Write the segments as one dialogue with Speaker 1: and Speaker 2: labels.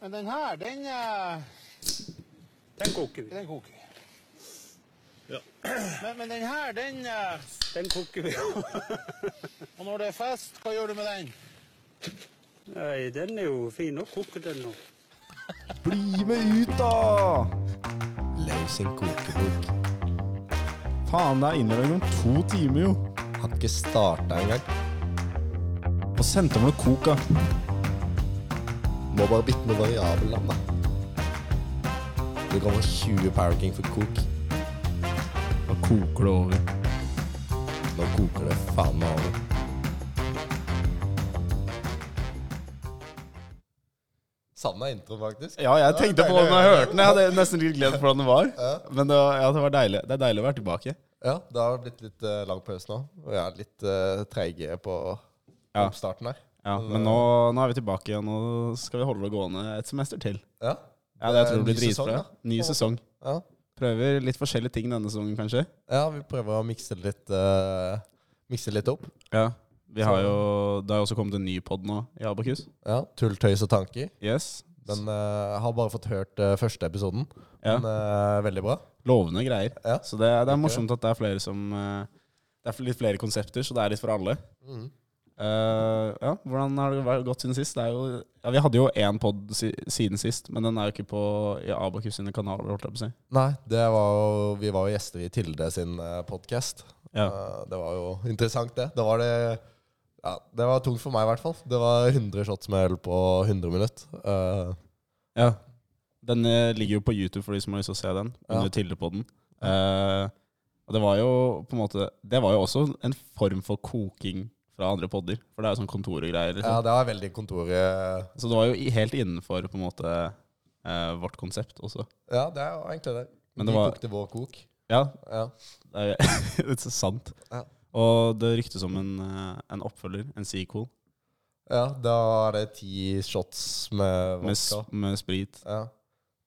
Speaker 1: Men den her, den, eh,
Speaker 2: Den koker vi.
Speaker 1: den koker vi.
Speaker 2: Ja.
Speaker 1: Men, men den her, den eh,
Speaker 2: Den koker vi.
Speaker 1: Og når det er fest, hva gjør du med den?
Speaker 2: Nei, den er jo fin. Nå koker den nå.
Speaker 3: Bli med ut, da!
Speaker 4: Leif sin kokebok.
Speaker 3: Faen, det er innlevering om to timer, jo.
Speaker 4: Har ikke starta engang.
Speaker 3: Og sendte meg noe kok, da.
Speaker 4: Må bare bytte med variabel navn, da. Du kan få 20 Power King for kok.
Speaker 3: Da koker det over.
Speaker 4: Nå koker det faen meg over. Savna introen, faktisk.
Speaker 3: Ja, jeg tenkte på
Speaker 4: deilig
Speaker 3: den da jeg hørte den. Jeg hadde nesten litt glemt hvordan den var.
Speaker 4: Ja.
Speaker 3: Men det var, ja, det var deilig. Det er deilig å være tilbake.
Speaker 4: Ja, det har blitt litt eh, lang pause nå. Og jeg er litt uh, treige på
Speaker 3: Ja.
Speaker 4: oppstarten her.
Speaker 3: Ja, Men nå, nå er vi tilbake igjen, og skal vi holde det gående et semester til.
Speaker 4: Ja.
Speaker 3: Ja, det jeg
Speaker 4: Det er
Speaker 3: tror
Speaker 4: en
Speaker 3: det blir
Speaker 4: Eh, ny sesong,
Speaker 3: dritbra.
Speaker 4: da.
Speaker 3: Ny
Speaker 4: Håper.
Speaker 3: sesong.
Speaker 4: ja.
Speaker 3: Prøver litt forskjellige ting denne sesongen, kanskje.
Speaker 4: Ja, vi prøver å mikse det litt, eh, mikse det litt opp.
Speaker 3: Ja. Vi har jo, det har jo også kommet en ny pod nå i Abakus.
Speaker 4: Ja, Tull, tøys og tanker.
Speaker 3: Yes.
Speaker 4: Den eh, har bare fått hørt eh, første episoden.
Speaker 3: Ja.
Speaker 4: Den er veldig bra.
Speaker 3: Lovende greier.
Speaker 4: Ja.
Speaker 3: Så det, det er morsomt at det er flere som eh, Det er litt flere konsepter, så det er litt for alle.
Speaker 4: Mhm.
Speaker 3: Eh, ja, Hvordan har det vært- gått siden sist? Det er jo, ja, vi hadde jo én pod si, siden sist, men den er jo ikke på i Abakus sine kanaler. Holdt jeg på å si.
Speaker 4: Nei, det var jo, vi var jo gjester i Tilde sin podkast.
Speaker 3: ja.
Speaker 4: Det var jo interessant, det. Det var, det, ja, det var tungt for meg, i hvert fall. Det var 100 shots med øl på 100 minutter. Eh,
Speaker 3: ja. Den eh, ligger jo på YouTube for de som har lyst til å se den, under
Speaker 4: Ja.
Speaker 3: Tildepodden. Eh, og det var jo på en måte Det var jo også en form for koking fra andre podder, for det er jo sånn kontor og greier. Liksom.
Speaker 4: ja, det var veldig eh, kontoret
Speaker 3: Så det var jo i- helt innenfor på en måte eh, vårt konsept også.
Speaker 4: Ja, det er jo egentlig det.
Speaker 3: Men det
Speaker 4: Vi
Speaker 3: var-
Speaker 4: kokte vår kok.
Speaker 3: Ja,
Speaker 4: Ja.
Speaker 3: det er, det er sant.
Speaker 4: Ja.
Speaker 3: Og det ryktes om en, eh, en oppfølger, en sequel,
Speaker 4: ja, da var det ti shots med
Speaker 3: med, s-
Speaker 4: vodka.
Speaker 3: med sprit.
Speaker 4: Ja.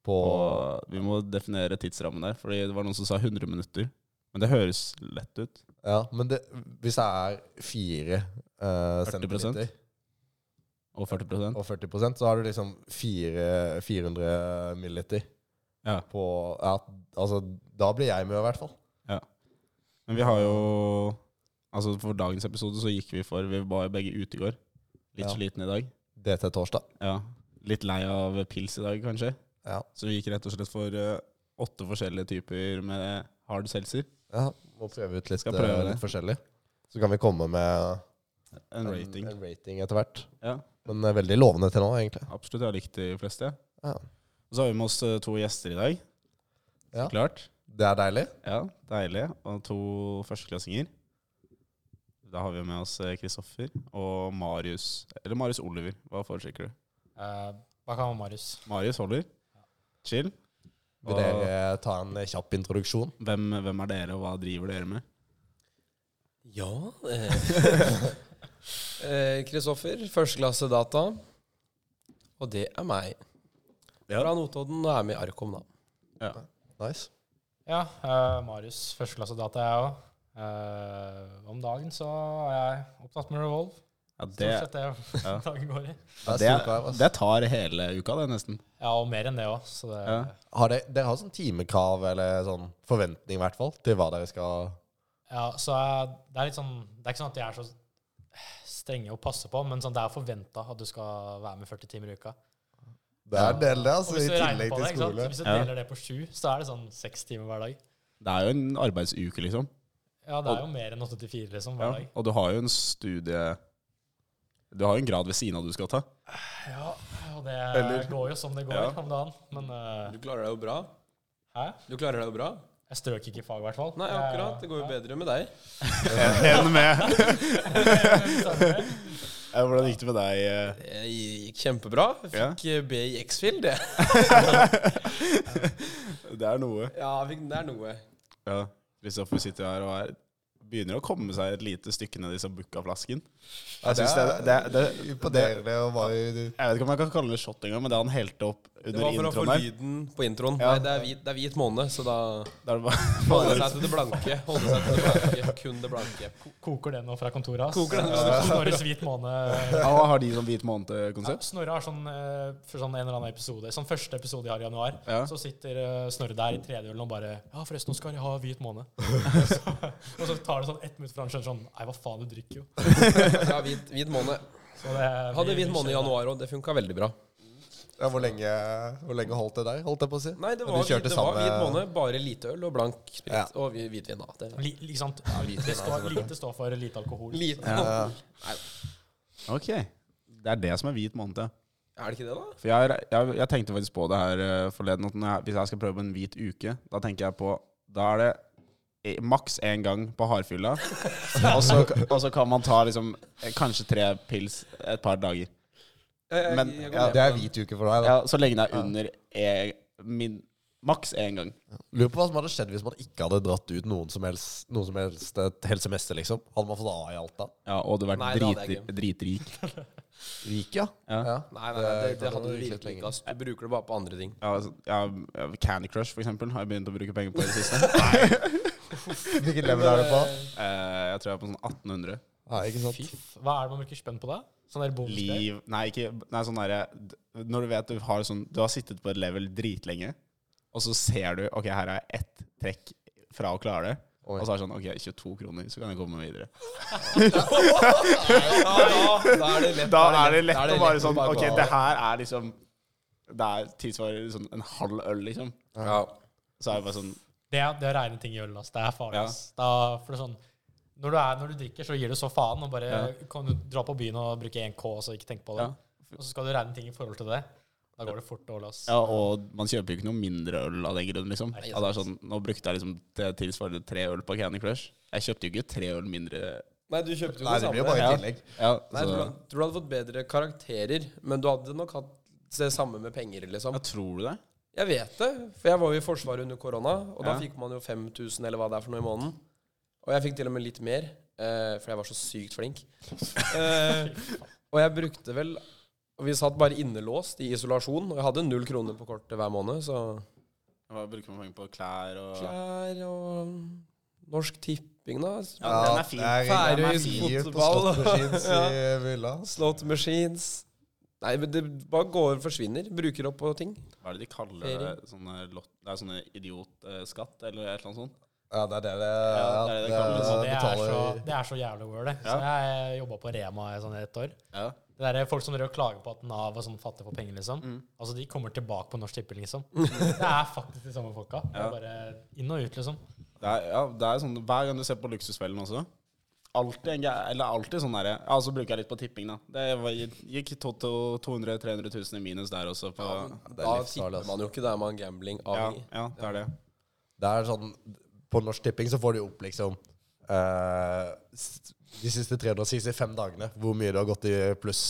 Speaker 4: På
Speaker 3: Og vi må definere tidsrammen der, fordi det var noen som sa 100 minutter. Men det høres lett ut.
Speaker 4: Ja, men det, hvis det er fire eh,
Speaker 3: 40%?
Speaker 4: centimeter
Speaker 3: Og 40
Speaker 4: og 40 så har du liksom fire, 400 milliliter
Speaker 3: Ja.
Speaker 4: på ja, Altså, da blir jeg med, i hvert fall.
Speaker 3: Men vi har jo Altså For dagens episode så gikk vi for Vi var jo begge ute i går. Litt
Speaker 4: Ja.
Speaker 3: sliten i dag.
Speaker 4: Det til torsdag.
Speaker 3: Ja. Litt lei av pils i dag, kanskje.
Speaker 4: Ja.
Speaker 3: Så vi gikk rett og slett for eh, åtte forskjellige typer med hard seltzer.
Speaker 4: ja. Må prøve ut litt,
Speaker 3: Skal prøve
Speaker 4: eh,
Speaker 3: det.
Speaker 4: litt forskjellig. Så kan vi komme med
Speaker 3: En rating.
Speaker 4: en rating etter hvert.
Speaker 3: Ja,
Speaker 4: Men det er veldig lovende til nå, egentlig.
Speaker 3: absolutt. Jeg har likt de fleste.
Speaker 4: Ja.
Speaker 3: Og så har vi med oss eh, to gjester i dag. Så
Speaker 4: Ja.
Speaker 3: klart.
Speaker 4: Det er deilig.
Speaker 3: Ja, deilig. Og to førsteklassinger. Da har vi med oss eh, Kristoffer og Marius. Eller Marius Oliver. Hva foretrekker du?
Speaker 5: Eh, Hva kan man, Marius?
Speaker 3: Marius holder. Chill.
Speaker 4: Vil
Speaker 3: Og
Speaker 4: dere ta en eh, kjapp introduksjon?
Speaker 3: hvem, hvem er dere, og hva driver dere med?
Speaker 6: Ja eh. Kristoffer, førsteklasse data. Og det er meg.
Speaker 3: Ja.
Speaker 6: Fra Notodden og er med i Arkom, da.
Speaker 4: Nice.
Speaker 5: Ja, eh, Marius. Førsteklassedata, jeg òg. om dagen så er jeg opptatt med Revolve.
Speaker 3: Ja,
Speaker 5: Det
Speaker 3: det,
Speaker 5: er det
Speaker 3: ja.
Speaker 5: dagen går i.
Speaker 4: Det er
Speaker 3: det,
Speaker 4: stor kar, ass.
Speaker 3: det tar hele uka, det, nesten.
Speaker 5: Ja, og mer enn det òg, så det
Speaker 3: Ja.
Speaker 4: Har dere, dere har sånn timekrav eller sånn forventning i hvert fall til hva dere skal
Speaker 5: Ja, så jeg, det er litt sånn Det er ikke sånn at de er så strenge å passe på, men sånn, det er forventa at du skal være med 40 timer i uka.
Speaker 4: Det er en del, det,
Speaker 5: Og
Speaker 4: altså, i
Speaker 5: hvis du
Speaker 4: tillegg
Speaker 5: regner
Speaker 4: til
Speaker 5: på det, ikke sant?
Speaker 4: skole.
Speaker 5: hvis du
Speaker 3: Ja.
Speaker 5: deler det på sju, så er det sånn seks timer hver dag.
Speaker 3: Det er jo en arbeidsuke, liksom.
Speaker 5: Ja, det er jo mer enn 8 til 4,
Speaker 3: Ja.
Speaker 5: liksom, hver dag.
Speaker 3: Og du har jo en studie Du har jo en grad ved siden av du skal ta.
Speaker 5: Ja, og det
Speaker 3: Eller-
Speaker 5: går jo som det går
Speaker 3: Ja.
Speaker 5: om dagen, men eh,
Speaker 6: Du klarer deg jo bra.
Speaker 5: Hæ?
Speaker 6: Du klarer deg jo bra.
Speaker 5: Jeg strøk ikke i fag, i hvert fall.
Speaker 6: Nei,
Speaker 5: Jeg-
Speaker 6: akkurat. Det går jo bedre med deg.
Speaker 3: Enn med Hvordan gikk det med deg? eh?
Speaker 6: Det gikk kjempebra. Jeg
Speaker 3: Ja.
Speaker 6: Fikk eh, B i X-Field, det.
Speaker 3: Det er noe.
Speaker 6: Ja, jeg fikk- det er noe.
Speaker 3: Ja. Kristoffer sitter her og er begynner å komme seg et lite stykke ned i Sambuca-flasken.
Speaker 4: Ja,
Speaker 3: Jeg synes det, er- det, er- det, er-
Speaker 4: Imponerende å være
Speaker 3: jeg vet ikke om jeg kan kalle det shot engang, men det han helte opp
Speaker 6: Det
Speaker 3: under
Speaker 6: var for å få
Speaker 3: introen der
Speaker 6: lyden på introen.
Speaker 3: Ja.
Speaker 6: Nei, det er hvit, det er hvit måned, så da
Speaker 3: Da er det bare-
Speaker 6: Holde seg til det blanke. Holde seg til det blanke. Kun det blanke.
Speaker 5: Koker det nå fra kontoret hans?
Speaker 6: Koker det nå.
Speaker 5: Eh, Snorre Svit Måne.
Speaker 3: Ja, har de sånn hvit
Speaker 5: Ja,
Speaker 3: måned-konsept?
Speaker 5: Snorre har sånn, eh, for sånn en eller annen episode Sånn første episode de har i januar.
Speaker 3: Ja.
Speaker 5: Så sitter eh, Snorre der i tredjehjulen og bare Ja, forresten, Oskar, jeg har hvit måne. og, så, og så tar det sånn ett minutt før han skjønner sånn Nei, hva faen, du drikker jo.
Speaker 6: Ja, hvit, hvit måned.
Speaker 5: Så det,
Speaker 6: Hadde
Speaker 5: vi-
Speaker 6: hvit måned i januar òg. Det funka veldig bra.
Speaker 4: ja, hvor, lenge, hvor lenge holdt det der, holdt jeg på å si?
Speaker 6: Nei, det
Speaker 4: Men
Speaker 6: var,
Speaker 4: de kjørte
Speaker 6: hvit, det var
Speaker 4: samme-
Speaker 6: hvit måned. Bare lite øl og blank sprit.
Speaker 4: Ja.
Speaker 6: Og hvi- hvitvin, da. Det,
Speaker 5: Li, ikke sant?
Speaker 6: hvit
Speaker 5: Det
Speaker 6: vin,
Speaker 5: står,
Speaker 6: altså.
Speaker 5: lite står for lite alkohol.
Speaker 6: lite.
Speaker 3: Ok. Det er det som er hvit måned, ja.
Speaker 6: Er det ikke det, da?
Speaker 3: For jeg, er- jeg, jeg tenkte faktisk på det her eh, forleden, at når jeg, hvis jeg skal prøve på en hvit uke, da tenker jeg på Da er det eh, maks én gang på hardfylla, og så, og så kan man ta liksom eh, kanskje tre pils et par dager.
Speaker 6: Jeg, jeg,
Speaker 3: Men-
Speaker 6: jeg går
Speaker 3: ja,
Speaker 6: med
Speaker 4: Det
Speaker 6: på
Speaker 4: er
Speaker 6: den.
Speaker 4: hvit uke for deg. da
Speaker 3: Ja, så lenge det er under eh, min, maks én gang.
Speaker 4: Lurer på hva som hadde skjedd hvis man ikke hadde dratt ut noen som helst Noen som helst et helt semester, liksom. Hadde man fått A i alt da?
Speaker 3: Ja, og du har
Speaker 6: Nei,
Speaker 3: vært
Speaker 6: da hadde
Speaker 3: dritri-
Speaker 6: jeg
Speaker 3: dritrik.
Speaker 4: Rik, ja.
Speaker 3: Ja.
Speaker 6: Nei, nei, nei det, det
Speaker 4: kan
Speaker 6: hadde
Speaker 4: du
Speaker 6: du
Speaker 4: virkelig
Speaker 6: virkelig
Speaker 4: trenge.
Speaker 6: ikke. ass. Du bruker det bare på andre ting.
Speaker 3: Ja, altså, ja, Candy Crush, for eksempel, har jeg begynt å bruke penger på i det siste.
Speaker 4: Hvilken level er du på?
Speaker 3: Eh, jeg tror jeg er på sånn 1800.
Speaker 4: Ja, ikke sant?
Speaker 5: Hva er det man bruker spenn på da? Sånn der bonusgreier?
Speaker 3: Liv Nei, ikke nei, sånn derre d- Når du vet du har sånn Du har sittet på et level dritlenge, og så ser du Ok, her er jeg ett trekk fra å klare det.
Speaker 4: Oi.
Speaker 3: Og så er det sånn OK, 22 kroner, så kan jeg komme videre.
Speaker 6: Ja, ja, da er det lett.
Speaker 3: Da er det lett
Speaker 6: da
Speaker 3: å
Speaker 6: er det
Speaker 3: bare
Speaker 6: lett
Speaker 3: sånn
Speaker 6: bare
Speaker 3: OK,
Speaker 6: gå-
Speaker 3: det her er liksom Det er tilsvarer sånn en halv øl, liksom.
Speaker 6: Ja.
Speaker 3: Så er det bare sånn
Speaker 5: Det, er- det er reine ting i øl, ass. Det er farlig,
Speaker 3: Ja.
Speaker 5: ass. Da, for det er sånn, når du, er, når du drikker, så gir du så faen. Og bare kan du dra på byen og bruke 1K og så ikke tenke på det.
Speaker 3: Ja.
Speaker 5: Og så skal du regne ting i forhold til det. Da går det fort dårlig, ass.
Speaker 3: Ja, og man kjøper jo ikke noe mindre øl av den grunn, liksom.
Speaker 5: Nei,
Speaker 3: Ja, det er sånn, nå brukte jeg liksom det tilsvarende tre øl på Candy Crush. Jeg kjøpte jo ikke tre øl mindre.
Speaker 6: Nei, du kjøpte jo
Speaker 4: Nei,
Speaker 6: det
Speaker 4: det
Speaker 6: samme.
Speaker 4: blir jo bare
Speaker 3: Ja.
Speaker 4: i tillegg.
Speaker 3: Ja,
Speaker 6: Nei, jeg tror,
Speaker 3: så,
Speaker 6: du- tror du hadde fått bedre karakterer, men du hadde nok hatt det samme med penger, liksom.
Speaker 3: ja, tror du det?
Speaker 6: Jeg vet det, for jeg var jo i Forsvaret under korona, og da
Speaker 3: Ja.
Speaker 6: fikk man jo 5000 eller hva det er for noe i måneden. Og jeg fikk til og med litt mer, eh, for jeg var så sykt flink. Eh, og jeg brukte vel og Vi satt bare innelåst i isolasjon, og jeg hadde null kroner på kortet hver måned, så
Speaker 3: Hva bruker man penger på? Klær og
Speaker 6: Klær og Norsk Tipping, da.
Speaker 3: Ja, den er fin.
Speaker 6: Færøysk fotball.
Speaker 4: ja. Villa.
Speaker 6: Slot machines. Nei, men det bare går og forsvinner. Bruker opp på ting.
Speaker 3: Hva er det de kaller det? Sånne lott... Det er sånne idiotskatt, eller et eller annet sånt?
Speaker 4: Ja, det er det det,
Speaker 3: Ja, det er det det kalles.
Speaker 5: Og det, er
Speaker 4: betaler
Speaker 5: så, det er så jævlig weird, det. Så jeg jobba på Rema i sånn et år.
Speaker 3: Ja.
Speaker 5: Det der er Folk som driver og klager på at Nav er sånn fattig på penger, liksom.
Speaker 3: Mm.
Speaker 5: Altså, De kommer tilbake på Norsk Tipping, liksom. Det er faktisk de samme folka. Det er bare inn og ut, liksom.
Speaker 3: Det er, ja, det er sånn Hver gang du ser på Luksusfellen også Alltid en gæ- Eller alltid sånn derre Ja, så bruker jeg litt på tipping, da. Det var, gikk Totto 200 000-300 000 i minus der også. På,
Speaker 4: det er
Speaker 6: Da
Speaker 4: livsfarlig,
Speaker 6: tipper
Speaker 4: ass.
Speaker 6: man jo ikke det er man gambling
Speaker 3: ja,
Speaker 6: avhengig.
Speaker 3: ja, det er det.
Speaker 4: Det er sånn På Norsk Tipping så får de opp liksom eh, s- de siste 365 dagene hvor mye det har gått i pluss.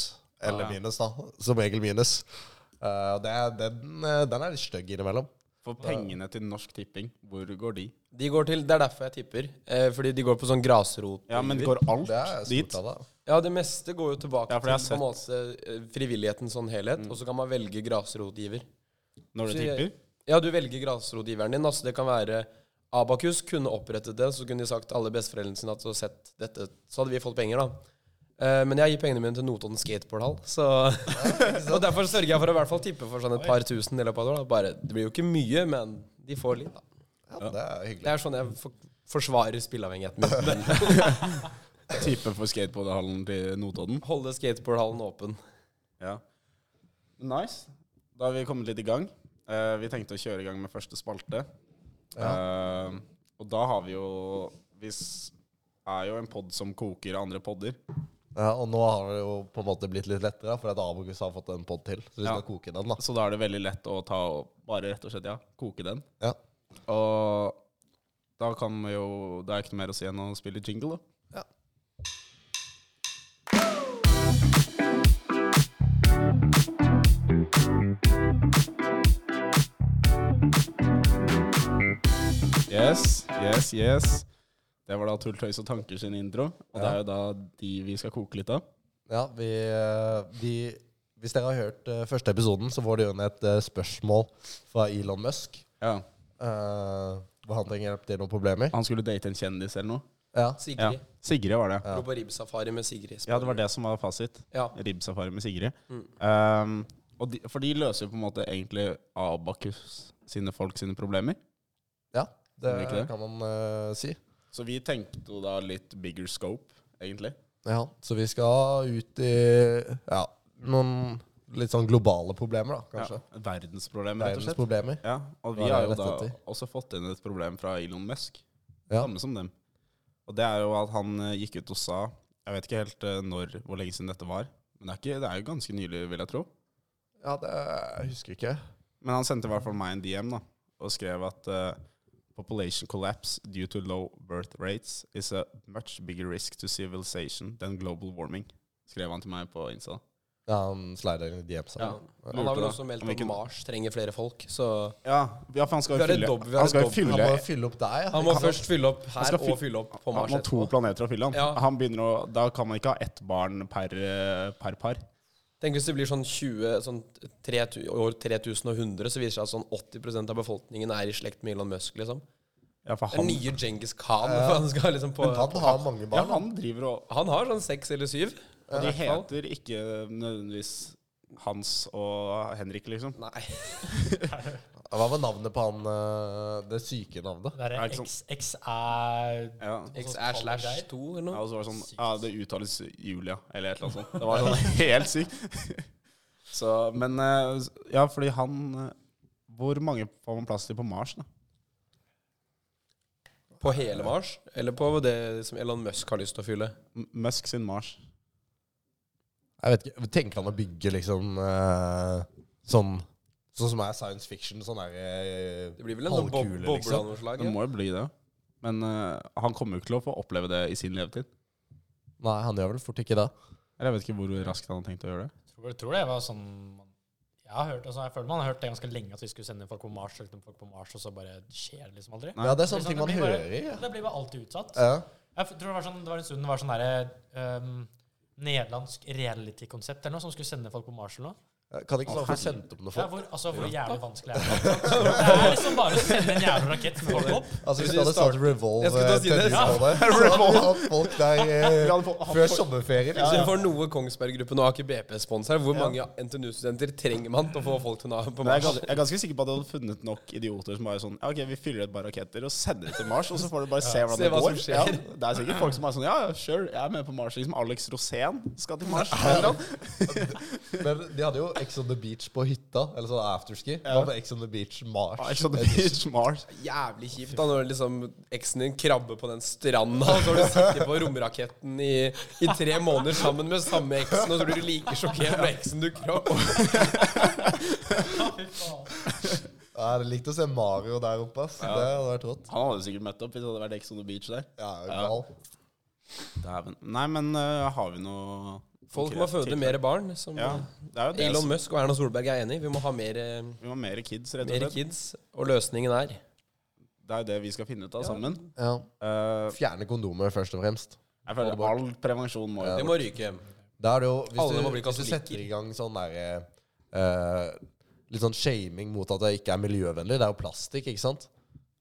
Speaker 4: Eller
Speaker 3: Ja.
Speaker 4: minus, da. Som regel minus. Eh, og det er, den, eh, den er litt stygg innimellom.
Speaker 3: For pengene til Norsk Tipping, hvor går de?
Speaker 6: De går til, Det er derfor jeg tipper. Eh, fordi de går på sånn grasrot.
Speaker 3: Ja, men går alt
Speaker 4: Det er
Speaker 3: dit?
Speaker 4: stort av det.
Speaker 6: Ja, det meste går jo tilbake
Speaker 3: Ja, for jeg Mm.
Speaker 6: til på en måte eh, frivilligheten sånn helhet. Og så kan man velge grasrotgiver.
Speaker 3: Når du
Speaker 6: Så jeg-
Speaker 3: tipper?
Speaker 6: Ja, du velger grasrotgiveren din. Altså det kan være Abakus kunne opprettet det, så kunne de sagt til alle besteforeldrene sine at så sett dette, så hadde vi fått penger, da. Eh, Men jeg gir pengene mine til Notodden skateboardhall, så Og derfor sørger jeg for å i hvert fall tippe for sånn et par tusen i løpet av et år. Da. Bare, det blir jo ikke mye, men de får litt, da.
Speaker 4: Ja, det er hyggelig.
Speaker 6: Det er sånn jeg for forsvarer spilleavhengigheten min.
Speaker 3: Tipper for skateboardhallen til Notodden?
Speaker 6: Holde skateboardhallen åpen.
Speaker 3: Ja. Nice. Da har vi kommet litt i gang. Eh, vi tenkte å kjøre i gang med første spalte. Eh, og da har vi jo Vi s- er jo en pod som koker andre podder.
Speaker 4: Ja, og nå har det jo på en måte blitt litt lettere, for at Abokus har fått en pod til. Så vi skal
Speaker 3: Ja.
Speaker 4: koke den, da.
Speaker 3: Så da er det veldig lett å ta og bare rett og slett, ja, koke den.
Speaker 4: Ja.
Speaker 3: Og da kan vi jo Det er ikke noe mer å si enn å spille jingle, da. Yes, yes, yes. Det var da Tull, tøys og tanker sin intro. Og det er jo da de vi skal koke litt av.
Speaker 4: Ja, vi, eh, vi Hvis dere har hørt eh, første episoden, så var det jo inn et eh, spørsmål fra Elon Musk.
Speaker 3: Ja.
Speaker 4: eh, Hvor han trenger hjelp til noen problemer.
Speaker 3: Han skulle date en kjendis eller noe. Ja.
Speaker 4: Ja.
Speaker 6: Sigrid.
Speaker 3: Sigrid var det.
Speaker 6: Dro på ribbsafari med Sigrid.
Speaker 3: Ja, det var det som var fasit.
Speaker 6: Ja.
Speaker 3: Ribbsafari med Sigrid.
Speaker 4: Mm.
Speaker 3: Um, og de, for de løser jo på en måte egentlig Abakus sine folk sine problemer.
Speaker 4: ja det
Speaker 3: Gjør det ikke det?
Speaker 4: kan man eh, si.
Speaker 3: Så vi tenkte jo da litt bigger scope, egentlig.
Speaker 4: Ja, Så vi skal ut i ja, noen litt sånn globale problemer, da, kanskje.
Speaker 3: Ja, verdensproblem, rett og
Speaker 4: Verdens
Speaker 3: slett.
Speaker 4: problemer.
Speaker 3: Ja, og
Speaker 4: Hva
Speaker 3: vi
Speaker 4: er
Speaker 3: har
Speaker 4: det
Speaker 3: jo
Speaker 4: rett
Speaker 3: da
Speaker 4: etter?
Speaker 3: også fått inn et problem fra Elon Musk.
Speaker 4: Ja.
Speaker 3: Samme som dem. Og det er jo at han eh, gikk ut og sa Jeg vet ikke helt eh, når, hvor lenge siden dette var, men det er, ikke, det er jo ganske nylig, vil jeg tro.
Speaker 4: Ja, det jeg husker ikke.
Speaker 3: Men han sendte i hvert fall meg en DM da, og skrev at eh, population collapse due to low birth rates is a much bigger risk to civilization than global warming. Skrev han til meg på Insta.
Speaker 4: Ja, han slider inn i DM sammen.
Speaker 6: Han har vel
Speaker 3: Lurte da.
Speaker 6: også meldt
Speaker 3: Om vi
Speaker 6: at
Speaker 3: kunne-
Speaker 6: Mars trenger flere folk, så
Speaker 3: Ja, ja for han skal
Speaker 6: Vi
Speaker 3: jo
Speaker 6: har et
Speaker 3: fylle
Speaker 6: dobb- vi har
Speaker 3: Han
Speaker 6: et
Speaker 3: skal jo
Speaker 6: dobb-
Speaker 3: fylle
Speaker 4: Han må fylle opp deg.
Speaker 6: Han må først fylle opp her
Speaker 3: skal fylle-
Speaker 6: og fylle opp på
Speaker 3: Han
Speaker 6: Mars.
Speaker 3: har to
Speaker 6: etterpå.
Speaker 3: planeter å fylle, han.
Speaker 6: Ja.
Speaker 3: han begynner å, da kan man ikke ha ett barn per, eh, per par.
Speaker 6: Tenk hvis det blir sånn 20, sånn 3000 år 3100, så viser det seg at sånn 80 av befolkningen er i slekt med Elon Musk, liksom.
Speaker 3: Ja, for han,
Speaker 6: Den nye Genghis Khan. for Han, skal liksom på,
Speaker 4: Men han har mange
Speaker 3: ja,
Speaker 4: barn.
Speaker 3: han driver og
Speaker 6: han har sånn seks eller syv.
Speaker 3: Og de heter ikke nødvendigvis Hans og Henrik, liksom.
Speaker 6: Nei.
Speaker 4: Hva var navnet på han eh, Det syke navnet?
Speaker 5: Det er
Speaker 3: ikke sånn-
Speaker 5: X, X er
Speaker 3: Ja.
Speaker 6: X er slash 2 eller
Speaker 3: Ja,
Speaker 6: noe.
Speaker 3: og så var det sånn Ja, det uttales Julia, eller et eller annet sånt. Det var sånn helt sykt. Så, men eh, Ja, fordi han eh, Hvor mange får man plass til på Mars, da?
Speaker 6: På hele Mars? Eller på det som Elon Musk har lyst til å fylle?
Speaker 3: M- Musk sin Mars.
Speaker 4: Jeg vet ikke, Tenker han å bygge liksom eh, sånn Sånn som er science fiction? Sånn er
Speaker 6: Det blir vel en sånn bob
Speaker 4: Halvkule,
Speaker 6: boble
Speaker 4: liksom.
Speaker 6: av noe slag?
Speaker 3: Det
Speaker 6: Ja.
Speaker 3: må jo bli det. Men eh, han kommer jo ikke til å få oppleve det i sin levetid.
Speaker 4: Nei, han gjør vel fort ikke det.
Speaker 3: Eller jeg vet ikke hvor raskt han har tenkt å gjøre det.
Speaker 5: Tror, tror det var sånn jeg, har hørt, altså jeg føler man har hørt det ganske lenge, at vi skulle sende folk på Mars, sende folk på Mars, og så bare skjer det liksom aldri.
Speaker 4: Ja, det er
Speaker 5: Liksom,
Speaker 4: sånne ting man
Speaker 5: blir bare-
Speaker 4: hører i. ja.
Speaker 5: Det blir bare alltid utsatt.
Speaker 4: Ja.
Speaker 5: Jeg tror det var, sånn, det var en stund det var sånn derre ehm, nederlandsk reality-konsept eller noe som skulle sende folk på Mars eller noe.
Speaker 4: Kan ikke sånn få sendt opp noe
Speaker 5: Ja,
Speaker 4: folk?
Speaker 5: hvor, altså, hvor jævlig vanskelig er det? Det er liksom bare å sende en jævla rakett med folk opp.
Speaker 4: Altså Hvis
Speaker 6: Hvis
Speaker 4: du
Speaker 6: vi
Speaker 4: hadde startet Revolve
Speaker 6: Jeg skulle til å si det.
Speaker 4: eh, tennis på det, så hadde vi hatt folk der eh, før sommerferien.
Speaker 6: Hvis
Speaker 4: Liksom.
Speaker 6: vi får noe Kongsberg-gruppen og Aker BP-spons her, hvor mange NTNU-studenter trenger man til å få folk til å na
Speaker 3: Men jeg er,
Speaker 6: på Mars?
Speaker 3: ganske, jeg er ganske sikker på at du hadde funnet nok idioter som bare sånn ja, Ok, vi fyller et par raketter og sender det til Mars, og så får du bare se hvordan
Speaker 6: se
Speaker 3: det
Speaker 6: hva som
Speaker 3: går.
Speaker 6: skjer.
Speaker 3: Ja, det er sikkert folk som er sånn Ja, ja, sure, jeg er med på Mars. Liksom Alex Rosén skal til Mars. eller noe.
Speaker 4: Men de hadde jo Ex on the Beach på hytta, eller sånn afterski. Det var på Ex on the Beach Mars.
Speaker 3: Ex on the sånn Beach, Mars.
Speaker 6: Jævlig kjipt da når liksom eksen din krabber på den stranda, og så har du sittet på romraketten i, i tre måneder sammen med samme eksen, og så blir du like sjokkert med eksen du krabb.
Speaker 4: Ja, det er likt å se Mario der oppe. ass. Det hadde vært rått.
Speaker 3: Han hadde sikkert møtt opp hvis det hadde vært Ex on the Beach der.
Speaker 4: Ja, gal.
Speaker 3: Dæven. Nei, men øh, har vi noe
Speaker 6: Folk
Speaker 3: konkret
Speaker 6: må føde
Speaker 3: tiltak?
Speaker 6: mer barn, som
Speaker 3: Ja, det er jo det.
Speaker 6: Elon
Speaker 3: som-
Speaker 6: Musk og Erna Solberg er enig i. Vi må ha mer, eh,
Speaker 3: Vi må ha mer kids, rett
Speaker 6: mer
Speaker 3: og slett.
Speaker 6: kids, og løsningen er
Speaker 3: Det er jo det vi skal finne ut av sammen.
Speaker 4: Ja.
Speaker 3: Eh,
Speaker 4: Fjerne kondomer, først og fremst.
Speaker 3: jeg føler all prevensjon må
Speaker 6: Det
Speaker 3: jo
Speaker 6: må ryke.
Speaker 4: Da er det jo, hvis,
Speaker 6: Alle må
Speaker 4: du,
Speaker 6: bli
Speaker 4: hvis du
Speaker 6: katolikker.
Speaker 4: setter i gang sånn derre Litt sånn shaming mot at det ikke er miljøvennlig. Det er jo plastikk, ikke sant?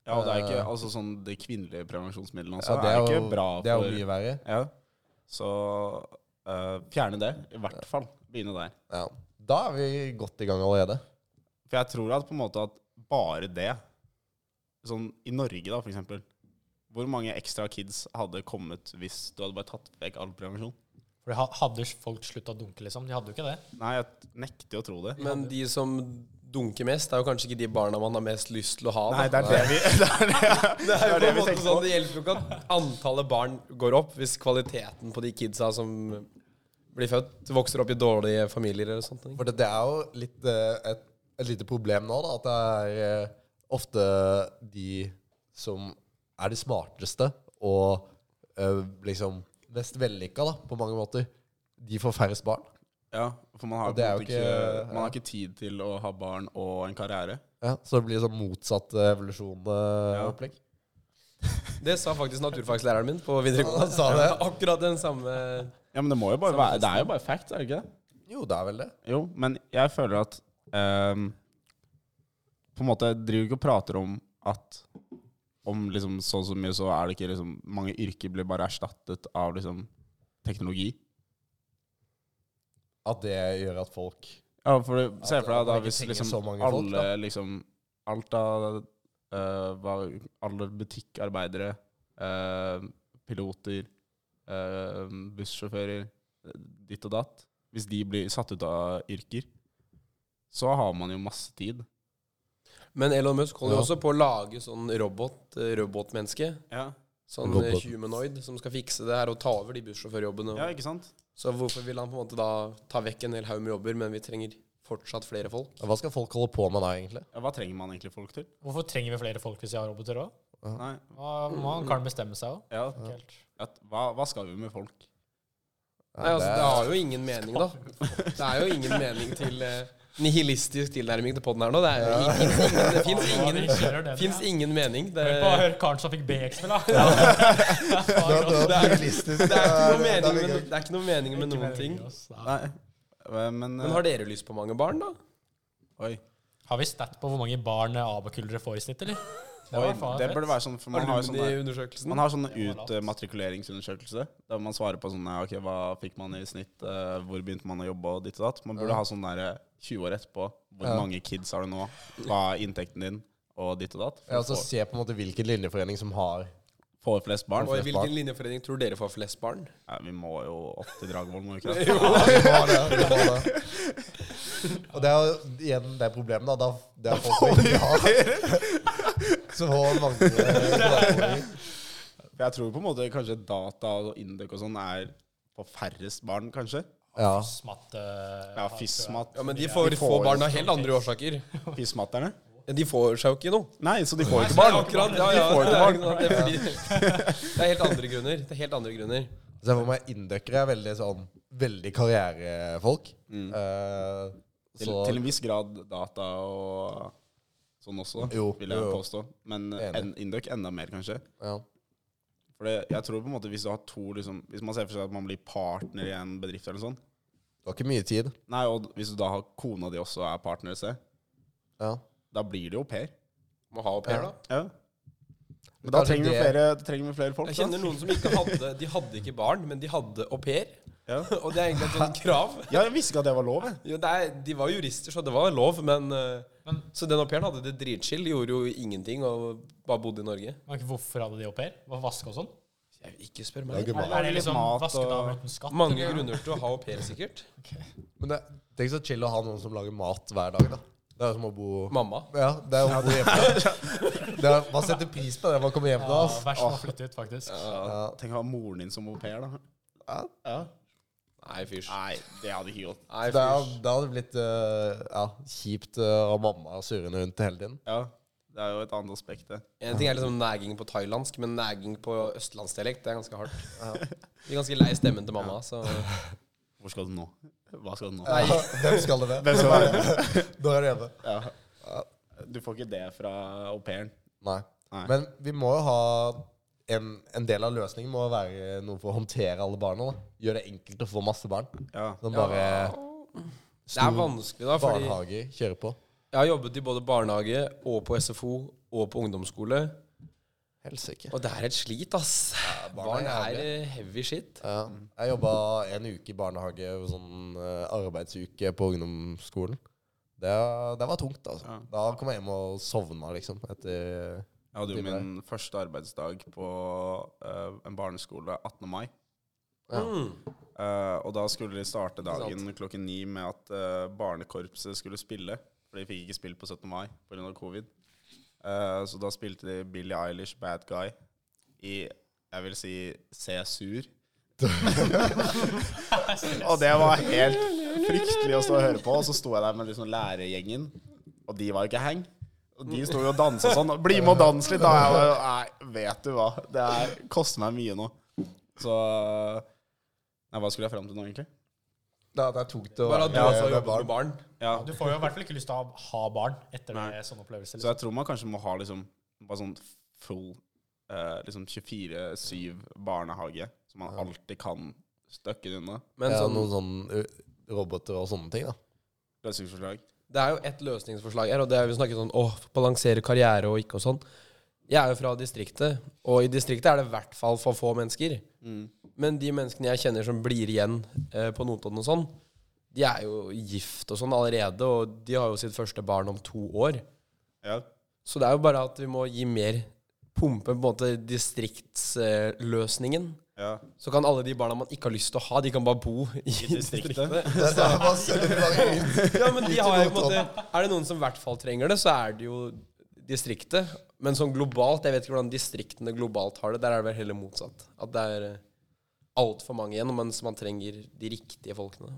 Speaker 3: Ja, og det er ikke altså sånn de kvinnelige prevensjonsmidlene også.
Speaker 4: Ja,
Speaker 3: det er, jo ikke bra
Speaker 4: det er
Speaker 3: for
Speaker 4: jo mye verre.
Speaker 3: Ja. Så eh, fjerne det, i hvert fall. Begynne der.
Speaker 4: Ja. Da er vi godt i gang allerede.
Speaker 3: For jeg tror at på en måte at bare det Sånn i Norge, da, for eksempel. Hvor mange ekstra kids hadde kommet hvis du hadde bare tatt vekk all prevensjon?
Speaker 5: Fordi ha- hadde folk slutta å dunke, liksom? De hadde jo ikke det.
Speaker 3: Nei, jeg nekter å tro det.
Speaker 6: Men de som dunker mest, er jo kanskje ikke de barna man har mest lyst til å ha. da.
Speaker 3: Nei, det er det vi, det er det, det,
Speaker 6: Det
Speaker 3: er
Speaker 6: er
Speaker 3: det vi
Speaker 6: jo på en måte
Speaker 3: tenker
Speaker 6: sånn,
Speaker 3: på.
Speaker 6: det hjelper jo ikke at antallet barn går opp hvis kvaliteten på de kidsa som blir født, vokser opp i dårlige familier eller sånt.
Speaker 4: For det, det er jo litt, eh, et, et lite problem nå, da, at det er eh, ofte de som er de smarteste og eh, liksom mest vellykka, da, på mange måter, de får færrest barn.
Speaker 3: Ja, for man har,
Speaker 4: Og det er
Speaker 3: på en
Speaker 4: jo
Speaker 3: måte ikke,
Speaker 4: ikke-
Speaker 3: man har ikke tid til å ha barn og en karriere.
Speaker 4: Ja, så det blir sånn motsatt eh, liksom evolusjon eh,
Speaker 3: Ja.
Speaker 4: opplegg
Speaker 6: Det sa faktisk naturfagslæreren min på videregående.
Speaker 4: Han sa det.
Speaker 6: Akkurat den samme
Speaker 3: Ja, men det må jo bare være Det er jo bare facts, er det ikke det?
Speaker 4: Jo, det er vel det.
Speaker 3: Jo, men jeg føler at ehm, På en måte driver ikke og prater om at om liksom så og så mye, så er det ikke liksom Mange yrker blir bare erstattet av liksom teknologi.
Speaker 4: At det gjør at folk
Speaker 3: Ja, for det, se
Speaker 4: At-
Speaker 3: for deg
Speaker 4: at
Speaker 3: da
Speaker 4: man ikke
Speaker 3: hvis
Speaker 4: trenger
Speaker 3: liksom
Speaker 4: så mange
Speaker 3: alle
Speaker 4: folk, da.
Speaker 3: liksom Alt av eh, var alle butikkarbeidere, eh, piloter, eh, bussjåfører, eh, ditt og datt Hvis de blir satt ut av yrker, så har man jo masse tid.
Speaker 6: Men Elon Musk holder jo
Speaker 4: Ja.
Speaker 6: også på å lage sånn robot, eh, robotmenneske.
Speaker 3: Ja,
Speaker 6: Sånn
Speaker 4: Robot.
Speaker 6: eh, humanoid som skal fikse det her og ta over de bussjåførjobbene.
Speaker 3: ja ikke sant?
Speaker 6: Så hvorfor vil han på en måte da ta vekk en hel haug med jobber, men vi trenger fortsatt flere folk?
Speaker 4: Hva skal folk holde på med da, egentlig?
Speaker 3: Ja, hva trenger man egentlig folk til?
Speaker 5: Hvorfor trenger vi flere folk hvis vi har roboter òg?
Speaker 3: Nei,
Speaker 5: Man kan bestemme seg òg.
Speaker 3: ja, at, hva, hva skal vi med folk?
Speaker 6: Nei, altså, det har jo ingen mening, da. Det er jo ingen mening til eh, nihilistisk tilnærming til poden her nå. Det er jo ingen, ingen, det fins ingen, finnes ingen mening. Det,
Speaker 5: Hør på hør karen som fikk BX-en, da.
Speaker 4: det,
Speaker 6: Eh, det er-
Speaker 4: realistisk.
Speaker 6: det, er ikke
Speaker 4: det
Speaker 6: noe
Speaker 4: er
Speaker 6: mening med,
Speaker 4: gøy.
Speaker 6: det er ikke noe mening med noen ting.
Speaker 5: altså.
Speaker 3: Nei, eh, men,
Speaker 6: Men har dere lyst på mange barn, da?
Speaker 3: Oi,
Speaker 5: Har vi stat på hvor mange barn abakullere får i snitt, eller? Det,
Speaker 3: oi det burde være sånn, for man har jo sånn der
Speaker 6: Alumni-undersøkelsen.
Speaker 3: Man har sånn
Speaker 5: Det var lavt.
Speaker 3: utmatrikuleringsundersøkelse. Der man svarer på sånn Ok, hva fikk man i snitt? eh, Hvor begynte man å jobbe? Og ditt og datt. Man burde ha sånn der eh, 20 år etterpå. Hvor
Speaker 4: Ja.
Speaker 3: mange kids har du nå? Hva er inntekten din? Og ditt og datt.
Speaker 4: Ja,
Speaker 3: For
Speaker 4: altså,
Speaker 3: å
Speaker 4: se på en måte hvilken linjeforening som har
Speaker 3: få- få flest barn.
Speaker 6: Og i hvilken linjeforening tror dere får flest barn?
Speaker 3: Ja, vi må jo opp til Dragvoll, må vi ikke det?
Speaker 4: har det, vi har det. Og det er jo igjen det problemet, da. da det er folk som ikke har Så får mange klager.
Speaker 3: For Jeg tror på en måte kanskje data og Indøk og sånn er på færrest barn, kanskje.
Speaker 4: Ja.
Speaker 5: Smatt, eh,
Speaker 3: Ja, FISMAT.
Speaker 6: Ja, men de får,
Speaker 3: De får
Speaker 6: få
Speaker 3: jo
Speaker 6: barn av helt andre årsaker.
Speaker 3: FISMatterne.
Speaker 6: Ja, De får seg jo ikke noe.
Speaker 3: Nei, så de får jo ikke
Speaker 6: Barn,
Speaker 3: barn.
Speaker 6: akkurat. Ja, ja, det, er, ikke sant, det, er fordi, det er helt andre grunner. Det er helt andre grunner.
Speaker 4: Så jeg får meg inndøkkere er veldig sånn Veldig karrierefolk. Eh,
Speaker 3: Til,
Speaker 4: så
Speaker 3: til en viss grad data og sånn også,
Speaker 4: Jo,
Speaker 3: vil jeg
Speaker 4: jo, jo.
Speaker 3: påstå. Men eh,
Speaker 4: Enig.
Speaker 3: en, Indøk enda mer, kanskje.
Speaker 4: ja.
Speaker 3: For det, jeg tror på en måte hvis du har to liksom, Hvis man ser for seg at man blir partner i en bedrift eller sånn
Speaker 4: Det var ikke mye tid.
Speaker 3: Nei, og hvis du da har kona di også er partner et sted,
Speaker 4: Ja.
Speaker 3: da blir det jo au pair.
Speaker 6: Må ha au pair, da.
Speaker 3: Ja. Men da
Speaker 4: Kanskje
Speaker 3: trenger, vi
Speaker 4: det-
Speaker 3: flere, da trenger vi flere folk.
Speaker 6: Jeg kjenner
Speaker 3: da.
Speaker 6: noen som ikke hadde De hadde ikke barn, men de hadde au pair.
Speaker 3: Ja.
Speaker 6: Og det er egentlig et sånt krav.
Speaker 3: Ja, jeg visste ikke at det var lov. jeg.
Speaker 6: Jo, det er, de var jurister, så det var lov, men eh,
Speaker 5: Men-
Speaker 6: Så den au pairen hadde det dritchill, gjorde jo ingenting og bare bodde i Norge.
Speaker 5: Hvorfor hadde de au pair? Hva Vaske og sånn?
Speaker 6: Jeg vil ikke spørre
Speaker 4: Det er
Speaker 6: meg.
Speaker 4: ikke bra.
Speaker 5: Er det
Speaker 3: litt
Speaker 5: liksom
Speaker 3: mat og-
Speaker 5: vaskedamer uten skatt?
Speaker 6: Mange
Speaker 5: eller?
Speaker 6: grunner til å ha au pair, sikkert.
Speaker 4: Men det, tenk så chill å ha noen som lager mat hver dag, da. Det er jo som å bo
Speaker 6: Mamma.
Speaker 4: Ja, det er jo å bo hjemme. Det er, man setter pris på det man kommer hjem til.
Speaker 5: Ja,
Speaker 4: Altså.
Speaker 5: Verst å flytte ut, faktisk.
Speaker 3: Ja. Tenk å ha moren din som au pair, da.
Speaker 6: Nei, fysj.
Speaker 3: Nei, det hadde ikke gått.
Speaker 6: Nei,
Speaker 4: Det
Speaker 6: fysj.
Speaker 4: er, det hadde blitt eh, ja, kjipt eh, av mamma surrende rundt hele tiden.
Speaker 3: Ja, det er jo et annet aspekt, det.
Speaker 6: En ting er liksom nagging på thailandsk, men nagging på østlandsdialekt, det er ganske hardt. Blir ganske lei stemmen til mamma, så
Speaker 3: Hvor skal du nå? Hva skal du nå?
Speaker 4: Nei, hvem skal det med? Da er det hjemme.
Speaker 3: Du får ikke det fra au pairen.
Speaker 4: Nei.
Speaker 3: Nei.
Speaker 4: Men vi må jo ha en, en del av løsningen må være noe for å håndtere alle barna. da. Gjøre det enkelt å få masse barn.
Speaker 3: Ja.
Speaker 4: Sånn bare
Speaker 6: Det er vanskelig, da, fordi
Speaker 4: barnehager kjører på.
Speaker 6: jeg har jobbet i både barnehage og på SFO og på ungdomsskole,
Speaker 4: Helsike.
Speaker 6: og det er et slit, ass.
Speaker 4: barn
Speaker 6: Barn
Speaker 4: er
Speaker 6: er
Speaker 4: jævlig.
Speaker 6: eh, heavy shit.
Speaker 4: Ja. Jeg jobba en uke i barnehage, sånn eh, arbeidsuke på ungdomsskolen. Det, det var tungt, altså.
Speaker 3: Ja.
Speaker 4: Da kom jeg hjem og sovna, liksom, etter
Speaker 3: Jeg hadde jo
Speaker 4: Tipper
Speaker 3: min første arbeidsdag på eh, en barneskole 18. mai.
Speaker 4: Ja.
Speaker 6: Mm.
Speaker 3: Eh, og da skulle de starte dagen
Speaker 6: sant.
Speaker 3: klokken ni med at eh, barnekorpset skulle spille. For de fikk ikke spilt på 17. mai pga. covid. Eh, så da spilte de Billie Eilish, Bad Guy, i jeg vil si Se sur. og det var helt fryktelig å stå og høre på. Og så sto jeg der med liksom lærergjengen, og de var jo ikke hang. Og de sto jo og dansa sånn. Bli med og dans litt, da! Jeg var, Nei, vet du hva. Det er, koster meg mye nå. Så Nei, hva skulle jeg fram til nå, egentlig?
Speaker 4: Ja, det er tungt å
Speaker 6: Bare at du
Speaker 4: være
Speaker 6: også har
Speaker 4: med
Speaker 6: jobbet med barn.
Speaker 3: Ja,
Speaker 5: Du får jo i hvert fall ikke lyst til å ha barn etter
Speaker 3: Nei.
Speaker 5: det, sånne opplevelser.
Speaker 3: Så jeg tror man kanskje må ha liksom bare sånn liksom, full eh, liksom 24-7 barnehage, som man alltid kan støkke unna.
Speaker 6: Men
Speaker 4: ja,
Speaker 6: sånn,
Speaker 4: noen sånne uh, roboter og sånne ting, da.
Speaker 3: Løsningsforslag.
Speaker 6: det er jo ett løsningsforslag her, og det er vi snakket sånn Å, balansere karriere og ikke og sånn. Jeg er jo fra distriktet, og i distriktet er det i hvert fall for få mennesker.
Speaker 4: Mm.
Speaker 6: Men de menneskene jeg kjenner som blir igjen eh, på Notodden og sånn, de er jo gift og sånn allerede, og de har jo sitt første barn om to år.
Speaker 3: Ja.
Speaker 6: Så det er jo bare at vi må gi mer pumpe på en måte distriktsløsningen.
Speaker 3: ja.
Speaker 6: Så kan alle de barna man ikke har lyst til å ha, de kan bare bo i,
Speaker 3: distriktet.
Speaker 6: distriktet.
Speaker 4: Det er bare å sende det bare ut.
Speaker 6: Ja, men de har jo på en
Speaker 4: Notodden.
Speaker 6: måte Er det noen som i hvert fall trenger det, så er det jo distriktet. Men sånn globalt, jeg vet ikke hvordan distriktene globalt har det. Der er det vel heller motsatt. At det er altfor mange igjen, mens man trenger de riktige folkene.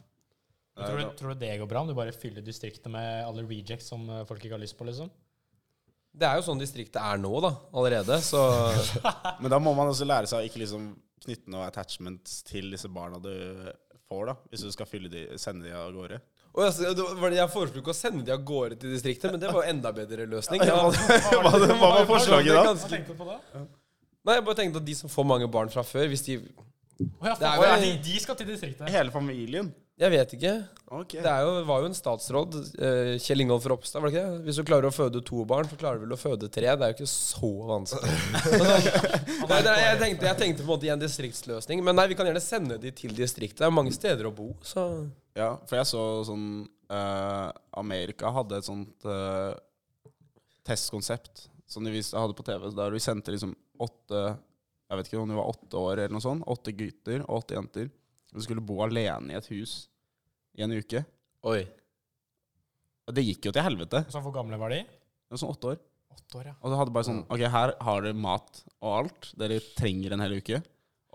Speaker 3: Det
Speaker 5: Tror
Speaker 3: er
Speaker 5: du, tror du det går bra om du bare fyller distriktene med alle rejects som eh, folk ikke har lyst på, liksom?
Speaker 6: Det er jo sånn distriktet er nå, da, allerede. Så
Speaker 3: da- Men da må man også lære seg å ikke liksom knytte noe attachment til disse barna du får, da. Hvis du skal fylle de, sende de av gårde.
Speaker 6: Og jeg, det var- jeg foreslo ikke å sende de av gårde til distriktet, men det var jo enda bedre løsning.
Speaker 3: Hva, var forslaget da?
Speaker 6: Ganske-
Speaker 5: tenkte du på da?
Speaker 6: Nei, jeg bare tenkte at de som får mange barn fra før, hvis de
Speaker 5: ja,
Speaker 6: Det er
Speaker 5: faen,
Speaker 6: vel-
Speaker 5: de, de skal til distriktet.
Speaker 3: Hele familien.
Speaker 6: Jeg vet ikke.
Speaker 3: Ok.
Speaker 6: Det er jo, var jo en statsråd, eh, Kjell Ingolf Ropstad, var det ikke det? Hvis du klarer å føde to barn, så klarer du vel å føde tre. Det er jo ikke så vanskelig. Men sånn- nei, nei, jeg, tenkte, jeg tenkte på en måte i en distriktsløsning, men nei, vi kan gjerne sende de til distriktet. Det er mange steder å bo, så
Speaker 3: Ja, for jeg så sånn eh, Amerika hadde et sånt eh, testkonsept som de visste hadde på TV. Der de sendte liksom åtte Jeg vet ikke om de var åtte år eller noe sånt. Åtte gutter og åtte jenter. De skulle bo alene i et hus i en uke.
Speaker 6: Oi.
Speaker 3: Og det gikk jo til helvete.
Speaker 5: Så hvor gamle var de?
Speaker 3: Det var sånn åtte år.
Speaker 5: Åtte år, ja.
Speaker 3: Og det hadde bare sånn
Speaker 6: Mm.
Speaker 3: Ok, her har dere mat og alt. Dere trenger en hel uke.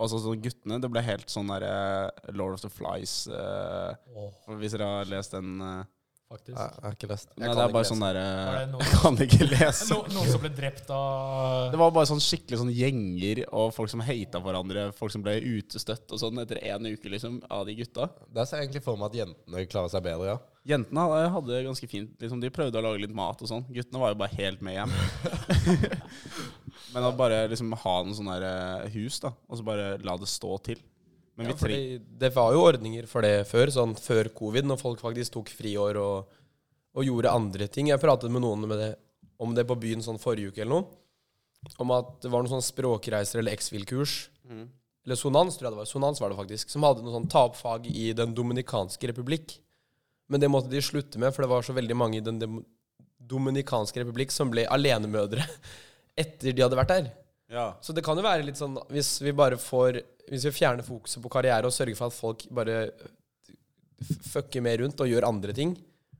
Speaker 3: Og så sånn guttene. Det ble helt sånn der eh, Lord of the Flies eh, Hvis dere har lest den eh,
Speaker 5: faktisk.
Speaker 4: Jeg har ikke lest.
Speaker 3: Nei,
Speaker 6: kan
Speaker 3: det er
Speaker 6: ikke
Speaker 3: bare
Speaker 6: lese.
Speaker 3: sånn derre
Speaker 5: Var det noen-
Speaker 3: Jeg kan ikke lese.
Speaker 5: No, noen som ble drept av
Speaker 3: Det var bare sånn skikkelig sånn gjenger og folk som hata hverandre. Folk som ble utestøtt og sånn etter én uke liksom av de gutta.
Speaker 4: Der ser jeg egentlig for meg at jentene klarer seg bedre, ja.
Speaker 3: Jentene hadde- hadde det ganske fint. liksom De prøvde å lage litt mat og sånn. Guttene var jo bare helt med hjem. Men å bare liksom ha noen sånne der, eh, hus, da, og så bare la det stå til. Men vi
Speaker 6: Ja, fordi
Speaker 3: trenger
Speaker 6: det var jo ordninger for det før, sånn før covid, når folk faktisk tok friår og, og gjorde andre ting. Jeg pratet med noen med det, om det på byen sånn forrige uke eller noe. Om at det var noen sånn språkreiser eller X-FIL-kurs.
Speaker 3: Mm.
Speaker 6: Eller Sonans, tror jeg det var. Sonans var det faktisk. Som hadde noe sånn tapfag i Den dominikanske republikk. Men det måtte de slutte med, for det var så veldig mange i Den Dem- dominikanske republikk som ble alenemødre etter de hadde vært der.
Speaker 3: Ja.
Speaker 6: Så det kan jo være litt sånn Hvis vi bare får Hvis vi fjerner fokuset på karriere og sørger for at folk bare f- fucker mer rundt og gjør andre ting,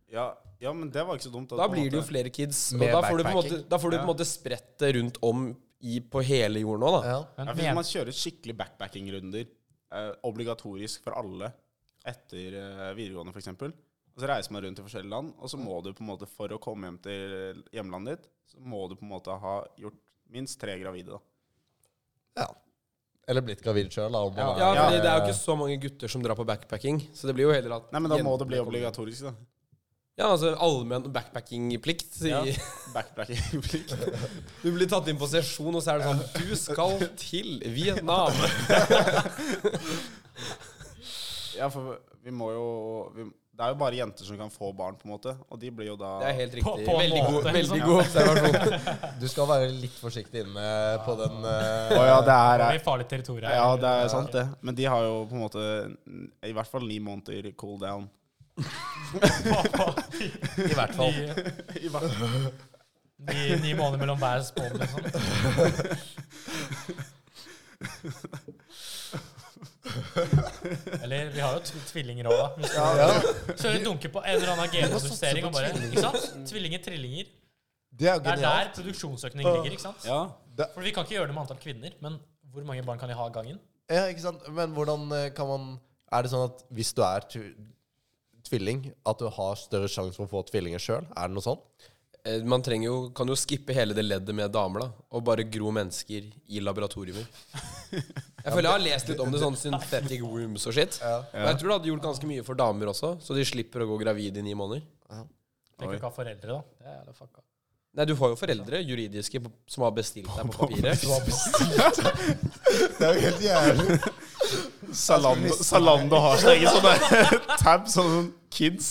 Speaker 3: Ja, ja, men det var ikke så dumt.
Speaker 6: da blir det jo flere kids. Og
Speaker 4: Mer
Speaker 6: da får du på en måte,
Speaker 4: backpacking.
Speaker 6: da får du på en måte spredt det rundt om i, på hele jorda nå, da.
Speaker 4: ja.
Speaker 5: Men
Speaker 3: Ja, for
Speaker 5: men-
Speaker 3: man kjører skikkelig backpacking-runder, eh, obligatorisk for alle etter eh, videregående f.eks. Og så reiser man rundt i forskjellige land, og så må du på en måte, for å komme hjem til hjemlandet ditt, så må du på en måte ha gjort minst tre gravide, da.
Speaker 4: ja. Eller blitt gravid sjøl, da. Om man
Speaker 6: Ja,
Speaker 4: er-
Speaker 6: fordi det er jo ikke så mange gutter som drar på backpacking, så det blir jo heller at
Speaker 3: Nei, men da må
Speaker 6: jentene
Speaker 3: det bli
Speaker 6: kommer.
Speaker 3: obligatorisk, da.
Speaker 6: Ja, altså allmenn backpackingplikt.
Speaker 3: Ja.
Speaker 6: i-
Speaker 3: Backpacking.
Speaker 6: Du blir tatt inn på sesjon, og så er det sånn Du skal til Vietnam!
Speaker 3: ja, for vi må jo vi, Det er jo bare jenter som kan få barn, på en måte, og de blir jo da
Speaker 6: Det er helt
Speaker 5: På-
Speaker 6: riktig.
Speaker 5: på en
Speaker 6: veldig
Speaker 5: måte,
Speaker 6: god,
Speaker 5: liksom.
Speaker 6: veldig god observasjon.
Speaker 4: sånn, Du skal være litt forsiktig inne på den eh,
Speaker 3: Å ja, det er
Speaker 5: Det er farlig territorium.
Speaker 3: Ja, det er sant, det. Men de har jo på en måte i hvert fall ni måneder cool down.
Speaker 5: I hvert fall. Ni, ni måneder mellom hver spådom, liksom. Eller vi har jo tv- tvillinger òg, da. Hvis du kjører dunke på en eller annen genjustering og bare Ikke sant? Tvillinger, trillinger.
Speaker 4: Det er jo
Speaker 5: Det er
Speaker 4: genialt.
Speaker 5: der produksjonsøkning ligger, ikke sant?
Speaker 3: Ja.
Speaker 5: For vi kan ikke gjøre det med antall kvinner, men hvor mange barn kan de ha av gangen?
Speaker 4: Ja, ikke sant? Men hvordan eh, kan man Er det sånn at hvis du er tu- tvilling, at du har større sjanse for å få tvillinger sjøl? Er det noe sånn?
Speaker 6: Eh, Man trenger jo, kan jo skippe hele det leddet med damer, da. Og bare gro mennesker i laboratorier. Jeg føler jeg har lest litt om det, sånn synthetic rooms og shit. Og jeg tror det hadde gjort ganske mye for damer også, så de slipper å gå gravid i ni måneder.
Speaker 5: Tenk å ikke ha foreldre, da. Det er jævla fucka.
Speaker 6: Nei, du har jo foreldre, juridiske, på- som har bestilt deg på papiret.
Speaker 4: Det er jo helt jævlig.
Speaker 3: Salando, Salando har sin egen sånn der tab, sånn sånn kids.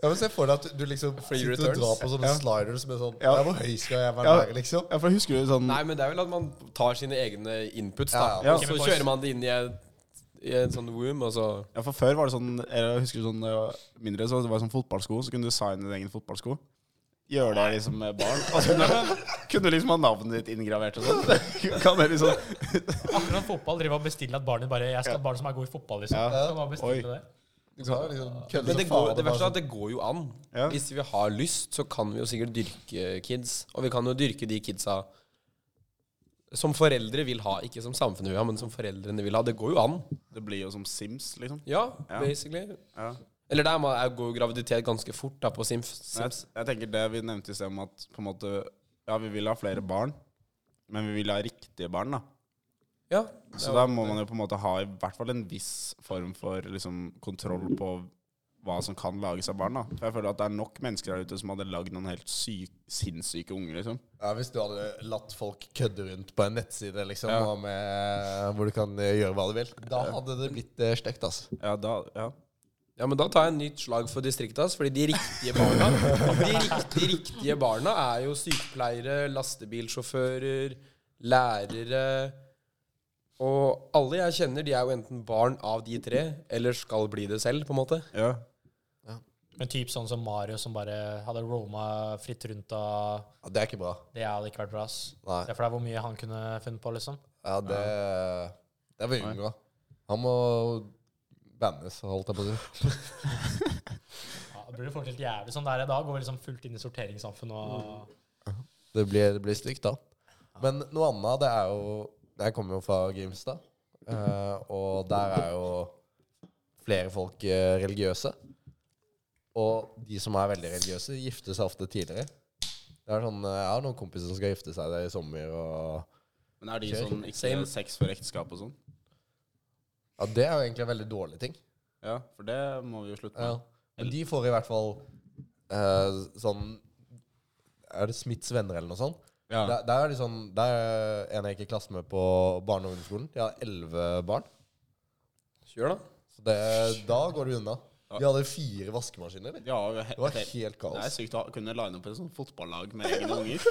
Speaker 4: Jeg må se for deg at du liksom
Speaker 6: Free
Speaker 4: sitter og
Speaker 6: returns.
Speaker 4: drar på sånne sliders med sånn
Speaker 3: Ja.
Speaker 4: ja. Hvor høy skal jeg være,
Speaker 3: Ja.
Speaker 4: der, liksom?
Speaker 3: Ja, for husker du sånn
Speaker 6: Nei, men det er vel at man tar sine egne inputs,
Speaker 4: Ja,
Speaker 6: da.
Speaker 3: ja.
Speaker 6: Og så kjører man det inn i en, i en sånn womb, og så
Speaker 3: Ja, for før var det sånn Jeg husker sånn da jeg var mindre, så det var sånn fotballsko, så kunne du signe din egen fotballsko. Gjøre det liksom med barn. Og så kunne, kunne du liksom ha navnet ditt inngravert og sånn. Kan det liksom
Speaker 5: Akkurat fotball driver og bestiller at barnet bare Jeg skal ha barn som er god i fotball, liksom.
Speaker 3: Ja.
Speaker 5: Kan bare bestille
Speaker 3: Oi.
Speaker 5: det.
Speaker 4: Du kan jo liksom kødde
Speaker 6: Men
Speaker 4: som
Speaker 6: det,
Speaker 4: faen,
Speaker 6: går,
Speaker 4: og
Speaker 6: det
Speaker 4: bare
Speaker 6: verste er at det går jo an.
Speaker 3: Ja.
Speaker 6: Hvis vi har lyst, så kan vi jo sikkert dyrke kids. Og vi kan jo dyrke de kidsa som foreldre vil ha. Ikke som samfunnet vil ha, men som foreldrene vil ha. Det går jo an.
Speaker 3: Det blir jo som Sims, liksom.
Speaker 6: Ja,
Speaker 3: Ja.
Speaker 6: basically.
Speaker 3: Ja.
Speaker 6: Eller der må- er- går jo graviditet ganske fort da på Sims.
Speaker 3: Jeg,
Speaker 6: Sims.
Speaker 3: jeg tenker det vi nevnte i sted om at på en måte Ja, vi vil ha flere barn, men vi vil ha riktige barn, da.
Speaker 6: Ja.
Speaker 3: Så da må man jo på en måte ha i hvert fall en viss form for liksom, kontroll på hva som kan lages av barn. Da. For jeg føler at det er nok mennesker der ute som hadde lagd noen helt syk, sinnssyke unger. Liksom.
Speaker 4: Ja, Hvis du hadde latt folk kødde rundt på en nettside liksom,
Speaker 3: Ja.
Speaker 4: og med, hvor du kan eh, gjøre hva du vil, da hadde det blitt eh, stygt. Altså.
Speaker 3: Ja, da, ja.
Speaker 6: Ja, men da tar jeg en nytt slag for distriktet hans, fordi de riktige barna De riktige, riktige barna er jo sykepleiere, lastebilsjåfører, lærere Og alle jeg kjenner, de er jo enten barn av de tre, eller skal bli det selv, på en måte.
Speaker 3: Ja.
Speaker 5: Men typ sånn som Mario, som bare hadde roma fritt rundt av
Speaker 4: Ja, det er ikke bra.
Speaker 5: Det hadde ikke vært bra, ass.
Speaker 4: Nei.
Speaker 5: Se for deg hvor mye han kunne funnet på, liksom.
Speaker 4: Ja, det, det er veldig bra. Han må bannes, holdt jeg på å si.
Speaker 5: Ja, det blir fort helt jævlig sånn der i dag. Går vi liksom fullt inn i sorteringssamfunnet og
Speaker 4: Det blir, det blir stygt, da. Men noe annet, det er jo Jeg kommer jo fra Grimstad, eh, og der er jo flere folk eh, religiøse. Og de som er veldig religiøse, gifter seg ofte tidligere. Det er sånn, eh, Jeg har noen kompiser som skal gifte seg der i sommer, og
Speaker 3: Men er de
Speaker 4: Kjør.
Speaker 3: sånn ikke
Speaker 6: Same.
Speaker 3: sex for ekteskap og sånn?
Speaker 4: Ja, det er jo egentlig en veldig dårlig ting.
Speaker 3: Ja, for det må vi jo slutte med.
Speaker 4: Men de får i hvert fall eh, sånn Er det Smiths venner eller noe sånt?
Speaker 3: Ja.
Speaker 4: Der, der er de sånn Der er en jeg gikk i klasse med på barne- og ungdomsskolen. De har elleve barn.
Speaker 6: Kjør, da.
Speaker 4: Så det, da går det unna. De hadde fire vaskemaskiner. eller?
Speaker 3: Ja, vi har-
Speaker 4: Det var helt
Speaker 3: det er
Speaker 4: kaos.
Speaker 3: sykt å ha- kunne line opp et sånt fotballag med egne unger.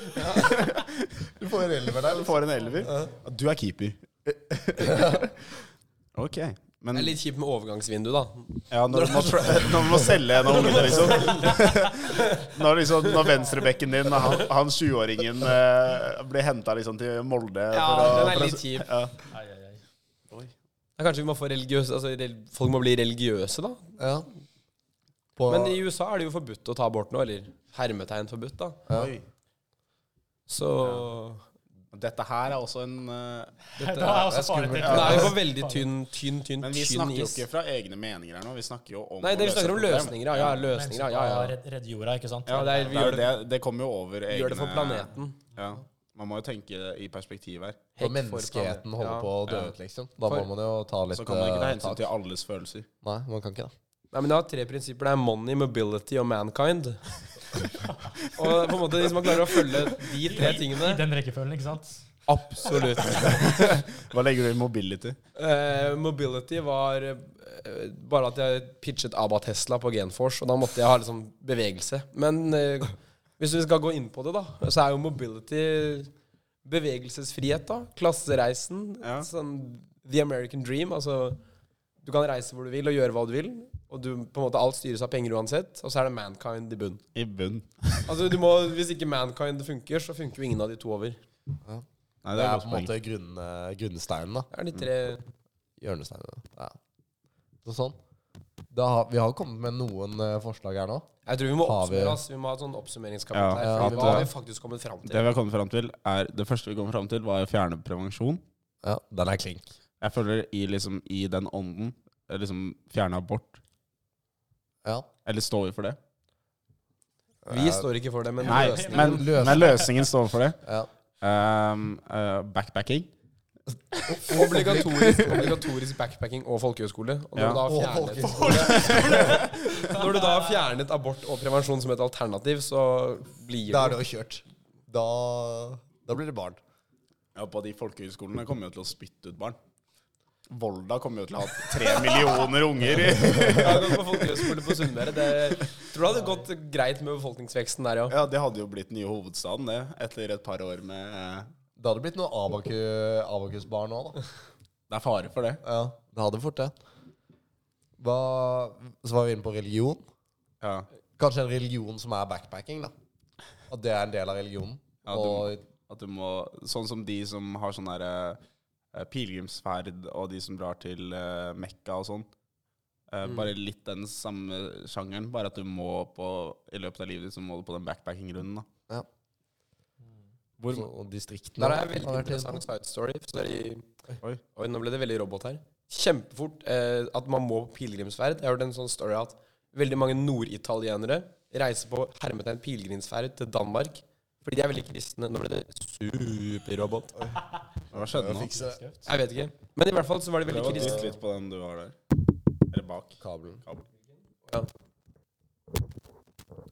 Speaker 4: Du får en elver der.
Speaker 3: Du får en elver. Ja, Du er keeper. ok. Men
Speaker 6: Det er litt kjipt med overgangsvindu, da.
Speaker 3: ja, når, du må, tra- når du må selge en av ungene, liksom. Når, liksom, når venstrebekken din, han, han 20-åringen, eh, blir henta liksom, til Molde
Speaker 6: Ja,
Speaker 3: for å, for
Speaker 6: den er
Speaker 3: å-
Speaker 6: litt kjip.
Speaker 3: ja.
Speaker 5: Ai, ai, ai.
Speaker 6: Ja, Kanskje vi må få religiøse Altså, rel- folk må bli religiøse, da.
Speaker 4: Ja. På,
Speaker 6: Men i USA er det jo forbudt å ta abort nå, eller hermetegn forbudt, da.
Speaker 3: Oi.
Speaker 6: Så
Speaker 3: Dette her er også en eh,
Speaker 5: Da er også faren
Speaker 6: Det er jo på veldig tynn, tynn, tynn,
Speaker 3: Men vi
Speaker 6: tynn
Speaker 3: snakker jo
Speaker 6: is.
Speaker 3: ikke fra egne meninger her nå. Vi snakker jo om
Speaker 6: Nei,
Speaker 3: å
Speaker 6: det vi
Speaker 3: løse
Speaker 6: snakker om
Speaker 3: et problem.
Speaker 6: løsninger, ja. ja løsninger, ja, ja, ja.
Speaker 5: Redd- Redde jorda, ikke sant?
Speaker 6: ja det er,
Speaker 3: Det,
Speaker 6: vi
Speaker 3: er jo
Speaker 6: gjør det,
Speaker 3: det, det kommer jo over egne
Speaker 6: vi gjør det for planeten.
Speaker 3: Ja. Man må jo tenke i perspektiv her.
Speaker 4: på menneskeheten holder på å dø
Speaker 3: Ja.
Speaker 4: ut, liksom. Da må
Speaker 6: For-
Speaker 4: man jo ta litt
Speaker 3: Så kan man ikke ta
Speaker 4: eh,
Speaker 3: hensyn
Speaker 4: tak.
Speaker 3: til alles følelser.
Speaker 4: Nei, man kan ikke det.
Speaker 6: Nei, men Jeg har tre prinsipper. Det er money, mobility og mankind. og på en måte, Hvis man klarer å følge de tre
Speaker 5: I
Speaker 6: tingene
Speaker 5: den rekkefølgen, ikke sant?
Speaker 6: Absolutt.
Speaker 3: Hva legger du i mobility?
Speaker 6: Eh, mobility var eh, bare at jeg pitchet Aba Tesla på Genforce, og da måtte jeg ha liksom bevegelse. Men eh, hvis vi skal gå inn på det, da, så er jo mobility bevegelsesfrihet, da. Klassereisen.
Speaker 3: Ja.
Speaker 6: Sånn the American dream. Altså, du kan reise hvor du vil og gjøre hva du vil. Og du, på en måte alt styres av penger uansett. Og så er det mankind i bunn.
Speaker 3: I bunn.
Speaker 6: Altså, du må, hvis ikke mankind funker, så funker jo ingen av de to over. Det
Speaker 3: Nei,
Speaker 4: Det
Speaker 3: et
Speaker 4: er
Speaker 3: godt
Speaker 4: på en
Speaker 3: poeng.
Speaker 4: måte grunn, eh, grunnsteinen, da.
Speaker 6: er de tre
Speaker 4: Hjørnesteinene. Ja. Så sånn. Da har, vi har kommet med noen eh, forslag her nå.
Speaker 6: Jeg tror vi må
Speaker 4: Har vi-
Speaker 6: oppsummere oss. Vi må ha et sånn oppsummeringskapittel
Speaker 3: Ja,
Speaker 6: her.
Speaker 4: ja,
Speaker 6: fordi
Speaker 3: at,
Speaker 6: hva har
Speaker 3: eh,
Speaker 6: vi faktisk kommet fram til?
Speaker 3: Det vi har kommet fram til, er Det første vi kom fram til, var å fjerne prevensjon.
Speaker 4: Ja, Den er klink.
Speaker 3: Jeg føler i, liksom, i den ånden eh, liksom, Fjerne abort.
Speaker 4: Ja.
Speaker 3: Eller står vi for det?
Speaker 6: Vi står ikke for det, men
Speaker 3: Nei,
Speaker 6: løsningen
Speaker 3: men,
Speaker 4: Løsningen.
Speaker 3: men løsningen står for det.
Speaker 4: Ja.
Speaker 3: Um, eh, backpacking.
Speaker 6: Obligatorisk, obligatorisk backpacking og folkehøyskole. Og når,
Speaker 3: Ja.
Speaker 6: du da har
Speaker 4: Og
Speaker 6: fjernet, når du da har fjernet abort og prevensjon som et alternativ, så blir
Speaker 4: Da er
Speaker 6: det
Speaker 4: det jo kjørt. da, da blir det barn.
Speaker 3: Ja, på de folkehøyskolene kommer jo til å spytte ut barn. Volda kommer jo til å ha tre millioner unger. i-
Speaker 6: Jeg har gått på folkehøyskole på Sunnmøre. Det tror jeg hadde gått greit med befolkningsveksten der, ja.
Speaker 3: Ja, det hadde jo blitt nye hovedstaden, det. Etter et par år med eh,
Speaker 4: Det hadde blitt noen Abaku- Abakus-barn òg, da.
Speaker 3: Det er fare for det.
Speaker 4: Ja, det hadde fort det. Hva, så var vi inne på religion.
Speaker 3: Ja.
Speaker 4: Kanskje en religion som er backpacking, da. At det er en del av religionen.
Speaker 3: Ja, du-
Speaker 4: og
Speaker 3: At du må Sånn som de som har sånn derre eh, pilegrimsferd, og de som drar til eh, Mekka og sånn. Eh, Bare litt den samme sjangeren, bare at du må på I løpet av livet ditt så må du på den backpacking-runden, da.
Speaker 4: Ja.
Speaker 3: Hvor,
Speaker 4: så, og distriktene.
Speaker 6: Der er
Speaker 4: da,
Speaker 6: en veldig
Speaker 4: har vært inne på.
Speaker 6: interessant side story. Så det er i,
Speaker 3: Oi.
Speaker 6: oi. nå ble det veldig robot her. Kjempefort eh, at man må på pilegrimsferd. Jeg har hørt en sånn story at veldig mange norditalienere reiser på hermetegn pilegrimsferd til Danmark fordi de er veldig kristne. Nå ble det superrobot.
Speaker 3: hva skjedde nå?
Speaker 4: Fikse
Speaker 6: Jeg vet ikke. Men i hvert fall så var de veldig
Speaker 3: Prøv å dytte
Speaker 6: kristne.
Speaker 3: litt på den du har der. Eller bak.
Speaker 4: kabelen.
Speaker 3: Kabel.
Speaker 6: Ja.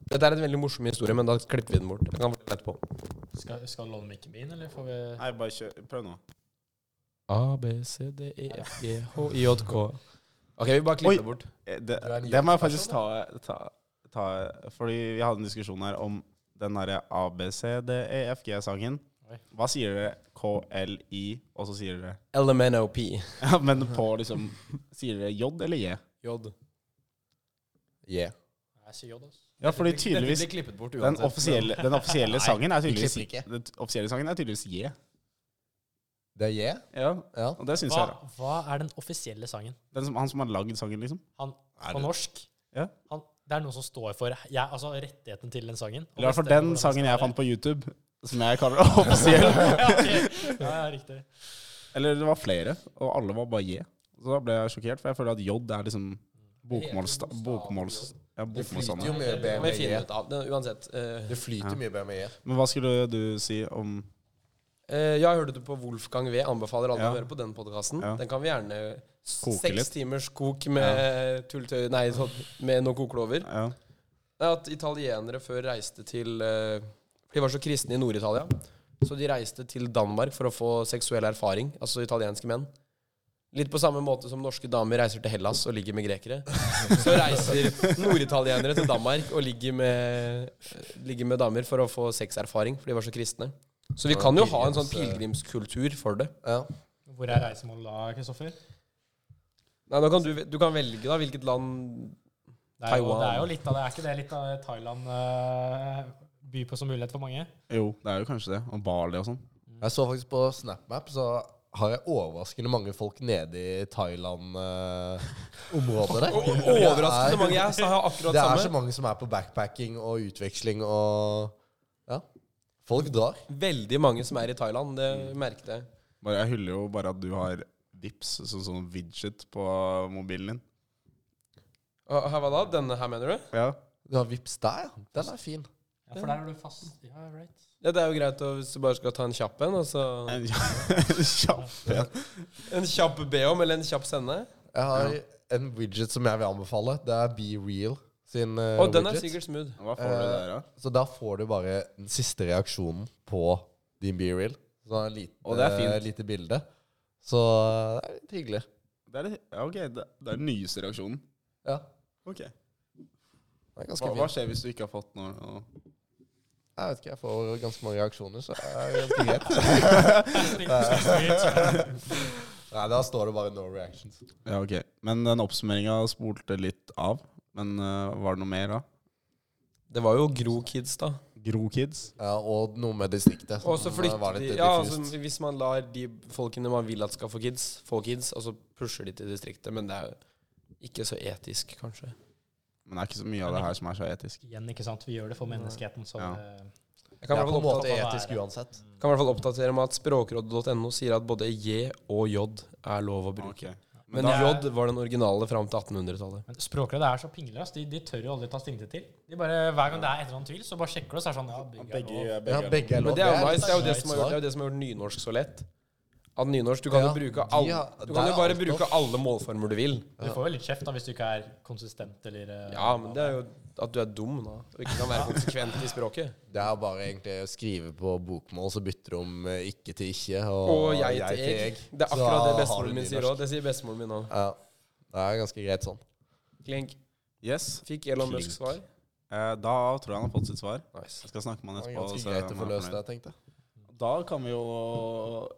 Speaker 6: Dette er en veldig morsom historie, men da klipper vi den bort. Jeg kan fortelle etterpå.
Speaker 5: Skal, skal du låne mikken min, eller får vi
Speaker 3: Nei, bare kjør. Prøv nå.
Speaker 6: A, B, C, D, E, F, G, H, I, J, K. Ok, vi bare klipper
Speaker 3: Oi.
Speaker 6: det bort.
Speaker 3: Eh, Det,
Speaker 4: Du er en
Speaker 3: det må jeg faktisk ta, ta, ta Fordi vi hadde en diskusjon her om den derre ABCDEFG-sangen.
Speaker 5: Oi.
Speaker 3: E Hva sier dere? KLI, og så sier dere
Speaker 6: LMNOP.
Speaker 3: Ja, men på liksom Sier dere J eller J?
Speaker 6: J.
Speaker 4: Yeah.
Speaker 5: Nei, si J, altså.
Speaker 3: Ja, fordi tydeligvis
Speaker 6: Dette blir klippet bort
Speaker 3: Den
Speaker 6: uansett.
Speaker 3: offisielle, den offisielle sangen er tydeligvis
Speaker 4: vi klipper
Speaker 3: Den offisielle sangen er tydeligvis J.
Speaker 4: Det er yeah?
Speaker 3: Ja,
Speaker 4: Ja.
Speaker 3: og det syns
Speaker 5: Hva,
Speaker 3: jeg. da.
Speaker 5: hva er den offisielle sangen?
Speaker 3: Den som, han som har lagd sangen, liksom.
Speaker 5: Han,
Speaker 4: Er
Speaker 5: på
Speaker 4: det-
Speaker 5: norsk?
Speaker 3: Ja.
Speaker 5: Han, det er noen som står for jeg, altså, rettigheten til den sangen.
Speaker 3: Eller i hvert fall den sangen jeg fant på YouTube, som jeg kaller offisiell.
Speaker 5: ja, ok. ja, ja, riktig.
Speaker 3: Eller det var flere, og alle var bare J. Så da ble jeg sjokkert, for jeg føler at J er liksom bokmåls... bokmåls ja,
Speaker 4: Det flyter jo
Speaker 3: bokmålsstandard.
Speaker 4: mye
Speaker 6: Det
Speaker 4: bedre
Speaker 6: må vi
Speaker 4: med
Speaker 6: finne
Speaker 4: yeah.
Speaker 6: ut av. Det- Uansett. eh,
Speaker 4: Det flyter mye E bedre med yeah.
Speaker 3: Men hva skulle du si om
Speaker 6: eh, jeg hørte det på Wolfgang V. Anbefaler alle
Speaker 3: Ja.
Speaker 6: å høre på den podkasten.
Speaker 3: Ja.
Speaker 6: Den kan vi gjerne
Speaker 3: Koke
Speaker 6: Seks
Speaker 3: litt.
Speaker 6: timers kok med tulltøy Nei, sånn, med noe kokelover.
Speaker 3: ja.
Speaker 6: Det er at italienere før reiste til eh, De var så kristne i Nord-Italia. Så de reiste til Danmark for å få seksuell erfaring. Altså italienske menn. Litt på samme måte som norske damer reiser til Hellas og ligger med grekere. Så reiser norditalienere til Danmark og ligger med, ligger med damer for å få sexerfaring, for de var så kristne. Så vi kan jo ha en sånn pilegrimskultur for det.
Speaker 4: Ja.
Speaker 5: Hvor er reisemålet da, Kristoffer?
Speaker 6: Nei, da kan du, du kan velge da hvilket land
Speaker 5: Det er, jo,
Speaker 6: Taiwan.
Speaker 5: det er jo litt av det. Er ikke det litt av det Thailand eh, byr på som mulighet for mange?
Speaker 3: Jo, det er jo kanskje det. Og Bali og sånn.
Speaker 6: Mm.
Speaker 4: Jeg så faktisk på SnapMap, så har jeg overraskende mange folk nede i Thailand-området der.
Speaker 6: Overraskende mange. Jeg sa jo akkurat
Speaker 4: Det er så
Speaker 6: samme.
Speaker 4: mange som er på backpacking og utveksling og Ja. Folk drar.
Speaker 6: Veldig mange som er i Thailand. Det merket jeg.
Speaker 3: Bare, jeg hyller jo bare at du har Vips som sånn widget på mobilen din.
Speaker 6: Hva hva da? Denne her, mener du?
Speaker 3: Ja.
Speaker 4: Du har Vips der, ja. Den er fin.
Speaker 5: Ja, for der er du fast. Ja, right.
Speaker 6: Ja, Det er jo greit å, hvis du bare skal ta en kjapp en. Altså.
Speaker 3: En kjapp en.
Speaker 6: En kjapp BOM eller en kjapp sende.
Speaker 4: Jeg har en widget som jeg vil anbefale. Det er Be Real sin eh,
Speaker 6: Og den er
Speaker 4: widget.
Speaker 6: sikkert smooth.
Speaker 3: Hva får du der, da?
Speaker 4: Så da får du bare den siste reaksjonen på din Be Real. Sånn en liten,
Speaker 3: Og det er fint.
Speaker 4: eh, lite bilde. Så eh, det er litt hyggelig.
Speaker 3: Det er, litt- ja, ok, det, det er den nyeste reaksjonen.
Speaker 4: Ja.
Speaker 3: Ok.
Speaker 4: Det er ganske
Speaker 3: Hva,
Speaker 4: fint.
Speaker 3: hva skjer hvis du ikke har fått noe? og-
Speaker 4: Jeg vet ikke, jeg får ganske mange reaksjoner, så det er ganske greit. Nei, da står det bare 'no reactions'.
Speaker 3: Ja, ok. Men den oppsummeringa spolte litt av. Men eh, var det noe mer da?
Speaker 6: Det var jo Gro Kids, da.
Speaker 3: Gro Kids?
Speaker 4: Ja, og noe med distriktet.
Speaker 6: Og så
Speaker 4: som var
Speaker 6: flytter
Speaker 4: litt eh,
Speaker 6: de ja,
Speaker 4: diffust.
Speaker 6: altså, Hvis man lar de folkene man vil at skal få kids, få kids, og så pusher de til distriktet. Men det er jo ikke så etisk, kanskje.
Speaker 3: Men det er ikke så mye av det her som er så etisk.
Speaker 5: Igjen, ikke sant. Vi gjør det for menneskeheten. Så
Speaker 3: Ja.
Speaker 5: eh,
Speaker 6: Jeg
Speaker 4: det
Speaker 6: kan i
Speaker 4: er
Speaker 6: hvert
Speaker 4: på en
Speaker 6: fall
Speaker 4: måte
Speaker 6: oppdatere,
Speaker 5: opptatt av å
Speaker 4: etisk
Speaker 5: være-
Speaker 4: uansett.
Speaker 6: kan i hvert fall oppdatere med at språkrådet.no sier at både J og J er lov å bruke.
Speaker 3: Ok. Men
Speaker 6: Men,
Speaker 3: da,
Speaker 5: da-
Speaker 6: J var den originale fram til 1800-tallet.
Speaker 5: Men Språkrådet er så pinglere. ass. De, de tør jo aldri ta stilling til til. De bare, Hver gang det er et eller annet tvil, så bare sjekker du, og så er det sånn ja, begge, er lov.
Speaker 3: begge,
Speaker 4: Ja,
Speaker 3: begge
Speaker 4: begge er lov.
Speaker 6: Men det er jo nice.
Speaker 4: litt
Speaker 6: Det er jo det
Speaker 4: nice
Speaker 6: som har gjort, det
Speaker 4: svar.
Speaker 6: er jo det som har gjort nynorsk så lett. At nynorsk Du kan
Speaker 4: Ja,
Speaker 6: jo bruke
Speaker 4: de
Speaker 6: alle
Speaker 4: har-
Speaker 6: Du
Speaker 4: der
Speaker 6: kan
Speaker 4: er
Speaker 6: jo bare
Speaker 4: alt
Speaker 6: bruke
Speaker 4: off.
Speaker 6: alle målformer du vil.
Speaker 5: Du får jo litt kjeft da hvis du ikke er konsistent eller eh,
Speaker 6: Ja, men det er jo at du er dum da, og ikke kan være konsekvent i språket.
Speaker 4: Det er bare egentlig å skrive på bokmål, så bytter du om eh, ikke til ikke og,
Speaker 6: Og jeg til jeg. Det er akkurat det bestemoren min sier
Speaker 4: òg.
Speaker 6: òg. Det sier bestemoren min òg.
Speaker 4: Ja. Det er ganske greit sånn.
Speaker 6: Klink.
Speaker 3: Yes.
Speaker 6: Fikk Elon
Speaker 3: Klink.
Speaker 6: Musk svar?
Speaker 3: Eh, Da tror jeg han har fått sitt svar.
Speaker 6: Nice.
Speaker 3: Jeg skal snakke med han
Speaker 4: Det er
Speaker 3: etterpå.
Speaker 4: ganske
Speaker 3: så
Speaker 4: greit å
Speaker 3: om
Speaker 4: få
Speaker 3: han er
Speaker 4: løst
Speaker 3: fornøyd.
Speaker 4: det, tenkte jeg.
Speaker 3: Da kan vi jo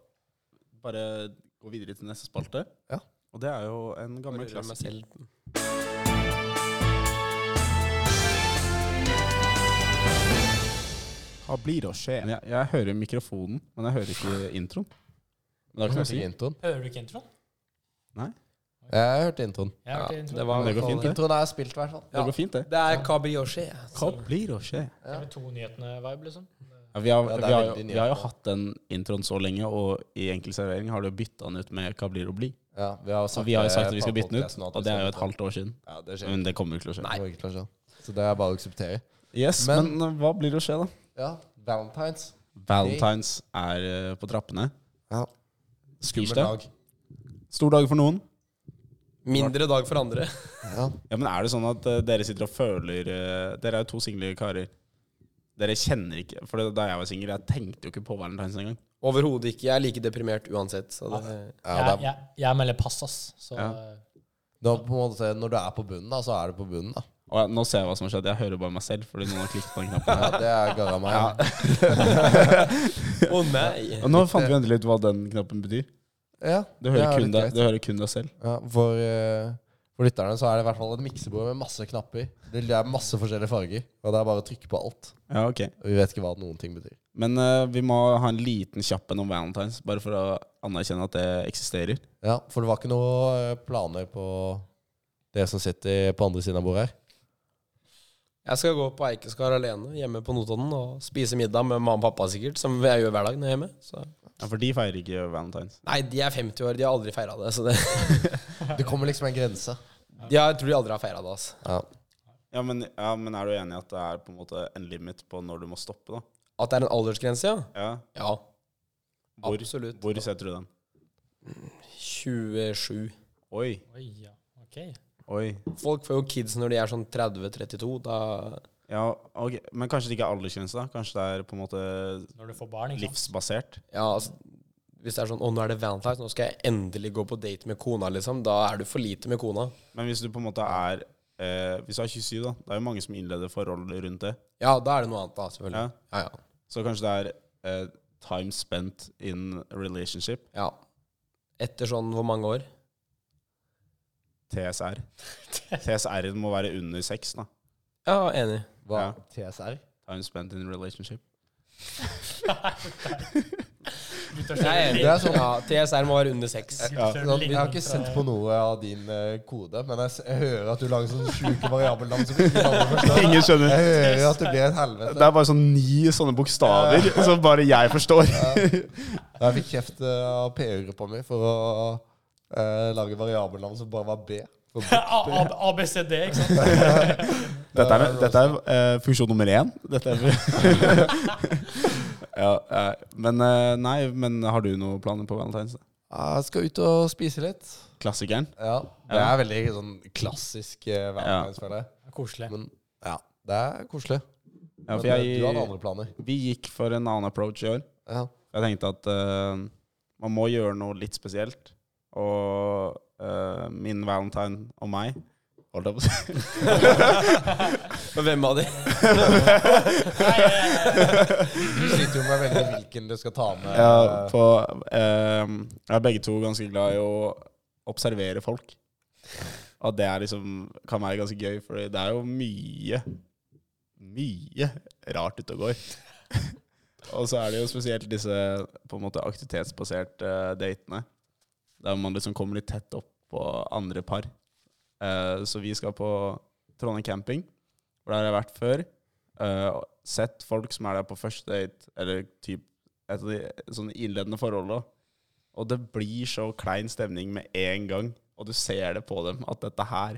Speaker 3: bare gå videre til neste spalte.
Speaker 4: Ja.
Speaker 3: Og det er jo en gammel
Speaker 6: Rører meg
Speaker 3: klassiker.
Speaker 6: selv.
Speaker 3: Hva blir å skje? Jeg, jeg hører mikrofonen, men jeg hører ikke introen. Men det er ikke noe å si.
Speaker 4: Hørte introen.
Speaker 5: Hører du ikke introen?
Speaker 4: Jeg hørte introen.
Speaker 5: Jeg har hørt introen.
Speaker 6: Det var
Speaker 3: Men det går fint, det.
Speaker 4: Introen er spilt, i hvert fall.
Speaker 3: Det går fint, det.
Speaker 6: Det er cabrioche.
Speaker 3: Hva blir å skje?
Speaker 5: TV2-nyhetene-vibe, liksom.
Speaker 3: Ja, vi, har,
Speaker 4: Ja, det er
Speaker 3: vi, har,
Speaker 4: veldig
Speaker 3: jo- vi har jo
Speaker 4: nyhetene.
Speaker 3: hatt den introen så lenge, og i enkel servering har du bytta den ut med 'Hva blir å bli'?
Speaker 4: Ja, vi har,
Speaker 3: Så vi har jo sagt
Speaker 4: det
Speaker 3: at vi skal
Speaker 4: på
Speaker 3: bytte den ut,
Speaker 4: podcasten at
Speaker 3: og
Speaker 4: vi
Speaker 3: det er
Speaker 4: skal
Speaker 3: jo et
Speaker 4: bytte den.
Speaker 3: halvt år siden.
Speaker 4: Ja, det skjer.
Speaker 3: Men det kommer jo ikke til å skje.
Speaker 4: Det går ikke til å skje. Så det er bare å akseptere.
Speaker 3: Yes,
Speaker 4: Men-
Speaker 3: men, eh, hva blir det å skje, da?
Speaker 4: Ja, Valentines.
Speaker 3: Valentines er eh, på trappene.
Speaker 4: Ja.
Speaker 3: Skummel dag. Stor dag for noen.
Speaker 6: Mindre dag for andre.
Speaker 4: Ja.
Speaker 3: Ja, men er det sånn at eh, dere sitter og føler eh, Dere er jo to single karer. Dere kjenner ikke For det- da jeg var singel, jeg tenkte jo ikke på valentines engang.
Speaker 6: Overhodet ikke. Jeg er like deprimert uansett. Så det,
Speaker 4: Ja, det
Speaker 5: Jeg,
Speaker 4: er,
Speaker 5: jeg, jeg melder pass, ass. Så
Speaker 3: Ja.
Speaker 4: nå, på en måte, når du er på bunnen, da, så er du på bunnen, da.
Speaker 3: Og jeg, nå ser jeg hva som har skjedd. Jeg hører bare meg selv fordi noen har klikket på den knappen.
Speaker 4: Ja, det er garra meg. Ja.
Speaker 6: Å nei!
Speaker 3: Og nå fant vi endelig ut hva den knappen betyr.
Speaker 4: Ja,
Speaker 3: Du
Speaker 4: det
Speaker 3: hører,
Speaker 4: er
Speaker 3: kun
Speaker 4: litt
Speaker 3: deg,
Speaker 4: greit.
Speaker 3: du hører kun deg selv.
Speaker 4: Ja, for, eh, for lytterne så er det i hvert fall et miksebord med masse knapper. Det er masse forskjellige farger, og det er bare å trykke på alt.
Speaker 3: Ja, ok
Speaker 4: Og vi vet ikke hva noen ting betyr.
Speaker 3: Men eh, vi må ha en liten kjapp en om valentines, bare for å anerkjenne at det eksisterer.
Speaker 4: Ja, For det var ikke noe eh, planer på det som sitter på andre siden av bordet her.
Speaker 6: Jeg skal gå på Eikeskar alene hjemme på Notodden og spise middag med mamma og pappa, sikkert. Som jeg gjør hver dag når jeg er hjemme. Så.
Speaker 3: Ja, For de feirer ikke valentines.
Speaker 6: Nei, de er 50 år. De har aldri feira det. Så det,
Speaker 4: Det kommer liksom en grense.
Speaker 6: de har, jeg tror de aldri har feira det. Altså.
Speaker 4: Ja.
Speaker 3: Ja men, ja, men er du enig i at det er på en måte en limit på når du må stoppe, da?
Speaker 6: At det er en aldersgrense, ja?
Speaker 3: Ja,
Speaker 6: Ja.
Speaker 3: Hvor-
Speaker 6: Absolutt.
Speaker 3: Hvor setter du den?
Speaker 6: 27.
Speaker 3: Oi,
Speaker 5: Oi, ja. Ok.
Speaker 3: oi.
Speaker 6: Folk får jo kids når de er sånn 30-32. Da
Speaker 3: Ja, ok. Men kanskje det ikke er aldersgrense, da? Kanskje det er på en måte
Speaker 5: Når du får barn, ikke sant.
Speaker 3: livsbasert?
Speaker 6: Ja, altså hvis det er sånn 'Å, nå er det Valentine's, nå skal jeg endelig gå på date med kona', liksom. Da er du for lite med kona.
Speaker 3: Men hvis du på en måte er eh, Hvis du er 27, da. Det er jo mange som innleder forhold rundt det.
Speaker 6: Ja, da er det noe annet, da, selvfølgelig.
Speaker 3: Ja.
Speaker 6: Ja, ja.
Speaker 3: Så kanskje det er eh, time spent in relationship,
Speaker 6: ja. Etter sånn hvor mange år?
Speaker 3: TSR. TSR-en må være under seks, da.
Speaker 6: Ja, enig.
Speaker 4: Hva?
Speaker 3: Ja.
Speaker 4: TSR?
Speaker 3: Time spent in relationship.
Speaker 5: Gutter
Speaker 6: Jeg
Speaker 5: kjører
Speaker 6: er enig.
Speaker 4: Det er sånn-
Speaker 6: Ja, TSR må være under seks.
Speaker 5: litt-
Speaker 3: Ja.
Speaker 5: kjører
Speaker 4: Sånn,
Speaker 5: litt-
Speaker 4: jeg har ikke sendt på noe av din eh, kode, men jeg, s jeg hører at du lager sånne sjuke variabelnavn som ikke alle forstår.
Speaker 3: Ingen skjønner.
Speaker 4: Jeg hører at det blir et helvete.
Speaker 3: Det er bare sånn ni sånne bokstaver som bare jeg forstår.
Speaker 4: Jeg fikk kjeft eh, av PU-gruppa mi for å eh, lage variabelnavn som bare var B. For
Speaker 5: A- A- A- ABCD, ikke sant.
Speaker 3: Dette er, dette er eh, funksjon nummer én. Dette er ja, eh, men eh, nei, men har du noen planer på valentines?
Speaker 4: Jeg skal ut og spise litt.
Speaker 3: Klassikeren?
Speaker 4: Ja, Det
Speaker 3: Ja.
Speaker 4: er veldig sånn klassisk eh, Valentine's, føler jeg.
Speaker 5: Koselig.
Speaker 4: Men ja, det er koselig.
Speaker 3: Ja, for
Speaker 4: Men eh, du hadde
Speaker 3: jeg,
Speaker 4: andre planer.
Speaker 3: vi gikk for en annen approach i år.
Speaker 4: Ja.
Speaker 3: Jeg tenkte at eh, man må gjøre noe litt spesielt. Og eh, min valentine og meg Holdt jeg på å si.
Speaker 6: Men hvem av de?
Speaker 4: Du sitter jo med å velge hvilken du skal ta med.
Speaker 3: Ja, på, eh, jeg er begge to ganske glad i å observere folk. At det er liksom, kan være ganske gøy, for det er jo mye, mye rart ute og går. og så er det jo spesielt disse på en måte aktivitetsbaserte eh, datene. Der man liksom kommer litt tett opp på andre par. Eh, så vi skal på Trondheim camping, hvor der har jeg vært før. eh, og sett folk som er der på første date, eller typ et av de sånne innledende forholdene. Og det blir så klein stemning med en gang. Og du ser det på dem at dette her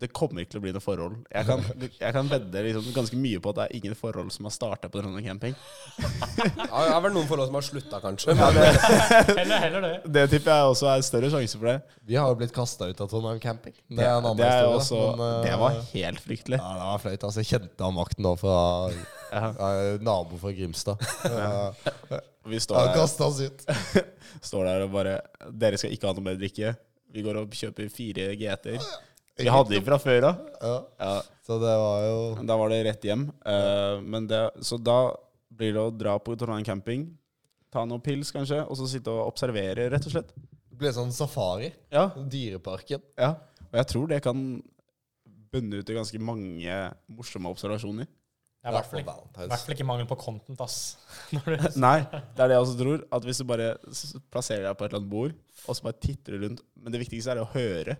Speaker 3: det kommer ikke til å bli noe forhold. Jeg kan, jeg kan vedde liksom ganske mye på at det er ingen forhold som har starta på Trondheim camping.
Speaker 6: Ja, det er vel noen forhold som har slutta, kanskje.
Speaker 5: Heller, heller det.
Speaker 3: Det tipper jeg også er større sjanse for det.
Speaker 4: Vi har jo blitt kasta ut av Trondheim camping. Det
Speaker 3: Det,
Speaker 4: er en annen
Speaker 3: det, er
Speaker 4: historie.
Speaker 3: også,
Speaker 4: men, eh,
Speaker 3: det var helt fryktelig.
Speaker 4: ja, det var flaut. Altså, jeg kjente han makten nå fra eh, nabo fra Grimstad. Ja.
Speaker 3: Vi står
Speaker 4: Han
Speaker 3: der,
Speaker 4: kasta oss ut.
Speaker 3: står der og bare Dere skal ikke ha noe mer drikke. Vi går og kjøper fire GT-er. Vi hadde de fra før av.
Speaker 4: Ja.
Speaker 3: Ja,
Speaker 4: Så det var jo
Speaker 3: da var det rett hjem. Eh, men det, så da blir det å dra på Trondheim camping, ta noen pils kanskje, og så sitte og observere, rett og slett.
Speaker 4: Det ble sånn safari.
Speaker 3: Ja,
Speaker 4: Dyreparken.
Speaker 3: ja. Og jeg tror det kan bunne ut i ganske mange morsomme observasjoner.
Speaker 5: Det er i hvert fall ikke- i hvert fall ikke mangel på content, ass. Når du,
Speaker 3: Nei, det er det jeg også tror. At hvis du bare s- plasserer deg på et eller annet bord, og så bare titter du rundt Men det viktigste er å høre.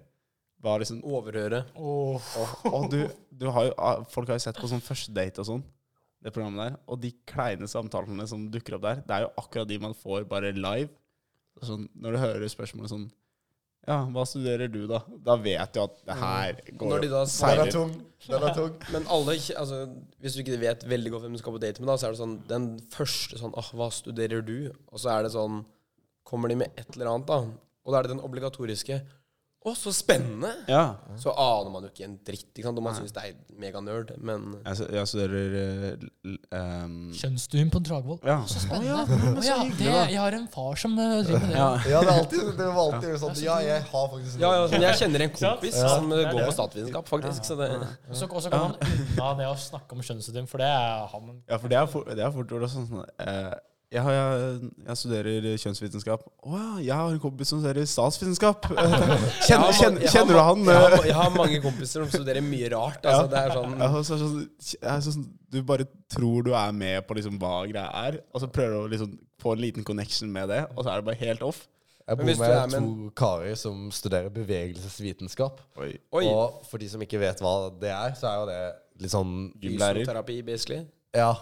Speaker 3: Hva liksom
Speaker 6: Overhøre.
Speaker 5: Åh.
Speaker 3: Og du, du har jo, ah, folk har jo sett på sånn første date og sånn, det programmet der. Og de kleine samtalene som dukker opp der, det er jo akkurat de man får bare live. Sånn, når du hører spørsmålet sånn Ja, hva studerer du, da? Da vet du at det her går
Speaker 6: Når de da
Speaker 4: Den er
Speaker 3: seiler.
Speaker 4: tung. Den er tung.
Speaker 6: Men alle, ikke- altså, hvis du ikke vet veldig godt hvem du skal på date med, da, så er det sånn Den første sånn Åh, hva studerer du? Og så er det sånn Kommer de med et eller annet, da? Og da er det den obligatoriske Å, så spennende!
Speaker 3: Ja.
Speaker 6: Så aner man jo ikke en dritt, ikke sant? Og man syns det er meganerd, men
Speaker 3: Jeg, stu- jeg studerer eh, l- l- um,
Speaker 5: Kjønnsduen på en dragvoll.
Speaker 3: Ja.
Speaker 5: Spennende. Å ja, det, jeg har en far som eh, driver med det.
Speaker 4: Ja, det, er alltid, det var alltid sånn Ja, jeg har faktisk
Speaker 6: ja, ja, sånn, Jeg kjenner en
Speaker 5: Sant?
Speaker 6: kompis
Speaker 5: Ja.
Speaker 6: som eh,
Speaker 5: Det er
Speaker 6: går
Speaker 5: det.
Speaker 6: på statsvitenskap, faktisk. Så det
Speaker 5: Og så og så kan man unna det å snakke om kjønnsutøving, for det er han
Speaker 3: ja, for det er fort, det er fort gjort. og Sånn, sånn, eh, jeg, har, jeg, jeg studerer kjønnsvitenskap. Å ja, jeg har en kompis som studerer statsvitenskap.
Speaker 6: Jeg
Speaker 3: Kjenner,
Speaker 6: har
Speaker 3: kjenner,
Speaker 6: ma- jeg har
Speaker 3: kjenner du
Speaker 6: ma-
Speaker 3: han?
Speaker 6: Jeg
Speaker 3: eh?
Speaker 6: har, ma- jeg har mange kompiser som studerer mye rart. Altså, det er sånn
Speaker 3: Ja, og så er det sånn, jeg er sånn, du bare tror du er med på liksom hva greia er, og så prøver du å liksom få en liten connection med det, og så er det bare helt off.
Speaker 4: Jeg
Speaker 6: Men
Speaker 4: bor
Speaker 6: hvis du er
Speaker 4: med
Speaker 6: med en-
Speaker 4: to karer som studerer bevegelsesvitenskap.
Speaker 3: Oi.
Speaker 6: Oi!
Speaker 4: Og for de som ikke vet hva det er, så er jo det litt sånn
Speaker 3: Gymlærer.
Speaker 6: Fysioterapi, basically.
Speaker 4: Ja,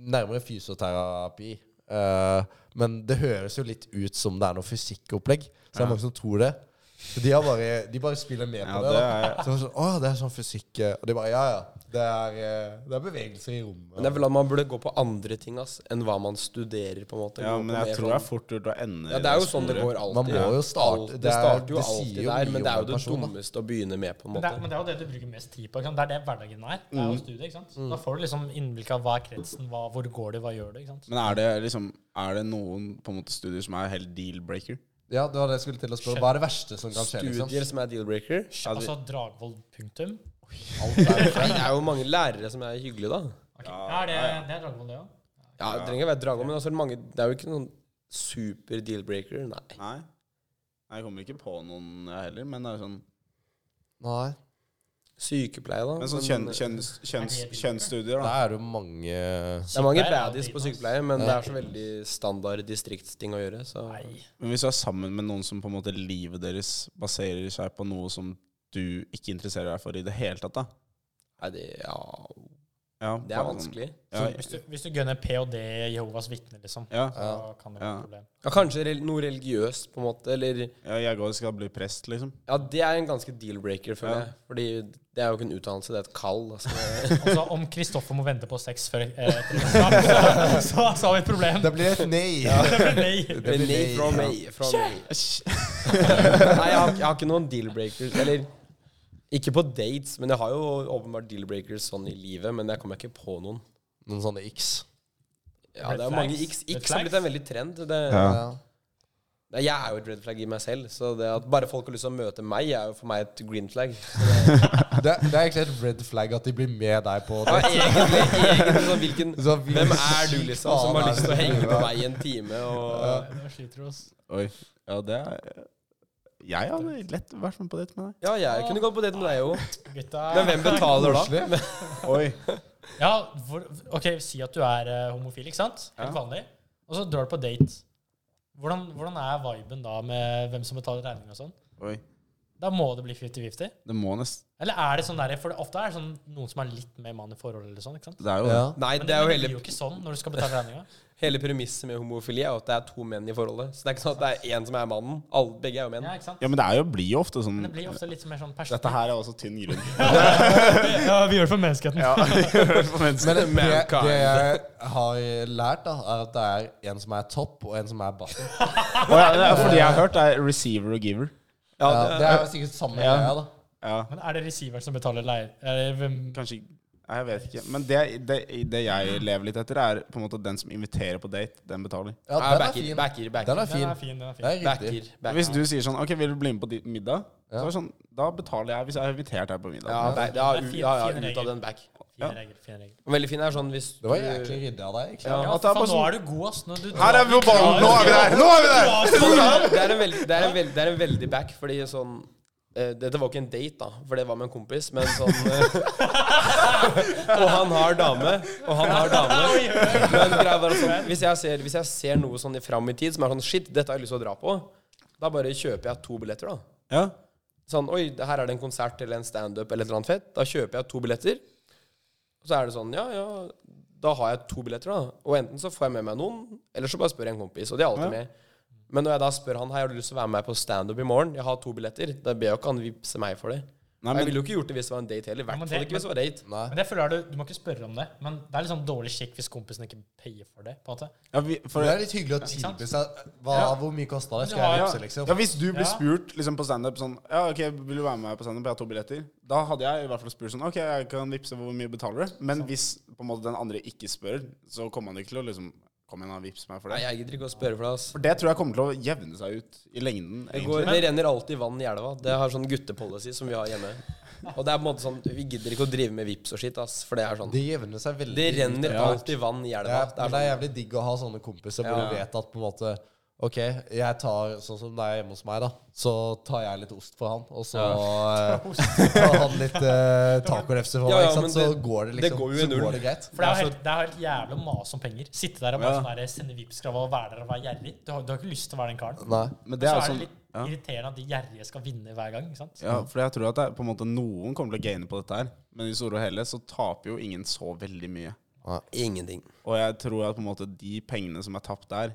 Speaker 4: nærmere fysioterapi. Eh, men det høres jo litt ut som det er noe fysikkopplegg. Så det er mange som tror det. Så de, har bare, de bare spiller med på
Speaker 3: Ja,
Speaker 4: det.
Speaker 3: det
Speaker 4: da. Så det er sånn, Å, det er sånn fysikk eh», Og de bare Ja, ja. Det er, eh, det er bevegelser i
Speaker 6: Men det
Speaker 4: rommet.
Speaker 6: er vel at man burde gå på andre ting ass, enn hva man studerer, på en måte.
Speaker 3: Ja,
Speaker 6: Gå på
Speaker 3: men
Speaker 6: mer
Speaker 3: jeg tror det er
Speaker 6: sånn-
Speaker 3: fort gjort å ende i
Speaker 6: ja, Det er jo
Speaker 3: sporet.
Speaker 6: sånn det går alltid.
Speaker 4: Man må jo starte-
Speaker 6: Alt-
Speaker 4: det
Speaker 6: Det
Speaker 4: er-
Speaker 6: starter jo
Speaker 4: det sier
Speaker 6: alltid
Speaker 4: jo
Speaker 6: der,
Speaker 4: mye
Speaker 6: men det er
Speaker 4: om
Speaker 6: jo
Speaker 4: en
Speaker 6: det
Speaker 4: person, da.
Speaker 6: dummeste å begynne med, på en
Speaker 5: men det, er-
Speaker 6: måte.
Speaker 5: men det er jo det du bruker mest tid på. Ikke sant? Det er det hverdagen er. Det er jo studiet, ikke sant? Da får du liksom innblikk av hva er kretsen, hva, hvor går du, hva gjør du? ikke sant?
Speaker 3: Men er det, liksom, er det noen på en måte, studier som er helt deal-breaker?
Speaker 4: Ja, det var det jeg skulle til å spørre. Hva er det verste som kan skje? liksom?
Speaker 5: sånn.
Speaker 6: Studier som er deal-breaker.
Speaker 5: Altså Dragvoll, punktum.
Speaker 6: Det er jo mange lærere som er hyggelige, da.
Speaker 5: Ok. Ja, det, det er Dragvoll, det òg.
Speaker 6: Ja, Det trenger ikke være Drago, men altså, mange, det er jo ikke noen super deal-breaker. Nei.
Speaker 3: Nei. Nei, Jeg kommer ikke på noen jeg heller, men det er jo sånn
Speaker 4: Nei.
Speaker 6: Sykepleie, da.
Speaker 3: Men sånn kjønn, kjønns, kjønns, kjønnsstudier, da.
Speaker 4: Der er det jo mange
Speaker 6: Det er mange
Speaker 5: Sykepleier er
Speaker 6: baddies
Speaker 5: jo
Speaker 6: på
Speaker 5: dritt, ass.
Speaker 6: sykepleie, men det er så veldig standard distriktsting å gjøre. Så
Speaker 5: Nei.
Speaker 3: Men hvis du er sammen med noen som på en måte livet deres baserer seg på noe som du ikke interesserer deg for i det hele tatt, da
Speaker 6: Nei, det, ja,
Speaker 3: ja, sånn.
Speaker 6: det er vanskelig.
Speaker 3: Ja,
Speaker 5: Hvis du, hvis du gunner ph.d. Jehovas vitner, liksom,
Speaker 3: ja.
Speaker 5: så kan det være
Speaker 3: Ja.
Speaker 5: et problem.
Speaker 6: Ja, kanskje rel noe religiøst, på en måte. Eller
Speaker 3: ja, jeg går og skal bli prest, liksom.
Speaker 6: Ja, det er en ganske deal-breaker, føler
Speaker 3: Ja.
Speaker 6: jeg. Fordi det er jo ikke en utdannelse, det er et kall. Altså.
Speaker 5: Altså, om Kristoffer må vente på sex før eh, etter eksamen, så, så, så har vi et problem.
Speaker 4: Det blir et nei.
Speaker 5: Det blir nei.
Speaker 6: Det er nei fra meg. Fra meg. Nei, jeg har, jeg har ikke noen deal-breakers. Eller ikke på dates, men jeg har jo åpenbart deal-breakers sånn i livet. Men jeg kommer ikke på noen.
Speaker 4: Noen sånne x.
Speaker 6: Ja,
Speaker 5: Red
Speaker 6: det er mange
Speaker 5: flags.
Speaker 6: x.
Speaker 5: Red
Speaker 6: X har blitt en veldig trend. Det,
Speaker 4: Ja.
Speaker 6: Nei, jeg er jo et red flag i meg selv, så det at bare folk har lyst til å møte meg, er jo for meg et green flag.
Speaker 4: Det, det er egentlig et red flag at de blir med deg på
Speaker 6: Ja,
Speaker 4: det.
Speaker 6: egentlig, egentlig sånn hvilken
Speaker 4: Så
Speaker 6: Hvem er du, liksom, som har
Speaker 4: Faen, altså.
Speaker 6: lyst
Speaker 4: er
Speaker 6: til å
Speaker 4: det
Speaker 6: henge
Speaker 4: du,
Speaker 6: med
Speaker 4: da?
Speaker 6: meg i en time? Og,
Speaker 5: Nå sliter du oss.
Speaker 3: Oi. Ja, det er Jeg hadde lett vært med på date med deg.
Speaker 6: ja, jeg kunne gått på date med deg òg.
Speaker 5: Gutta
Speaker 6: Men hvem betaler da?
Speaker 4: Koselig.
Speaker 3: Oi.
Speaker 5: Ja, hvor, ok, si at du er eh, homofil, ikke sant? Helt vanlig. Og så drar du på date. Hvordan, hvordan er viben da med hvem som betaler regning og sånn?
Speaker 3: Oi.
Speaker 5: Da må det bli 50-50.
Speaker 3: Det må nest...
Speaker 5: Eller er det sånn der, for det ofte er det sånn noen som er litt mer mann i forhold eller sånn, ikke sant?
Speaker 3: Det er jo
Speaker 4: Ja.
Speaker 6: Nei,
Speaker 5: Men
Speaker 6: det er jo
Speaker 5: blir
Speaker 6: hele,
Speaker 5: jo ikke sånn når du skal betale regninga.
Speaker 6: hele premisset med homofili er jo at det er to menn i forholdet. Så det er ikke sånn at det er én som er mannen. Alle, begge er jo menn.
Speaker 5: Ja, ikke sant?
Speaker 3: Ja, men det er jo, blir jo ofte sånn
Speaker 5: Men det blir ofte litt mer sånn personlig.
Speaker 3: Dette her er også tynn grunn.
Speaker 5: Ja, vi gjør det for menneskeheten.
Speaker 3: ja, det gjør for mennesker.
Speaker 4: Men det, det jeg har lært, da, er at det er en som er topp, og en som er bottom.
Speaker 3: Å ja, det er fordi jeg har hørt det er receiver og giver.
Speaker 6: Ja,
Speaker 4: Ja,
Speaker 6: det,
Speaker 4: det er jo sikkert samme
Speaker 3: Ja.
Speaker 4: greia, da.
Speaker 3: Ja,
Speaker 5: Men er det receiveren som betaler leie? Er det hvem?
Speaker 3: kanskje Nei, jeg vet ikke. Men det, det, det jeg lever litt etter, er på en måte den som inviterer på date, den betaler.
Speaker 4: Ja,
Speaker 6: Ja,
Speaker 4: den er
Speaker 6: backer,
Speaker 4: fin.
Speaker 6: backer, backer.
Speaker 4: Den er
Speaker 5: Den er
Speaker 4: fin.
Speaker 5: fin, den er
Speaker 4: Det
Speaker 5: fin.
Speaker 4: er riktig.
Speaker 6: Backer, backer.
Speaker 3: Hvis du sier sånn OK, vil du bli med på di- middag?
Speaker 4: Ja.
Speaker 3: Så er det sånn, da betaler jeg hvis jeg har invitert deg på middag.
Speaker 6: Ja, back, ja, u- ja, ja, ut av den back.
Speaker 5: Fin regel, fin regel.
Speaker 6: Og Veldig fin er sånn hvis
Speaker 4: Det var jæklig ryddig av deg. ikke
Speaker 6: Ja.
Speaker 4: sant?
Speaker 5: Ja,
Speaker 3: at det er
Speaker 5: faen,
Speaker 3: bare
Speaker 5: nå
Speaker 3: sånn-
Speaker 5: er du god, ass. Nå, du,
Speaker 3: Her er vi på ballen! Nå er vi der! Nå er vi der!
Speaker 6: Det er en veldig, det er en veldig, det er en veldig back, fordi sånn eh, Dette var ikke en date, da, for det var med en kompis, men sånn eh, Og han har dame, og han har dame. Men greia var at sånn, hvis jeg, ser, hvis jeg ser noe sånn i fram i tid som er sånn Shit, dette har jeg lyst til å dra på. Da bare kjøper jeg to billetter, da.
Speaker 3: Ja.
Speaker 6: Sånn Oi, det her er det en konsert eller en standup eller et eller annet fett. Da kjøper jeg to billetter. Og så er det sånn Ja, ja, da har jeg to billetter, da. Og enten så får jeg med meg noen, eller så bare spør jeg en kompis. Og de er alltid med. Men når jeg da spør han Hei, har du lyst til å være med meg på standup i morgen, jeg har to billetter, da ber jeg jo ikke han vippse meg for det.
Speaker 3: Nei,
Speaker 6: jeg
Speaker 3: men,
Speaker 6: ville jo ikke gjort det hvis det var en date heller. I
Speaker 5: Ja, men
Speaker 6: hvert
Speaker 5: det-
Speaker 6: fall ikke hvis det var date.
Speaker 4: Nei.
Speaker 5: Men det føler jeg du, du må ikke spørre om det, men det er litt sånn dårlig skikk hvis kompisen ikke payer for det. på en måte.
Speaker 3: ja, vi, for,
Speaker 4: Men Det er litt hyggelig å tilby seg hva, Hvor mye kosta det? Skal jeg
Speaker 5: Ja,
Speaker 3: ja.
Speaker 4: vipse, liksom?
Speaker 3: ja, Hvis du blir
Speaker 5: Ja.
Speaker 3: spurt liksom, på standup sånn Ja, ok, vil du være med meg på standup? Jeg har to billetter. Da hadde jeg i hvert fall spurt sånn Ok, jeg kan vippse hvor mye betaler du? Men hvis på en måte den andre ikke spør, så kommer han ikke til å liksom Kom igjen, da, vips meg for
Speaker 6: Nei,
Speaker 3: det.
Speaker 6: jeg gidder ikke å spørre for det, ass.
Speaker 3: For det tror jeg kommer til å jevne seg ut i lengden.
Speaker 6: Det,
Speaker 3: egentlig.
Speaker 6: går, det renner alltid vann i elva. Det har sånn guttepolicy som vi har hjemme. Og det er på en måte sånn Vi gidder ikke å drive med vips og shit, ass. For det er sånn
Speaker 4: Det jevner seg veldig
Speaker 6: Det
Speaker 4: ut
Speaker 6: renner
Speaker 4: etter hvert.
Speaker 6: alltid vann i
Speaker 4: Det
Speaker 6: elva.
Speaker 4: er, men
Speaker 6: Det
Speaker 4: det er
Speaker 6: er sånn,
Speaker 4: jævlig digg å ha sånne kompiser hvor
Speaker 6: Ja.
Speaker 4: du vet at på en måte Ok, jeg tar sånn som det er hjemme hos meg, da. Så tar jeg litt ost for han, og så eh, tar han litt uh, tacolefse for
Speaker 6: Ja,
Speaker 4: meg.
Speaker 6: ja,
Speaker 4: ikke
Speaker 6: men
Speaker 4: sant? Så
Speaker 6: det-
Speaker 4: går det
Speaker 6: det
Speaker 4: liksom
Speaker 6: går jo i
Speaker 4: Så
Speaker 6: null.
Speaker 4: går det greit.
Speaker 5: For det er jo helt, det er jo helt jævlig å mase om penger. Sitte der og bare sånn der, sende Vipps-krav og være der og være gjerrig. Du har, du har ikke lyst til å være den karen.
Speaker 4: Nei.
Speaker 3: Men
Speaker 5: Og
Speaker 3: det
Speaker 5: så
Speaker 3: er
Speaker 5: er
Speaker 3: jo
Speaker 5: det
Speaker 3: sånn
Speaker 5: litt
Speaker 3: ja.
Speaker 5: irriterende at de gjerrige skal vinne hver gang. ikke sant?
Speaker 3: ja, for jeg tror at det, er på en måte noen kommer til å gaine på dette her. Men i store og hele så taper jo ingen så veldig mye.
Speaker 6: Ingenting.
Speaker 3: Og jeg tror at på en måte de pengene som er tapt der,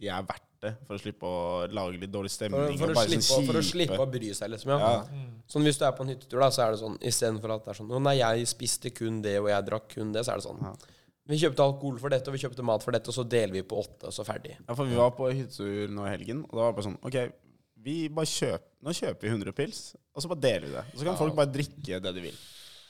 Speaker 3: de er verdt det for å slippe å lage litt dårlig
Speaker 6: For,
Speaker 3: stemning.
Speaker 6: for,
Speaker 3: og
Speaker 6: å
Speaker 3: bare sånn
Speaker 6: slippe, å- for å
Speaker 3: kjipe-
Speaker 6: slippe å bry seg, liksom. Ja. Sånn Hvis du er på en hyttetur, da, så er det sånn istedenfor at det er sånn Å nei, jeg spiste kun det, og jeg drakk kun det, så er det sånn. Vi kjøpte alkohol for dette, og vi kjøpte mat for dette, og så deler vi på åtte, og så ferdig.
Speaker 3: Ja, for vi var på hyttetur nå i helgen, og da var det bare sånn OK, vi bare kjøp, nå kjøper vi 100 pils, og så bare deler vi det. Og så kan folk bare drikke det de vil.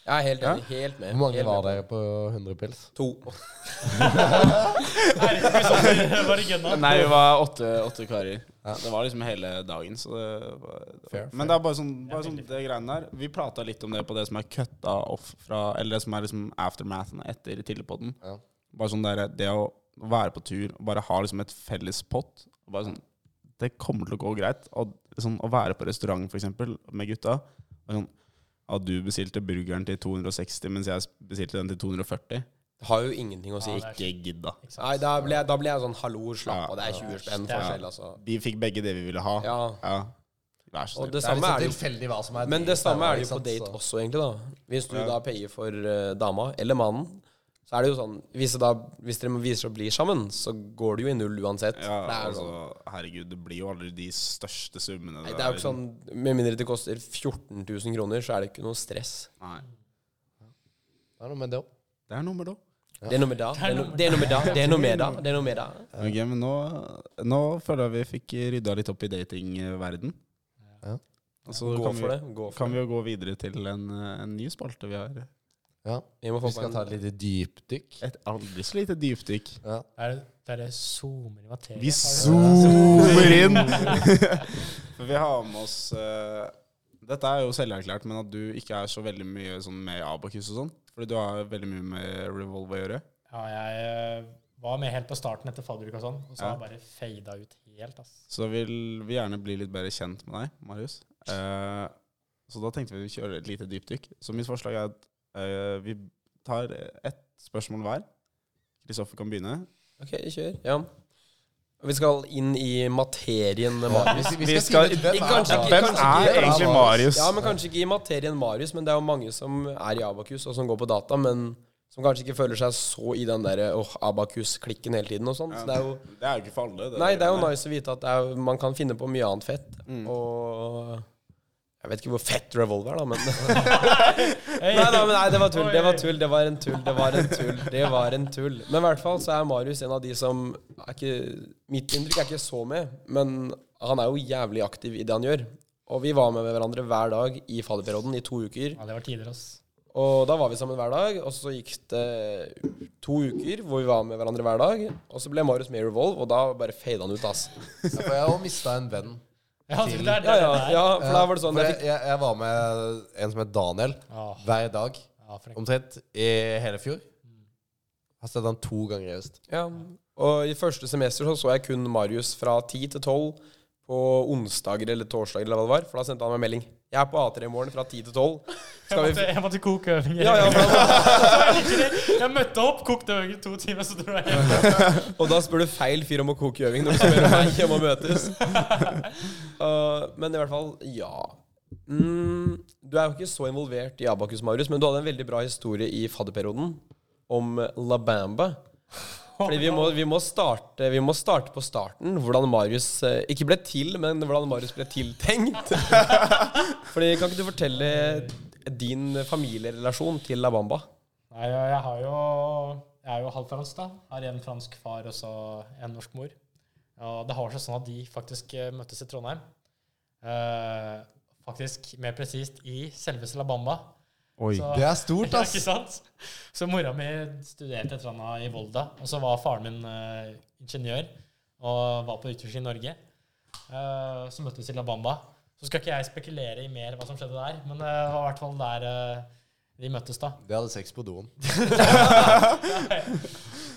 Speaker 6: Jeg er helt enig. Helt med.
Speaker 4: Hvor mange
Speaker 6: helt
Speaker 4: var
Speaker 6: med
Speaker 4: dere på 100 pils?
Speaker 6: på To.
Speaker 5: Nei, det er ikke sånn, det er bare gønna.
Speaker 3: Nei, vi var åtte, åtte karer. Det var liksom hele dagen, så det var, det var.
Speaker 4: Fair, fair.
Speaker 3: Men det er bare sånn, bare sånn det greiene der. Vi prata litt om det på det som er cutta off fra Eller det som er liksom aftermathen etter tidligpodden.
Speaker 4: Ja.
Speaker 3: Bare sånn der, det å være på tur og bare ha liksom et felles pott og bare sånn, Det kommer til å gå greit. Og sånn, å være på restaurant, for eksempel, med gutta og sånn, ja, du bestilte burgeren til 260, mens jeg bestilte den til 240.
Speaker 6: Det har jo ingenting å si.
Speaker 3: Ikke gidd, da.
Speaker 5: Ikke sant?
Speaker 6: Nei, da ble, jeg- da ble jeg sånn hallo, slapp
Speaker 3: Ja.
Speaker 6: av, det er 20 spenn
Speaker 5: Ja.
Speaker 6: forskjell, altså.
Speaker 3: De fikk begge det vi ville ha.
Speaker 6: Ja.
Speaker 3: Vær så
Speaker 6: Og
Speaker 3: snill.
Speaker 6: det
Speaker 4: Det er
Speaker 6: samme er
Speaker 4: liksom
Speaker 6: det jo
Speaker 4: tilfeldig hva som er
Speaker 6: Men det
Speaker 4: dyrest der,
Speaker 6: samme er det
Speaker 4: ikke
Speaker 6: jo på
Speaker 4: sant?
Speaker 6: date
Speaker 4: Så-
Speaker 6: også, egentlig, da. Hvis du da payer for eh, dama eller mannen, så er det jo sånn Hvis, det da, hvis dere viser å bli sammen, så går det jo i null uansett.
Speaker 3: Ja,
Speaker 6: det er jo
Speaker 3: altså,
Speaker 6: sånn.
Speaker 3: herregud, det blir jo aldri de største summene.
Speaker 6: Nei, det er jo ikke sånn Med mindre det koster 14 000 kroner, så er det ikke noe stress.
Speaker 3: Nei.
Speaker 4: Det er noe med det også.
Speaker 3: Det er noe med det.
Speaker 6: Det er noe med da. Det er noe- det er noe med da. Det er noe med da. Det er noe med da.
Speaker 3: Ok, men nå, nå føler jeg vi fikk rydda litt opp i datingverden.
Speaker 4: Ja.
Speaker 3: Og så
Speaker 6: Gå
Speaker 3: kan, vi,
Speaker 6: for det. Gå
Speaker 3: kan
Speaker 6: for det.
Speaker 3: vi jo gå videre til en, eh, en ny spalte vi har.
Speaker 4: Ja.
Speaker 6: Vi må
Speaker 4: Vi
Speaker 6: få på
Speaker 4: skal ta
Speaker 6: en
Speaker 4: et lite dypdykk.
Speaker 3: Et aldri så lite dypdykk.
Speaker 4: Ja.
Speaker 5: Det er- Det er det zoomer i materie.
Speaker 3: Vi
Speaker 5: Har du-
Speaker 3: zoomer inn! For vi har med oss eh, Dette er jo selverklært, men at du ikke er så veldig mye sånn med Abakus og sånn. Fordi du har veldig mye med Revolve å gjøre.
Speaker 5: Ja, jeg eh, var med helt på starten etter fadderuka og sånn, og så
Speaker 3: Ja.
Speaker 5: har jeg bare fada ut helt, ass.
Speaker 3: Så vil vi gjerne bli litt bedre kjent med deg, Marius. Eh, så da tenkte vi å kjøre et lite dypdykk. Så mitt forslag er at eh, vi tar ett spørsmål hver. Kristoffer kan begynne.
Speaker 6: Ok, kjør. Ja. Vi skal inn i materien med Marius.
Speaker 4: Vi
Speaker 3: Vi skal-
Speaker 4: finne ut hvem
Speaker 6: kanskje
Speaker 4: er
Speaker 6: ikke-
Speaker 3: Hvem
Speaker 6: kanskje
Speaker 3: er
Speaker 6: ikke-
Speaker 3: egentlig Marius?
Speaker 6: Ja, men Kanskje ikke i materien Marius, men det er jo mange som er i Abakus, og som går på data, men som kanskje ikke føler seg så i den derre åh, Abakus-klikken hele tiden og sånn. Så det er jo
Speaker 3: Det er jo ikke for alle. det
Speaker 6: Nei, det er jo
Speaker 3: der.
Speaker 6: nice å vite at det er, man kan finne på mye annet fett. Og jeg vet ikke hvor fett revolver er, da, men Nei, nei, men nei, det var tull. Det var tull, det var en tull, det var en tull. Det var en tull. Men i hvert fall så er Marius en av de som er ikke Mitt inntrykk er ikke så med, men han er jo jævlig aktiv i det han gjør. Og vi var med hverandre hver dag i fadderperioden i to uker.
Speaker 5: Ja, det var tider, ass.
Speaker 6: Og da var vi sammen hver dag, og så gikk det to uker hvor vi var med hverandre hver dag. Og så ble Marius med i Revolve, og da bare fada han ut, ass.
Speaker 4: Ja, for jeg har mista en venn.
Speaker 5: Ja, det er, det er,
Speaker 6: Ja,
Speaker 5: det er.
Speaker 6: ja, ja, for da var det sånn
Speaker 4: For
Speaker 6: jeg
Speaker 4: jeg,
Speaker 6: fikk,
Speaker 4: jeg, jeg var med en som het Daniel,
Speaker 5: Ah.
Speaker 4: hver dag
Speaker 5: Ja, flink.
Speaker 4: omtrent i hele fjor. Jeg har sett han to ganger i høst.
Speaker 6: ja. Og i første semester så, så jeg kun Marius fra 10 til 12 på onsdager eller torsdager eller hva det var, for da sendte han meg melding. Jeg er på A3 i morgen fra 10 til 12.
Speaker 5: Jeg
Speaker 6: Skal
Speaker 5: måtte,
Speaker 6: vi
Speaker 5: jeg måtte koke øvinger.
Speaker 6: ja, ja, for da,
Speaker 5: Jeg møtte opp, kokte øvinger i to timer, så dro jeg hjem.
Speaker 6: Og da spør du feil fyr om å koke gjøving når du spør om meg om å møtes. Uh, men i hvert fall, ja. Mm, du er jo ikke så involvert i Abakus, Marius, men du hadde en veldig bra historie i fadderperioden om eh, La Bamba. Fordi vi må, vi, må starte, vi må starte på starten, hvordan Marius eh, ikke ble til, men hvordan Marius ble tiltenkt. Fordi Kan ikke du fortelle din familierelasjon til La Bamba?
Speaker 5: Nei, ja, jeg har jo Jeg er jo halvfransk, da. Har en fransk far og så en norsk mor. Og det har seg sånn at de faktisk eh, møttes i Trondheim. Eh, faktisk mer presist i selveste La Bamba.
Speaker 3: Oi.
Speaker 5: Så-
Speaker 4: Det er stort,
Speaker 5: Ja,
Speaker 4: ass!
Speaker 5: ikke sant? Så mora mi studerte et eller annet i Volda, og så var faren min eh, ingeniør og var på utveksling i Norge. Eh, så møttes vi i La Bamba. Så skal ikke jeg spekulere i mer hva som skjedde der, men eh, det var i hvert fall der eh, de møttes, da.
Speaker 4: De hadde sex på doen.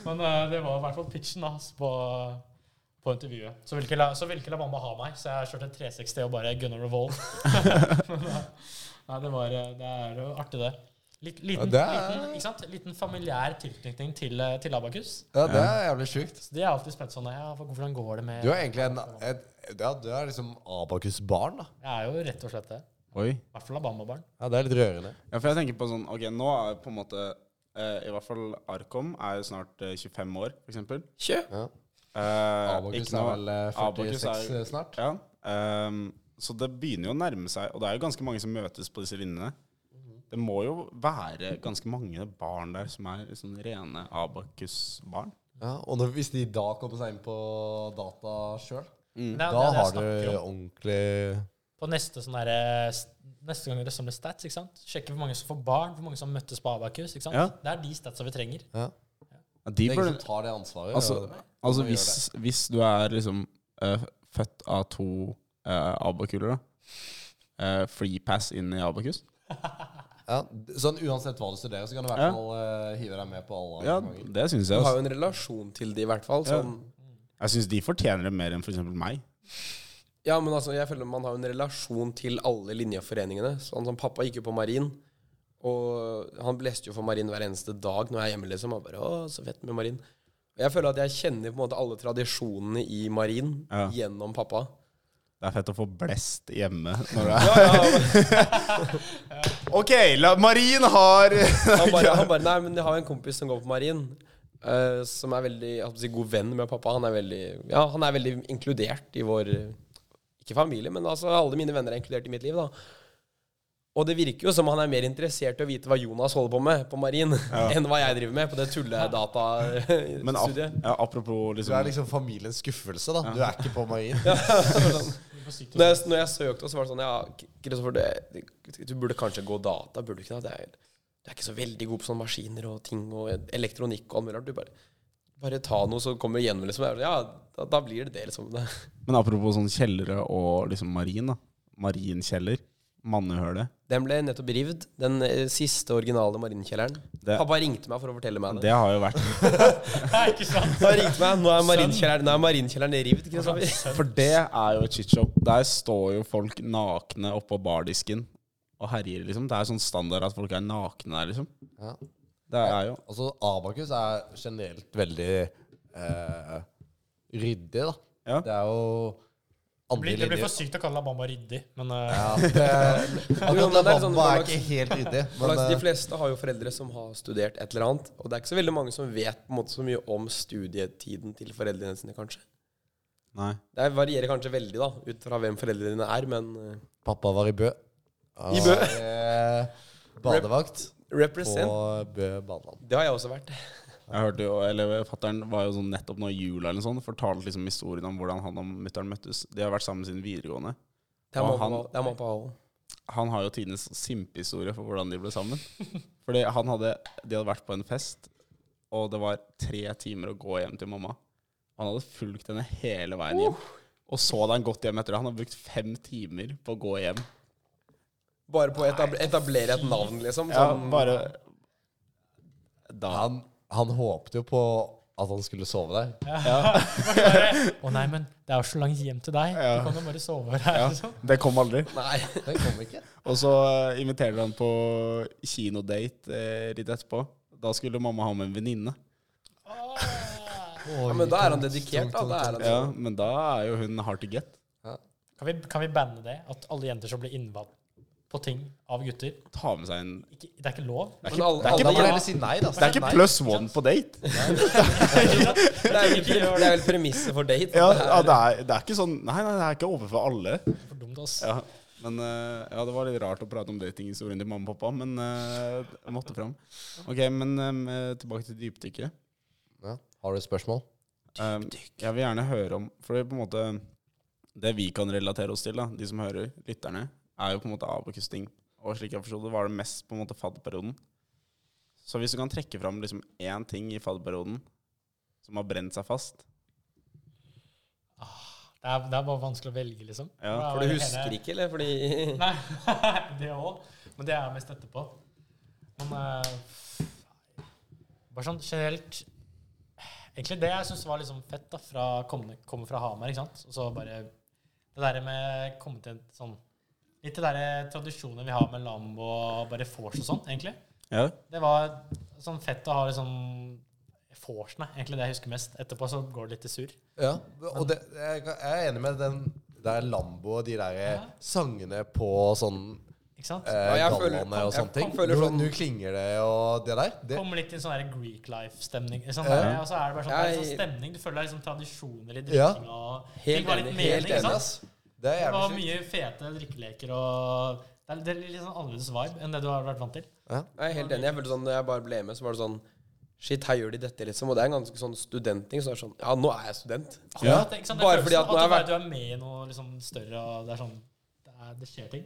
Speaker 5: Men eh, det var i hvert fall pitchen da, på, på intervjuet. Så vil ikke La, så vil ikke La Bamba ha meg, så jeg kjørte 360 og bare gunna revolve. Men, eh, Nei, det var eh, Det er jo artig, det. Litt, liten,
Speaker 4: det er-
Speaker 5: liten, ikke sant? liten familiær tilknytning til, eh, til Abakus.
Speaker 4: Ja, det er jævlig sjukt.
Speaker 5: Så de er alltid spent sånn ja, for Hvordan går det med
Speaker 4: Du er egentlig en et, Ja, du er liksom Abakus-barn, da.
Speaker 5: Jeg er jo rett og slett det.
Speaker 3: Oi.
Speaker 5: I hvert fall Alabama-barn.
Speaker 4: Ja, det er litt rørende.
Speaker 3: Ja, for jeg tenker på sånn Ok, nå er på en måte eh, I hvert fall Arkom er jo snart eh, 25 år, for eksempel.
Speaker 6: Kjø.
Speaker 3: Eh,
Speaker 4: Abakus
Speaker 3: ikke
Speaker 4: er
Speaker 3: noe-
Speaker 4: vel eh,
Speaker 3: Abacus
Speaker 4: 46
Speaker 3: er-
Speaker 4: eh, snart.
Speaker 3: Ja. ehm, så det begynner jo å nærme seg, og det er jo ganske mange som møtes på disse linjene. Det må jo være ganske mange barn der som er sånn rene Abakus-barn.
Speaker 4: Ja, og når, hvis de da kommer seg inn på data sjøl,
Speaker 5: Det er-
Speaker 4: Mm, da
Speaker 5: det er det jeg
Speaker 4: har du
Speaker 5: snakker om.
Speaker 4: ordentlig
Speaker 5: På neste sånn derre Neste gang dere samler stats, ikke sant? sjekke hvor mange som får barn, hvor mange som møttes på Abakus. ikke sant?
Speaker 3: Ja.
Speaker 5: Det er de statsa vi trenger.
Speaker 3: De
Speaker 4: Det er ingen
Speaker 3: burde,
Speaker 4: som tar det ansvaret.
Speaker 3: altså,
Speaker 4: og-
Speaker 3: altså
Speaker 4: gjør
Speaker 3: hvis, hvis du er liksom eh, født av to uh, Abakuler, da. eh, free pass inn i Abakus.
Speaker 4: ja, d- sånn uansett hva du studerer, så kan du i hvert
Speaker 3: Ja.
Speaker 4: fall eh, hive deg med på alle
Speaker 3: Ja,
Speaker 4: arrangementer.
Speaker 3: det syns jeg. altså.
Speaker 6: Du har
Speaker 3: Også.
Speaker 6: jo en relasjon til det, i hvert fall.
Speaker 3: Ja.
Speaker 6: Sånn
Speaker 3: Jeg syns de fortjener det mer enn f.eks. meg.
Speaker 6: Ja, men altså, jeg føler man har jo en relasjon til alle linjeforeningene. Sånn som pappa gikk jo på marin, og han leste jo for marin hver eneste dag når jeg er hjemme, liksom. Han bare, å, så fett med marin. Og Jeg føler at jeg kjenner på en måte alle tradisjonene i marin
Speaker 3: Ja.
Speaker 6: gjennom pappa.
Speaker 3: Det er fett å få blest hjemme når du er Ok, la, Marin har
Speaker 6: Han bare, han bare Nei, men jeg har en kompis som går på marin. eh, som er veldig jeg holdt på å si, god venn med pappa. Han er veldig Ja, han er veldig inkludert i vår Ikke familie, men altså alle mine venner er inkludert i mitt liv, da. Og det virker jo som han er mer interessert i å vite hva Jonas holder på med på marin, enn hva jeg driver med på det
Speaker 3: Men ap
Speaker 6: tulledatastudiet.
Speaker 3: ja, apropos
Speaker 4: Du er
Speaker 3: liksom
Speaker 4: liksom familiens skuffelse, da. Du er ikke på marin.
Speaker 6: Når jeg, når jeg søkte, så var det sånn Ja, Kristoffer, det- du burde kanskje gå data. Burde du ikke det? Det er, du er ikke så veldig god på sånne maskiner og ting og elektronikk og alt mulig rart. Du bare, bare ta noe, så kommer det igjen. Liksom. Jeg er sånn, Ja, da, da blir det det, liksom. Det.
Speaker 3: Men apropos sånn kjellere og liksom marin, da. Marinkjeller. Mannehølet.
Speaker 6: Den ble nettopp rivd. Den eh, siste originale marinkjelleren.
Speaker 3: Det-
Speaker 6: Pappa ringte meg for å fortelle meg
Speaker 3: Det
Speaker 6: det.
Speaker 3: har jo vært
Speaker 5: Nei, ikke sant?
Speaker 6: Han ringte meg, Nå er marinkjelleren, nå er marinkjelleren rivd, Kristoffer.
Speaker 3: For det er jo et chitshop. Der står jo folk nakne oppå bardisken og herjer, liksom. Det er sånn standard at folk er nakne der, liksom.
Speaker 4: Ja.
Speaker 3: Det er jo
Speaker 4: Altså, Abakus er generelt veldig eh, ryddig, da.
Speaker 3: Ja.
Speaker 4: Det er jo
Speaker 5: Det
Speaker 4: andre
Speaker 5: blir, det blir
Speaker 4: linjer.
Speaker 5: for sykt å kalle La Bamba ryddig, men eh,
Speaker 4: Ja, det,
Speaker 6: Jo,
Speaker 4: akkurat
Speaker 6: men det er
Speaker 4: Bamba
Speaker 6: sånn-
Speaker 4: er ikke helt ryddig. Men,
Speaker 6: Slags, de
Speaker 4: eh,
Speaker 6: fleste har jo foreldre som har studert et eller annet. Og det er ikke så veldig mange som vet på en måte så mye om studietiden til foreldrene sine, kanskje.
Speaker 3: Nei.
Speaker 6: Det varierer kanskje veldig, da, ut fra hvem foreldrene dine er, men eh,
Speaker 4: pappa var i Bø.
Speaker 6: I Bø.
Speaker 4: Han var, eh, Badevakt på
Speaker 6: represent.
Speaker 4: Bø badeland.
Speaker 6: Det har jeg også vært.
Speaker 3: Jeg hørte jo, eller Fattern var jo sånn nettopp nå i jula eller noe sånt, fortalte liksom historien om hvordan han og mutter'n møttes. De har vært sammen siden videregående.
Speaker 6: Det er
Speaker 3: Og
Speaker 6: mamma,
Speaker 3: han-
Speaker 6: det er mamma og pappa.
Speaker 3: Han har jo tidenes simpehistorie for hvordan de ble sammen. Fordi han hadde, De hadde vært på en fest, og det var tre timer å gå hjem til mamma. Han hadde fulgt henne hele veien hjem. Og så hadde han gått hjem etter det. Han hadde brukt fem timer på å gå hjem.
Speaker 6: Bare på å etab etablere et navn, liksom.
Speaker 3: Ja,
Speaker 6: Sånn,
Speaker 3: bare Da.
Speaker 4: Han, han håpte jo på at han skulle sove der.
Speaker 5: Å nei, men det er jo så langt hjem til deg. Du kan jo bare sove over her.
Speaker 3: Ja,
Speaker 5: Liksom.
Speaker 3: det kom aldri.
Speaker 6: Nei.
Speaker 4: Den kom ikke.
Speaker 3: Og så eh, inviterer han på kinodate eh, litt etterpå. Da skulle mamma ha med en venninne.
Speaker 6: Ja, men da er han dedikert, da. da er han,
Speaker 3: Ja, men da er jo hun hard to get.
Speaker 5: Kan, vi, kan vi banne det? At alle jenter som blir innvalgt på ting av gutter
Speaker 3: Ta med seg en
Speaker 5: ikke, Det er ikke lov.
Speaker 3: Det er
Speaker 6: Men
Speaker 3: ikke,
Speaker 6: alle-
Speaker 3: det er
Speaker 4: Da
Speaker 3: ikke,
Speaker 4: må du heller si nei, da.
Speaker 3: det er ikke pluss one på date.
Speaker 6: Det er vel, pre- det er vel premisset for date.
Speaker 3: Ja,
Speaker 6: Det er-
Speaker 3: ja det, er, det er ikke sånn Nei, nei, det er ikke overfor alle.
Speaker 5: For dumt, ass.
Speaker 3: Ja, men eh, Ja, det var litt rart å prate om datinghistorien til mamma og pappa, men eh, jeg måtte fram. Ok, men eh, tilbake til dypdykket.
Speaker 4: Ja. Har du et spørsmål?
Speaker 3: Eh, jeg vil gjerne høre om For det er på en måte Det vi kan relatere oss til, da, de som hører, lytterne, er jo på en måte Abakus-ting. Og slik jeg forsto det, var det mest på en måte fadderperioden. Så hvis du kan trekke fram liksom én ting i fadderperioden som har brent seg fast
Speaker 5: Det, er, det er bare vanskelig å velge, liksom.
Speaker 3: Ja,
Speaker 6: For du husker ikke, eller? Fordi
Speaker 5: Nei, det òg. Men det er mest etterpå. Men eh, bare sånn generelt Egentlig det jeg syns var liksom fett, da, fra komme, komme fra Hamar, ikke sant. Og så bare det der med komme til en sånn Litt det der tradisjonen vi har med Lambo og bare vors og sånn, egentlig.
Speaker 3: Ja.
Speaker 5: Det var sånn fett å ha liksom vorsene, egentlig det jeg husker mest. Etterpå så går det litt til surr.
Speaker 4: Ja, og det, jeg er enig med den der Lambo og de der sangene på sånn
Speaker 5: Ikke
Speaker 4: eh,
Speaker 5: sant?
Speaker 6: Ja, jeg føler-
Speaker 4: gallaene og
Speaker 6: jeg
Speaker 4: sånne ting.
Speaker 6: føler
Speaker 4: Nå,
Speaker 6: sånn-
Speaker 4: nå klinger det og det der. Det,
Speaker 5: Kommer litt i en sånn der Greek life-stemning. Sånn
Speaker 4: Ja.
Speaker 5: der, og så er det bare sånn, det er en
Speaker 6: Jeg-
Speaker 5: sånn stemning. Du føler det er liksom tradisjoner i
Speaker 4: Ja.
Speaker 5: drikkinga. og
Speaker 6: Helt
Speaker 5: ting var litt
Speaker 6: enig,
Speaker 5: mening,
Speaker 6: helt
Speaker 5: ikke
Speaker 6: enig,
Speaker 5: sant?
Speaker 4: ass. Det er
Speaker 5: Det var
Speaker 4: jævlig sykt.
Speaker 5: mye fete drikkeleker og Det er, det er litt sånn annerledes vibe enn det du har vært vant til.
Speaker 6: Jeg er helt enig. Jeg følte sånn, når jeg bare ble med, så var det sånn Shit, her gjør de dette, liksom. Og det er en ganske sånn studentting. Så det er sånn Ja, nå er jeg student.
Speaker 5: Akkurat, ikke sant? Det
Speaker 6: Bare
Speaker 5: føles
Speaker 6: fordi at
Speaker 5: som at
Speaker 6: nå har
Speaker 5: du,
Speaker 6: jeg
Speaker 5: bare- du er med i noe liksom større, og det er sånn Det, er, det skjer ting.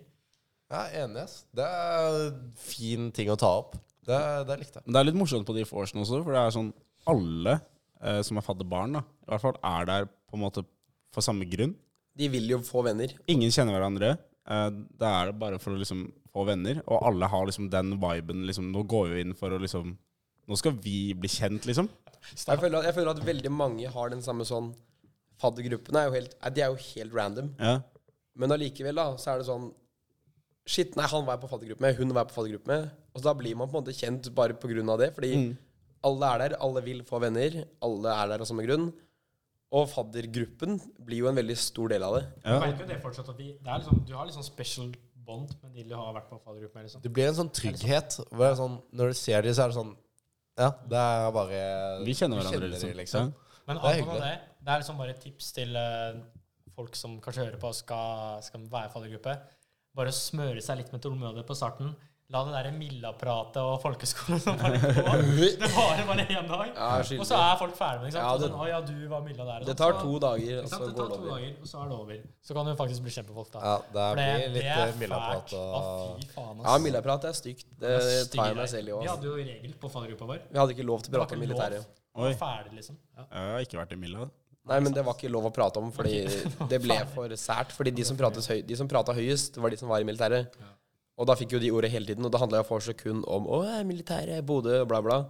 Speaker 4: Jeg er enig, ass. Det er fin ting å ta opp. Det, det likte jeg.
Speaker 3: Men det er litt morsomt på de vorsene også, for det er sånn alle eh, som er fadderbarn, da, i hvert fall er der på en måte for samme grunn.
Speaker 6: De vil jo få venner.
Speaker 3: Ingen kjenner hverandre. Eh, det er bare for å liksom få venner, og alle har liksom den viben liksom Nå går vi inn for å liksom Nå skal vi bli kjent, liksom.
Speaker 6: Jeg føler, at, jeg føler at veldig mange har den samme sånn Faddergruppene er jo helt eh, De er jo helt random.
Speaker 3: Ja.
Speaker 6: Men allikevel, da, så er det sånn Shit, nei, han var jeg på faddergruppe med, hun var jeg på faddergruppe med. Og da blir man på en måte kjent bare på grunn av det, fordi alle er der, alle vil få venner, alle er der av samme grunn. Og faddergruppen blir jo en veldig stor del av det.
Speaker 5: Du
Speaker 3: Ja.
Speaker 5: merker jo det fortsatt at vi det er liksom, Du har liksom special bond med de du har vært på faddergruppe med. liksom.
Speaker 4: Det blir en sånn trygghet. Hvor det er sånn, når du ser de, så er det sånn Ja, det er bare
Speaker 3: Vi kjenner
Speaker 4: du
Speaker 3: hverandre,
Speaker 4: de,
Speaker 3: liksom.
Speaker 5: Men
Speaker 4: Det er
Speaker 5: angående det,
Speaker 4: hyggelig.
Speaker 5: det er liksom bare et tips til eh, folk som kanskje hører på og skal, skal være i faddergruppe. Bare smøre seg litt med tålmodighet på starten. La det derre Milla-pratet og folkeskolen som bare gå. Det varer bare én dag.
Speaker 6: Ja,
Speaker 5: og
Speaker 6: skyldig.
Speaker 5: så er folk ferdige med det. ikke sant?
Speaker 6: Ja, det-
Speaker 5: sånn, å ja, du var Milla der. og
Speaker 6: Det
Speaker 5: sånn.
Speaker 6: tar
Speaker 5: Så-
Speaker 6: to dager,
Speaker 5: Ikke
Speaker 6: og
Speaker 5: sant?
Speaker 6: så
Speaker 5: Det
Speaker 6: går
Speaker 5: tar to
Speaker 6: det over.
Speaker 5: dager, og så er det over. Så kan du faktisk bli kjempefolk, da.
Speaker 4: Ja, det
Speaker 5: For
Speaker 4: blir litt eh, Milla-prat
Speaker 5: fælt.
Speaker 4: og
Speaker 5: Å, fy faen, ass.
Speaker 6: Ja, Milla-prat er stygt. Det
Speaker 5: Jeg
Speaker 6: tar jeg
Speaker 5: styrer.
Speaker 6: meg selv i
Speaker 5: Vi
Speaker 6: òg.
Speaker 5: hadde jo regel på faddergruppa vår.
Speaker 6: Vi hadde ikke lov til å
Speaker 5: Det var
Speaker 6: prate om
Speaker 5: ikke lov.
Speaker 6: militæret.
Speaker 3: Oi.
Speaker 5: Ferdig, liksom. Ja.
Speaker 3: Jeg har ikke vært i Milla.
Speaker 6: Nei, men det var ikke lov å prate om, fordi det ble for sært. Fordi de som pratet høy, de som prata høyest, var de som var i militæret. Og da fikk jo de ordet hele tiden, og da handla jo for seg kun om Å, jeg er militæret, Bodø, bla, bla.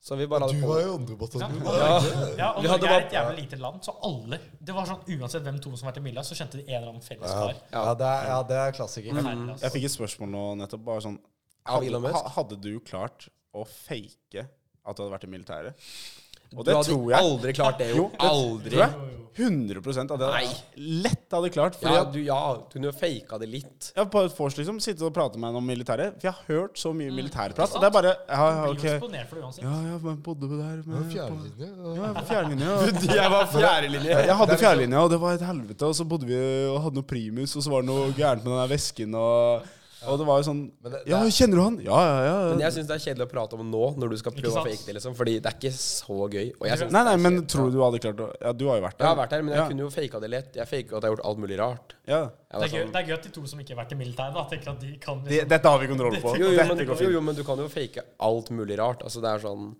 Speaker 6: Så vi bare hadde
Speaker 4: Du
Speaker 6: på
Speaker 4: var jo andre bataljon.
Speaker 5: Ja, og Norge
Speaker 6: Vi hadde
Speaker 5: er
Speaker 6: bare-
Speaker 5: et jævlig lite land, så alle Det var sånn, Uansett hvem to som var til Milla, så kjente de en eller annen felles
Speaker 4: Ja, Mm.
Speaker 5: far.
Speaker 4: ja, det er, ja, det er klassiker.
Speaker 5: Forferdelig,
Speaker 3: Jeg
Speaker 5: altså.
Speaker 3: fikk et spørsmål nå nettopp. Bare sånn
Speaker 6: Av Elon
Speaker 3: Hadde,
Speaker 6: Musk?
Speaker 3: ha- hadde du klart å fake at du hadde vært i militæret? Og
Speaker 6: Du
Speaker 3: det
Speaker 6: hadde
Speaker 3: tror jeg.
Speaker 6: aldri klart det, jo.
Speaker 3: Jo, det
Speaker 6: Aldri.
Speaker 3: Tror jeg 100 at det lett hadde klart. Fordi
Speaker 6: Ja,
Speaker 3: at-
Speaker 6: du, ja, du kunne jo faka det litt.
Speaker 3: Jeg har på et vors liksom sittet og pratet med henne om militæret. For jeg har hørt så mye militærprat. Og det er bare ja, ja,
Speaker 5: Blir jo
Speaker 3: ok.
Speaker 5: eksponert for det uansett.
Speaker 3: Ja, ja, men bodde vi der med på-
Speaker 4: Fjernlinje.
Speaker 3: Ja, på fjernlinja. og-
Speaker 6: Jeg var fjerdelinje.
Speaker 3: Jeg hadde
Speaker 6: liksom-
Speaker 3: fjernlinja, og det var et helvete. Og så bodde vi og hadde noe primus, og så var det noe gærent med den der vesken. Og, og det var jo sånn
Speaker 4: Men det- det
Speaker 3: Ja,
Speaker 4: er-
Speaker 3: kjenner du han? Ja, ja, ja.
Speaker 6: Men jeg syns det er kjedelig å prate om nå, når du skal
Speaker 5: Ikke
Speaker 6: prøve å
Speaker 5: sant?
Speaker 6: fake det, liksom. Fordi det er ikke så gøy. Og jeg synes
Speaker 3: Nei, nei, men tror du du hadde klart å Ja, du har jo vært der.
Speaker 6: Jeg har vært her, men jeg
Speaker 3: Ja.
Speaker 6: kunne jo faka det lett. Jeg faka at jeg har gjort alt mulig rart.
Speaker 3: ja.
Speaker 6: Jeg
Speaker 5: Det
Speaker 6: var
Speaker 5: er, gøy,
Speaker 6: sånn,
Speaker 5: det er gøy at de to som ikke har vært i militæret, da, tenker at de kan
Speaker 3: Det,
Speaker 5: liksom,
Speaker 3: dette har vi kontroll på.
Speaker 6: jo, jo, men,
Speaker 3: Dette går
Speaker 6: jo,
Speaker 3: fint.
Speaker 6: jo, men du kan jo fake alt mulig rart. Altså, det er sånn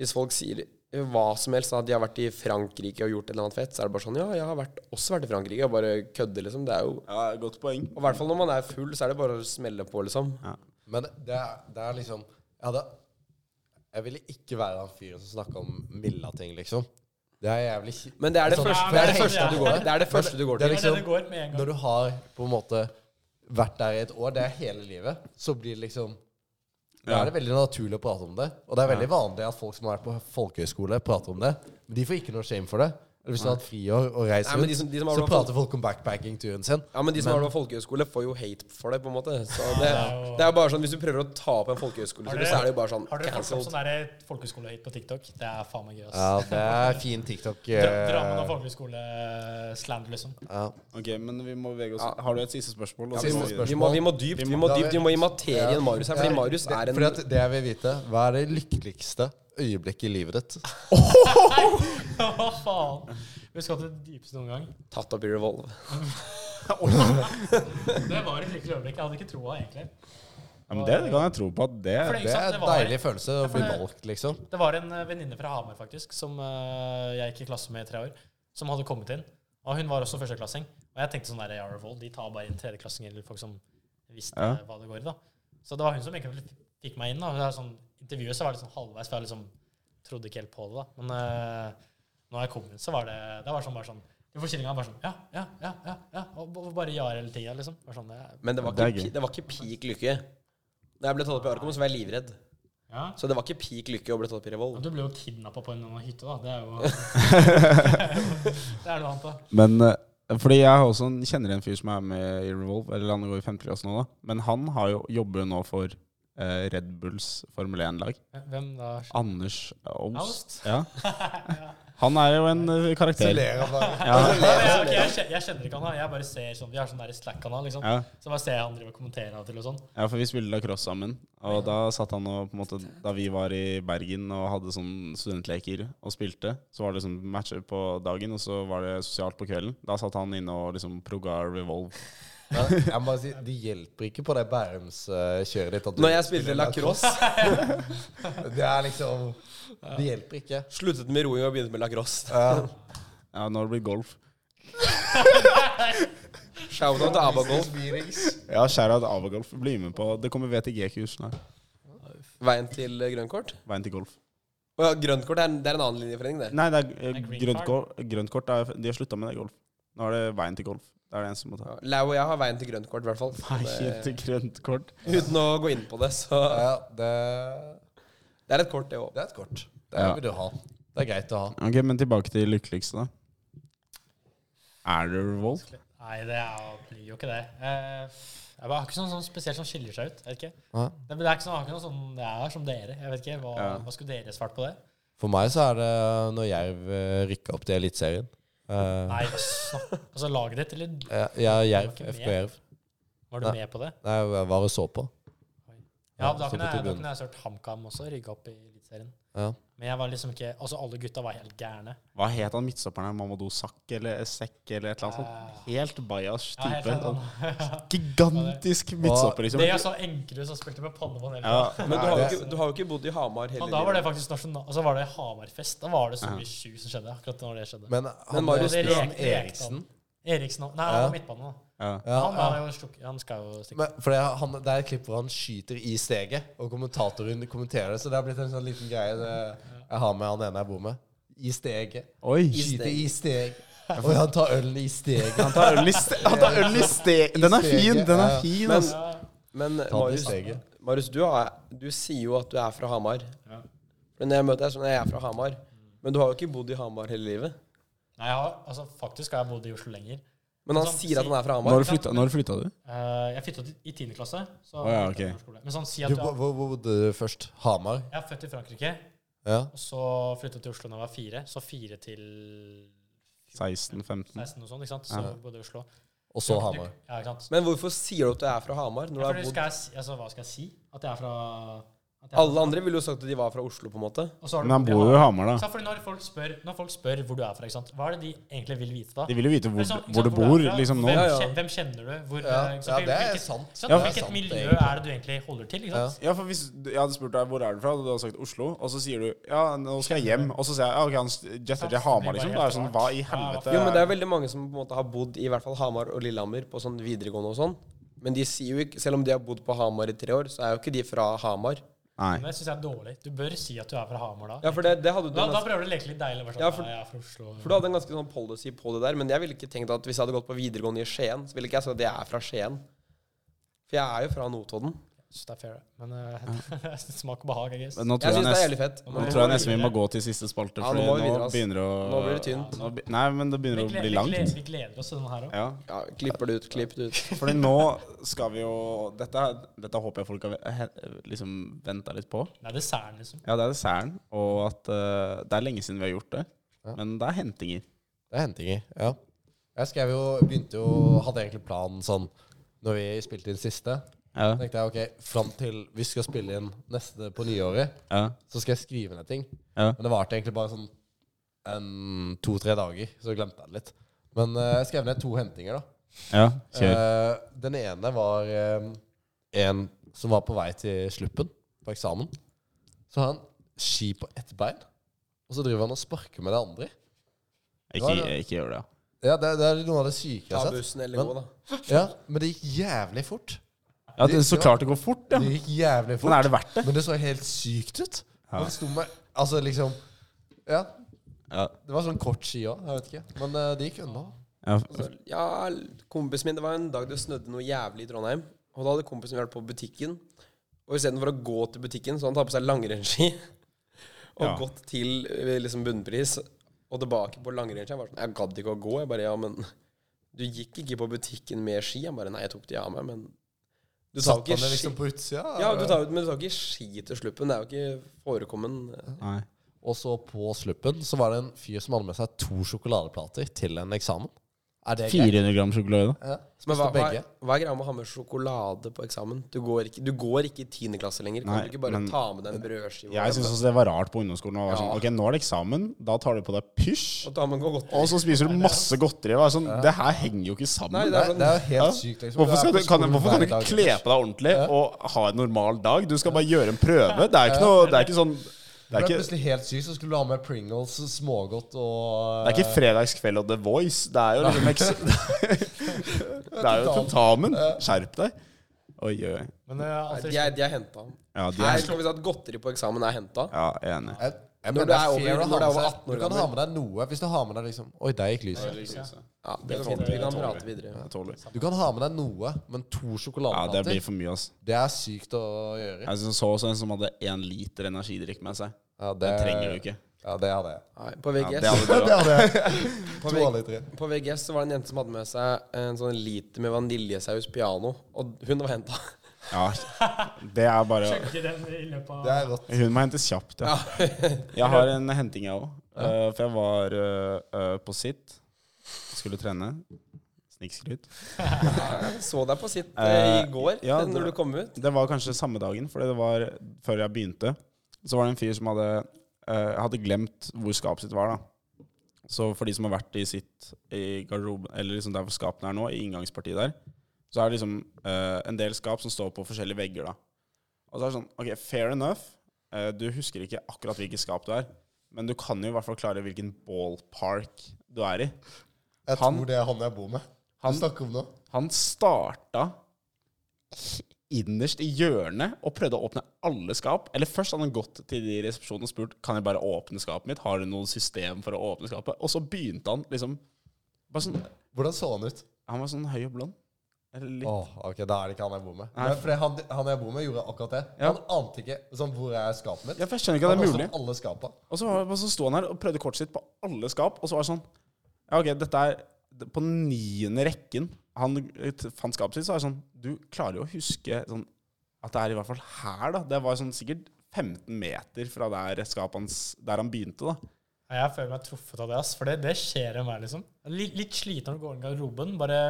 Speaker 6: Hvis folk sier hva som helst, at de har vært i Frankrike og gjort et eller annet fett, så er det bare sånn Ja, jeg har vært, også vært i Frankrike. Og bare kødder, liksom. Det er jo
Speaker 3: Ja, godt poeng.
Speaker 6: Og i hvert fall når man er full, så er det bare å smelle på, liksom.
Speaker 4: Men det er, det er liksom Jeg hadde Jeg ville ikke være han fyren som snakka om Milla-ting, liksom. Det er jævlig kjipt.
Speaker 6: Men det er det,
Speaker 4: Sånn,
Speaker 6: første,
Speaker 5: ja,
Speaker 6: det,
Speaker 5: men-
Speaker 6: er det første du går til. Det er det første du
Speaker 4: det er
Speaker 6: går til.
Speaker 5: Det er det
Speaker 4: liksom
Speaker 5: det går med en gang.
Speaker 4: Når du har på en måte vært der i et år, det er hele livet, så blir det liksom Da
Speaker 3: Ja.
Speaker 4: er det veldig naturlig å prate om det. Og det er veldig vanlig at folk som har vært på folkehøyskole, prater om det. Men de får ikke noe shame for det. Eller hvis du har hatt friår og reist
Speaker 6: Nei, men
Speaker 4: rundt,
Speaker 6: de som- de som har
Speaker 4: så
Speaker 6: vært på-
Speaker 4: prater folk om backpacking-turen sin.
Speaker 6: Ja, men de som har vært på folkehøyskole, får jo hate for det, på en måte. Så det,
Speaker 5: Ja.
Speaker 6: det er jo bare sånn, Hvis du prøver å ta opp en folkehøyskole,
Speaker 5: Har dere-
Speaker 6: så er det jo bare sånn
Speaker 5: Har dere fått opp
Speaker 6: cancelled.
Speaker 5: sånn der folkehøyskolehit på TikTok? Det er faen meg gøy, ass.
Speaker 4: Ja, det er fin TikTok.
Speaker 5: Dra- Drammen
Speaker 4: eh,
Speaker 5: og folkehøyskole-sland, liksom.
Speaker 4: ja.
Speaker 3: Ok, men vi må bevege oss. Har du et siste spørsmål? og så
Speaker 4: siste
Speaker 3: må vi-
Speaker 4: spørsmål.
Speaker 6: Vi må, vi må dypt, vi må
Speaker 4: Da-
Speaker 6: dypt, vi må i materien
Speaker 4: Ja.
Speaker 6: Marius her, fordi Marius er en
Speaker 4: Fordi at det jeg vil vite, hva er det lykkeligste øyeblikket i livet ditt?
Speaker 5: Hva faen? Vi skal til det dypeste noen gang.
Speaker 6: tatt opp i revolve.
Speaker 5: Det var et lykkelig øyeblikk. Jeg hadde ikke troa, egentlig.
Speaker 3: Ja, men det kan jeg tro på at det
Speaker 5: For
Speaker 4: Det
Speaker 5: sant,
Speaker 4: er
Speaker 5: det
Speaker 4: en
Speaker 5: var-
Speaker 4: deilig følelse å
Speaker 5: for
Speaker 4: bli
Speaker 5: det-
Speaker 4: valgt, liksom.
Speaker 5: Det var en eh, venninne fra Hamar faktisk, som eh, jeg gikk i klasse med i tre år, som hadde kommet inn. Og hun var også førsteklassing. Og jeg tenkte sånn der, ja, Revolt, de tar bare inn tredjeklassinger eller folk som visste
Speaker 3: Ja.
Speaker 5: hva det går i, da. Så det var hun som egentlig fikk meg inn. da. Og det er sånn, intervjuet så var det sånn halvveis, for jeg liksom trodde ikke helt på det, da. Men eh, når jeg kom inn, så var det det var sånn bare sånn de forkyllinga bare sånn Ja, ja, ja. ja, ja og og bare ja hele tida, liksom. Bare sånn, ja.
Speaker 6: Men det var
Speaker 3: Det er
Speaker 6: ikke,
Speaker 3: gøy.
Speaker 6: pi- det var ikke peak lykke. Da jeg ble tatt opp i Arkom, så var jeg livredd.
Speaker 5: ja.
Speaker 6: Så det var ikke peak lykke å bli tatt opp i revolve.
Speaker 5: Du ble jo kidnappa på en hytte, da. Det er jo Det er noe annet, da.
Speaker 3: Men eh, fordi jeg har også en- kjenner en fyr som er med i Revolve, eller han går i femte klasse nå, da. Men han har jo, jobber jo nå for eh, Red Bulls Formel 1-lag.
Speaker 5: Hvem da?
Speaker 3: Anders Aust.
Speaker 5: Aust?
Speaker 3: Ja. Han er jo en eh, karakter.
Speaker 4: Ler han bare.
Speaker 3: Ja.
Speaker 5: Nei, nei, ok, jeg, kjen- jeg kjenner ikke han her. Jeg bare ser sånn Vi har sånn der Slack-kanal, liksom.
Speaker 3: Ja.
Speaker 5: Så bare ser jeg han driver og kommenterer av og til og sånn.
Speaker 3: ja, for vi spilte lacrosse sammen. Og da satt han og på en måte Da vi var i Bergen og hadde sånn studentleker og spilte, så var det sånn matcher på dagen, og så var det sosialt på kvelden. Da satt han inne og liksom progga Revolve.
Speaker 4: Men Jeg må bare si, det hjelper ikke på det Bærums-kjøret ditt. at du
Speaker 6: Når jeg spilte
Speaker 4: spiller
Speaker 6: lacrosse,
Speaker 4: lacrosse. Det er liksom Det hjelper ikke.
Speaker 6: sluttet med roing og begynte med lacrosse.
Speaker 4: Ja.
Speaker 3: Ja, nå har det blitt golf.
Speaker 6: Shout out til Abagolf.
Speaker 3: Ja, Sherrod Avagolf, bli med på Det kommer VTG-kurs snart.
Speaker 6: Veien til eh, grønt kort.
Speaker 3: Veien til golf.
Speaker 6: Å ja, grønt kort er, en- det er en annen linjeforening, det.
Speaker 3: Nei, det er, eh,
Speaker 5: Det er green
Speaker 3: grønt,
Speaker 5: card.
Speaker 3: kort, grønt kort er, De har slutta med det golf. Nå er det veien til golf. Det er det eneste som må ta.
Speaker 6: Ja, Lau og jeg har veien til grønt kort, i hvert fall.
Speaker 3: Veien
Speaker 6: Det-
Speaker 3: til grønt kort.
Speaker 6: Uten å gå inn på det, så
Speaker 4: Ja, det,
Speaker 6: Det er et kort, det òg.
Speaker 4: det er et kort. Det
Speaker 3: Ja.
Speaker 4: vil du ha. Det er greit å ha.
Speaker 3: Ok, Men tilbake til lykkeligste, da. Er det Revolve?
Speaker 5: Nei, det er, blir jo ikke det. Eh, Jeg bare har ikke sånn, sånn spesielt som skiller seg ut. Jeg vet ikke.
Speaker 4: Nei.
Speaker 5: Det, men det er ikke sånn, jeg har ikke noe sånn det er som dere. Jeg vet ikke, Hva,
Speaker 3: Ja.
Speaker 5: hva skulle dere svart på det?
Speaker 4: For meg så er det når Jerv eh, rykka opp til Eliteserien. Eh,
Speaker 5: Nei, snakk. Altså laget ditt, eller
Speaker 4: jeg, jeg er Jerv.
Speaker 5: Du var ikke
Speaker 4: FK
Speaker 5: med.
Speaker 4: Jerv.
Speaker 5: var du
Speaker 4: Nei.
Speaker 5: med på det?
Speaker 4: Nei, jeg var og så på.
Speaker 5: Ja,
Speaker 4: Ja, så
Speaker 5: da
Speaker 4: på
Speaker 5: kunne jeg, da
Speaker 4: tribunen.
Speaker 5: kunne jeg søkt HamKam også, rygge opp i Eliteserien.
Speaker 4: Ja.
Speaker 5: Men jeg var liksom ikke Altså, alle gutta var helt gærne.
Speaker 3: Hva het han midtstopperen her? Mamadou Sakk eller Sekk eller et eller annet sånt? Helt bajas
Speaker 5: Ah. Ja, helt
Speaker 3: type.
Speaker 5: sånn.
Speaker 3: Gigantisk midtstopper, liksom.
Speaker 5: Det sånn- jeg sa Enkerud som spilte med pannebånd hele
Speaker 3: Ja,
Speaker 5: tiden.
Speaker 6: Men du har, jo ikke, du har jo ikke bodd i Hamar hele
Speaker 5: Men da var det
Speaker 6: livet.
Speaker 5: faktisk nasjonal... Altså var det Hamarfest. Da var det så mye sju som skjedde. akkurat når det skjedde.
Speaker 4: Men han
Speaker 6: Marius,
Speaker 4: Marius
Speaker 5: det
Speaker 4: Bjørn
Speaker 5: rekte-
Speaker 4: Eriksen
Speaker 5: Eriksen og- Nei, han var midtbane, da.
Speaker 3: Ja.
Speaker 4: ja,
Speaker 5: Han,
Speaker 4: ja.
Speaker 5: er jo slukk- han skal jo stikke.
Speaker 4: Men, for det, er- han, det er et klipp hvor han skyter i steget, og kommentatoren kommenterer det. Så det har blitt en sånn liten greie det, jeg har med han ene jeg bor med. I steget.
Speaker 3: Oi!
Speaker 4: Skyte i steget. Og han tar ølen i steget.
Speaker 3: Han tar øl i ste- han tar øl i ste- Den er fin! Den er fin,
Speaker 6: Men,
Speaker 3: altså.
Speaker 6: men
Speaker 4: Ta det i
Speaker 6: Marius,
Speaker 4: steget.
Speaker 6: Marius du, har, du sier jo at du er fra Hamar. Men når jeg møter deg, sånn jeg er fra Hamar. Men du har jo ikke bodd i Hamar hele livet.
Speaker 5: Nei, jeg har, altså, faktisk har jeg bodd i Oslo lenger.
Speaker 6: Men han
Speaker 5: Sånn,
Speaker 6: sier at han er fra Hamar.
Speaker 3: Når flytta, når flytta du?
Speaker 5: Eh, jeg flytta i 10. klasse. Så
Speaker 3: Å ja, ok.
Speaker 5: flyttet jeg på skole. Men sånn, si at
Speaker 4: Du,
Speaker 5: du,
Speaker 4: hvor,
Speaker 5: har-
Speaker 4: hvor hvor bodde du først? Hamar?
Speaker 5: jeg er født i Frankrike,
Speaker 4: Ja.
Speaker 5: og så flytta til Oslo da jeg var fire. Så fire til
Speaker 3: 16-15?
Speaker 5: 16 og sånn, ikke sant. Så
Speaker 3: Ja.
Speaker 5: bodde jeg i Oslo.
Speaker 4: Og så Hamar.
Speaker 5: Ja, ikke sant.
Speaker 6: Men hvorfor sier du at du er fra Hamar? Når du
Speaker 5: Ja,
Speaker 6: har
Speaker 5: fordi
Speaker 6: bodd
Speaker 5: skal jeg, si- altså, hva skal jeg si? At jeg er fra at jeg er
Speaker 6: Alle
Speaker 5: fra-
Speaker 6: andre ville jo sagt at de var fra Oslo, på en måte.
Speaker 5: Og så har du-
Speaker 3: Men han bor jo i Hamar,
Speaker 5: Så
Speaker 3: da.
Speaker 5: fordi når, folk spør, når folk spør hvor du er fra, ikke sant? hva er det de egentlig vil vite da?
Speaker 3: De vil jo vite
Speaker 5: Eller
Speaker 3: hvor,
Speaker 5: sånn, ikke
Speaker 3: hvor du
Speaker 5: sant,
Speaker 3: bor,
Speaker 5: er fra,
Speaker 3: liksom nå.
Speaker 5: Hvem,
Speaker 6: Ja, ja.
Speaker 5: kjen- hvem kjenner du? Hvor,
Speaker 4: Ja,
Speaker 5: eh, ikke
Speaker 4: ja,
Speaker 5: sant,
Speaker 4: det er
Speaker 5: hvilket-
Speaker 4: sant. Det
Speaker 5: sant,
Speaker 4: er
Speaker 5: hvilket
Speaker 4: sant,
Speaker 5: miljø
Speaker 4: egentlig.
Speaker 5: er det du egentlig holder til? Ikke sant?
Speaker 3: Ja, for hvis du- Jeg hadde spurt deg hvor er du fra, og du hadde sagt Oslo. Og så sier du ja, nå skal jeg hjem. Og så sier jeg ja, ok, han jetter til Hamar, liksom. Da er det sånn, hva i helvete?
Speaker 6: Jo, men det er veldig mange som på en måte har bodd i hvert fall Hamar og Lillehammer på sånn videregående og sånn. Men de sier jo ikke, selv om de har bodd på Hamar i tre år, så er jo ikke de fra Hamar.
Speaker 5: Men
Speaker 3: Nei.
Speaker 5: det synes jeg er dårlig. Du bør si at du er fra Hamar da.
Speaker 6: Ja, for det, det hadde du
Speaker 5: Da, da
Speaker 6: ganske,
Speaker 5: prøver du å leke litt deilig. Bare sånn,
Speaker 6: Ja, for-
Speaker 5: «Nei, jeg er fra Oslo.
Speaker 6: for du hadde en ganske sånn policy på det der, men jeg ville ikke tenkt at hvis jeg hadde gått på videregående i Skien, så ville ikke jeg sagt at jeg er fra Skien. For jeg er jo fra Notodden.
Speaker 5: Så det er fair, men eh, smak og behag, I guess.
Speaker 3: Men nå tror
Speaker 6: Jeg
Speaker 3: jeg,
Speaker 6: syns det er
Speaker 3: nesten-
Speaker 6: jævlig fett.
Speaker 3: nå tror jeg nesten vi må gå til siste spalte, for
Speaker 6: Ja, nå må vi
Speaker 3: nå,
Speaker 6: videre, ass.
Speaker 3: begynner det å
Speaker 6: Nå blir det tynt.
Speaker 3: Nå be- Nei, men det
Speaker 5: vi,
Speaker 3: begynner å
Speaker 5: gleder,
Speaker 3: bli
Speaker 5: vi, gleder,
Speaker 3: langt.
Speaker 5: vi gleder oss til den her også.
Speaker 3: Ja.
Speaker 6: Ja, klipper det ut, klipp det ut.
Speaker 3: Fordi nå skal vi jo Dette, er- dette håper jeg folk har he- liksom venta litt på.
Speaker 5: Det er desserten, liksom.
Speaker 3: Ja, det er desserten, og at eh, det er lenge siden vi har gjort det.
Speaker 4: Ja.
Speaker 3: Men det er hentinger.
Speaker 4: Det er hentinger, ja. Jeg skrev jo, begynte jo, hadde egentlig planen sånn Når vi spilte inn siste,
Speaker 3: Ja.
Speaker 4: tenkte jeg ok, fram til vi skal spille inn neste på nyåret,
Speaker 3: Ja.
Speaker 4: så skal jeg skrive ned ting.
Speaker 3: Ja.
Speaker 4: Men det varte egentlig bare sånn en, to-tre dager, så glemte jeg det litt. Men eh, jeg skrev ned to hentinger, da.
Speaker 3: ja kjør.
Speaker 4: Eh, den ene var eh, en som var på vei til sluppen på eksamen. Så har han ski på ett bein, og så driver han og sparker med det andre.
Speaker 3: Ikke, ikke gjør det. ja.
Speaker 4: Ja, det, det er noe av det sykeste
Speaker 6: Ta
Speaker 4: jeg har sett.
Speaker 6: bussen eller gå, da.
Speaker 4: Ja, men det gikk jævlig fort.
Speaker 3: Ja, det, så klart det går fort, ja.
Speaker 4: Det gikk jævlig fort.
Speaker 3: Men er det verdt det?
Speaker 4: Men det så helt sykt ut. Han sto med Altså, liksom Ja.
Speaker 3: Ja.
Speaker 4: Det var sånn kort ski òg, jeg vet ikke. Men eh, det gikk unna.
Speaker 3: Ja,
Speaker 6: Ja, kompisen min, det var en dag det snødde noe jævlig i Trondheim. Og da hadde kompisen min vært på butikken. Og istedenfor å gå til butikken, så hadde han tatt på seg langrennsski. Og
Speaker 3: Ja.
Speaker 6: gått til eh, liksom bunnpris og tilbake på langrennsski. Jeg var sånn, jeg gadd ikke å gå. Jeg bare ja, men du gikk ikke på butikken med ski. Jeg bare nei, jeg tok de av meg, men du tar
Speaker 4: Satt
Speaker 6: jo
Speaker 4: han det
Speaker 6: ikke ski.
Speaker 4: liksom på utsida?
Speaker 6: Ja, du tar, jo- men du tar ikke ski til sluppen. Det er jo ikke forekommen. eh,
Speaker 3: nei.
Speaker 4: Og så på sluppen så var det en fyr som hadde med seg to sjokoladeplater til en eksamen. Er det greit?
Speaker 3: 400 gram sjokolade.
Speaker 4: Ja.
Speaker 6: Men hva, hva,
Speaker 4: begge.
Speaker 6: hva er greia med å ha med sjokolade på eksamen? Du går ikke, du går ikke i tiende klasse lenger. Kan
Speaker 3: Nei,
Speaker 6: du ikke bare
Speaker 3: men-
Speaker 6: ta med deg en brødskive?
Speaker 3: Jeg syns også det var rart på ungdomsskolen. å være Sånn,
Speaker 6: Ja.
Speaker 3: ok, nå er det eksamen. Da tar du på deg pysj,
Speaker 6: Og ta med noe godt.
Speaker 3: og så spiser du masse godteri. Det, sånn, det her henger jo ikke
Speaker 6: Nei,
Speaker 3: sammen.
Speaker 6: det
Speaker 4: Nei,
Speaker 6: er sånn-
Speaker 4: det er jo helt
Speaker 3: Ja.
Speaker 4: sykt, liksom.
Speaker 3: Hvorfor,
Speaker 4: er
Speaker 3: skal du,
Speaker 4: på
Speaker 3: kan,
Speaker 4: skolen
Speaker 3: hvorfor kan du
Speaker 4: hver
Speaker 3: ikke
Speaker 4: dag,
Speaker 3: kle
Speaker 4: liksom.
Speaker 3: på deg ordentlig og ha en normal dag? Du skal bare gjøre en prøve. Det er ikke noe Det er ikke sånn
Speaker 4: Det
Speaker 3: Det er
Speaker 4: ble
Speaker 3: ikke,
Speaker 4: plutselig helt sykt, så skulle du ha med Pringles, smågodt og
Speaker 3: det er ikke fredagskveld og The Voice. Det er jo liksom eks- Det er jo tentamen. Skjerp deg. Oi, oi, oi.
Speaker 5: Men eh, alt
Speaker 6: De
Speaker 5: i-
Speaker 6: er, de er henta.
Speaker 3: Ja, de
Speaker 6: Her
Speaker 3: er,
Speaker 6: slår vi fast at godteri på eksamen er henta.
Speaker 3: ja enig.
Speaker 4: eh, Jeg, jeg mener
Speaker 6: Når du
Speaker 4: det
Speaker 6: er
Speaker 4: er
Speaker 6: over-
Speaker 4: fair å
Speaker 6: når
Speaker 4: ha
Speaker 6: du er
Speaker 4: med
Speaker 6: over
Speaker 4: seg
Speaker 6: 18 år
Speaker 4: Du kan ha
Speaker 6: gammel.
Speaker 4: med deg noe hvis du har med deg liksom Oi, der gikk lyset.
Speaker 3: liksom-
Speaker 6: Ja, det er fint. Vi kan prate videre.
Speaker 3: Jeg tåler.
Speaker 4: Du kan ha med deg noe, men to
Speaker 3: Ja, det
Speaker 4: sjokoladeplater
Speaker 3: blir for mye, altså.
Speaker 4: Det er sykt å gjøre.
Speaker 3: Jeg synes så også en som hadde én liter energidrikk med seg.
Speaker 4: Ja, det
Speaker 3: Den trenger du ikke.
Speaker 4: Ja, det hadde jeg.
Speaker 6: Nei, på,
Speaker 3: Ja,
Speaker 6: VGS,
Speaker 3: det hadde du også.
Speaker 6: på,
Speaker 4: To av de
Speaker 6: VG,
Speaker 4: tre.
Speaker 6: på VGS så var det en jente som hadde med seg en sånn liter med vaniljesaus piano, og hun var henta.
Speaker 3: Ja, det er bare
Speaker 5: Chugge den i løpet av
Speaker 4: Det er rått.
Speaker 3: Hun må hentes kjapt, ja. Jeg har en henting, jeg òg. For jeg var eh, eh, på sitt. Skulle trene. Snikskryt.
Speaker 6: Så deg på sitt
Speaker 3: Eh,
Speaker 6: eh, i går,
Speaker 3: ja,
Speaker 6: eh, når
Speaker 3: det-
Speaker 6: du kom ut.
Speaker 3: Det var kanskje samme dagen, for det var før jeg begynte. Så var det en fyr som hadde, eh, hadde glemt hvor skapet sitt var. da. Så for de som har vært i sitt i garderoben, eller liksom der hvor skapene er nå, i inngangspartiet der, så er det liksom eh, en del skap som står på forskjellige vegger. da. Og så er det sånn, ok, fair enough. Eh, du husker ikke akkurat hvilket skap du er, men du kan jo i hvert fall klare hvilken ballpark du er i.
Speaker 4: Jeg
Speaker 3: Han-
Speaker 4: tror det er han jeg bor med.
Speaker 3: Han-
Speaker 4: Han snakker om nå.
Speaker 3: Han starta innerst i hjørnet og prøvde å åpne alle skap. Eller først hadde han gått til de i resepsjonen og spurt Kan jeg bare åpne skapet mitt. Har du noe system for å åpne skapet. Og så begynte han liksom bare sånn,
Speaker 4: Hvordan så han ut?
Speaker 3: Han var sånn høy og blond. Eller litt.
Speaker 4: Åh, ok, Da er det ikke han jeg bor med.
Speaker 3: Nei.
Speaker 4: Men fordi han, han jeg bor med, gjorde akkurat det.
Speaker 3: Ja.
Speaker 4: Han ante ikke sånn, hvor er skapet mitt.
Speaker 3: Ja, for jeg skjønner ikke at det er
Speaker 4: Han sånn
Speaker 3: mulig.
Speaker 4: kastet alle skapa.
Speaker 3: Og så, var- og så sto han her og prøvde kortet sitt på alle skap, og så var det sånn Ja, ok, dette er På den niende rekken han t- fant skapet sitt, så er det sånn Du klarer jo å huske sånn at det er i hvert fall her, da. Det var sånn sikkert 15 meter fra der skapet hans Der han begynte, da.
Speaker 5: Nei, Jeg føler meg truffet av det, ass. For det, det skjer en vei, liksom. Litt, litt sliten når du går inn i garderoben. Bare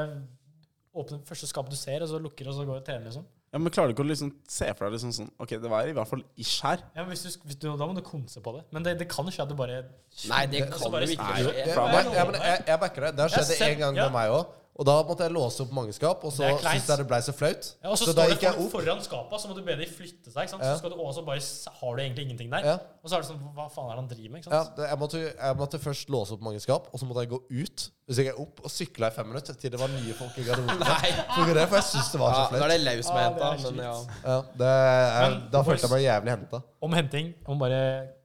Speaker 5: åpne det første skapet du ser, og så lukker og så går du og trener, liksom.
Speaker 3: Ja, Men klarer du ikke å liksom se for deg liksom sånn Ok, det var i hvert fall ish her.
Speaker 5: Ja, men hvis du, sk- hvis du, Da må du konse på det. Men det, det kan jo skje at du bare
Speaker 6: Nei, det
Speaker 5: Så
Speaker 6: kan
Speaker 5: bare
Speaker 6: de ikke
Speaker 3: Nei,
Speaker 6: skje.
Speaker 4: Jeg,
Speaker 3: fra
Speaker 4: jeg,
Speaker 3: meg.
Speaker 4: jeg, men jeg, jeg backer det. Det har
Speaker 5: Jeg
Speaker 4: skjedd
Speaker 5: ser-
Speaker 4: en gang
Speaker 5: ja.
Speaker 4: med meg òg. Og da måtte jeg låse opp mange skap, og så
Speaker 5: Det er kleint.
Speaker 4: syntes jeg det blei så flaut.
Speaker 5: ja, Og
Speaker 4: så
Speaker 5: så,
Speaker 4: da
Speaker 5: står det
Speaker 4: gikk jeg
Speaker 5: folk
Speaker 4: opp.
Speaker 5: foran skapet, så må du be de flytte seg. ikke sant?
Speaker 4: Ja.
Speaker 5: Så skal du også bare s- har du egentlig ingenting der.
Speaker 4: Ja.
Speaker 5: Og så er det sånn Hva faen er det han driver med? ikke
Speaker 4: Ja,
Speaker 5: sant?
Speaker 4: det, jeg, måtte, jeg måtte først låse opp mange skap, og så måtte jeg gå ut. Så gikk jeg opp og sykla i fem minutter til det var nye folk i garderoben. For, det, for jeg synes det var
Speaker 6: Ja,
Speaker 4: så
Speaker 6: da
Speaker 4: flaut.
Speaker 6: er det laus med
Speaker 5: Ah, det er
Speaker 6: henta,
Speaker 5: sjukt.
Speaker 6: men ja.
Speaker 4: Ja, det, jeg,
Speaker 5: Men-
Speaker 4: da følte jeg meg jævlig henta.
Speaker 5: Om henting om bare,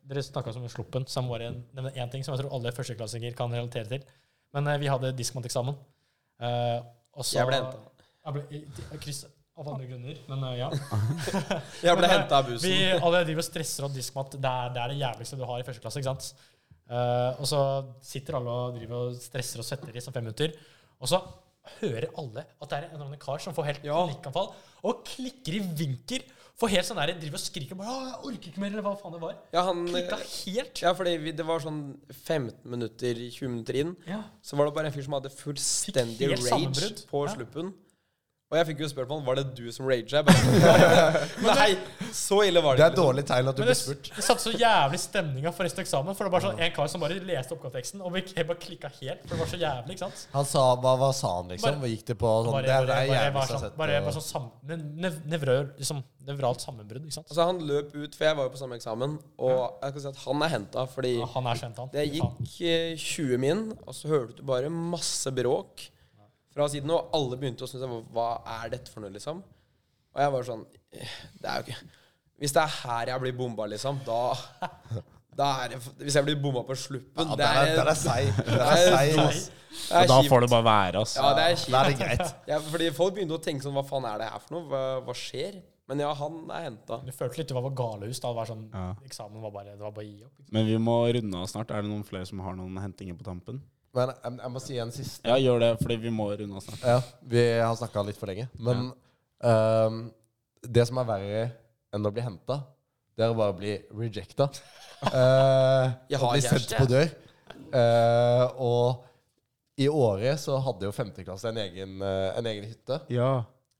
Speaker 5: Dere snakka om sluppen, så jeg må bare nevne én ting som jeg tror alle førsteklassinger kan relatere til. Men eh, vi hadde diskmanteksamen. Eh, og så-
Speaker 6: Jeg ble hentet.
Speaker 5: Jeg ble- jeg krysset av andre grunner, men eh, ja.
Speaker 6: Jeg ble
Speaker 5: Men, eh,
Speaker 6: henta av bussen.
Speaker 5: Vi alle driver og stresser av diskmat. Det er, det er det jævligste du har i første klasse. ikke sant? Eh, og så sitter alle og driver og stresser og svetter i sånn fem minutter. Og så hører alle at det er en eller annen kar som får helt panikkanfall og klikker i vinker. For helt sånn der, driver og skriker bare, «Åh, 'Jeg orker ikke mer', eller hva faen det var.
Speaker 6: Ja, han eh,
Speaker 5: Klikka helt.
Speaker 6: Ja, fordi vi, det var sånn 15 minutter, 20 minutter inn,
Speaker 5: Ja.
Speaker 6: så var det bare en fyr som hadde fullstendig
Speaker 5: Fikk helt
Speaker 6: rage
Speaker 5: sammenbrudd.
Speaker 6: på
Speaker 5: Ja.
Speaker 6: sluppen. Og jeg fikk jo spørsmål var det du som raga. Jeg bare, Nei, så ille var
Speaker 4: Det
Speaker 6: det
Speaker 4: er et dårlig tegn at du
Speaker 5: Men
Speaker 4: blir
Speaker 5: det,
Speaker 4: spurt.
Speaker 5: det satte så jævlig stemninga for resten av eksamen. For det var sånn en kar som bare leste oppgaveteksten, og vi bare klikka helt. For det var så jævlig, ikke sant?
Speaker 4: Han sa, hva, hva sa han, liksom? Hva gikk det på? Sånn,
Speaker 5: Bare,
Speaker 4: det er det
Speaker 5: bare, bare, bare,
Speaker 4: jævligste jeg har
Speaker 5: sånn,
Speaker 4: sett.
Speaker 5: bare,
Speaker 4: og-
Speaker 5: bare sånn sam, nev, nevrø- liksom, nevralt sammenbrudd, ikke sant?
Speaker 6: Altså, han løp ut, for jeg var jo på samme eksamen, og jeg kan si at han er henta fordi
Speaker 5: Ja, han er kjent, han.
Speaker 6: det gikk eh, 20 min, og så hørte du bare masse bråk fra siden, og alle begynte å synes hva er dette for noe, liksom? Og jeg var sånn eh, Det er jo ikke Hvis det er her jeg blir bomba, liksom, da, da er det Hvis jeg blir bomba på sluppen,
Speaker 4: Ja,
Speaker 6: det
Speaker 4: der er, der
Speaker 6: er,
Speaker 4: er seig. Der er seig, ass.
Speaker 6: det er
Speaker 3: da
Speaker 6: kjipt.
Speaker 3: får det bare være, altså. ass.
Speaker 6: Ja, det
Speaker 4: Da er
Speaker 6: er kjipt.
Speaker 4: det greit.
Speaker 6: Ja, fordi folk begynte å tenke sånn Hva faen er det her for noe? Hva, hva skjer? Men ja, han er henta.
Speaker 5: Du følte litt du var på galehus da. Det var sånn,
Speaker 3: Ja.
Speaker 5: Eksamen var bare, det var bare å gi opp.
Speaker 3: Men vi må runde av snart. Er det noen flere som har noen hentinger på tampen?
Speaker 4: Men jeg, jeg må si en siste.
Speaker 3: Ja, gjør det, fordi vi må runde av snart.
Speaker 4: Ja, vi har snakka litt for lenge. Men ehm, det som er verre enn å bli henta, det er å bare bli rejecta. Eh,
Speaker 6: Jeg
Speaker 4: og
Speaker 6: har
Speaker 4: bli sendt
Speaker 6: kjæreste,
Speaker 4: på dør. Eh, og i året så hadde jo femteklasse en egen, eh, en egen hytte.
Speaker 3: Ja.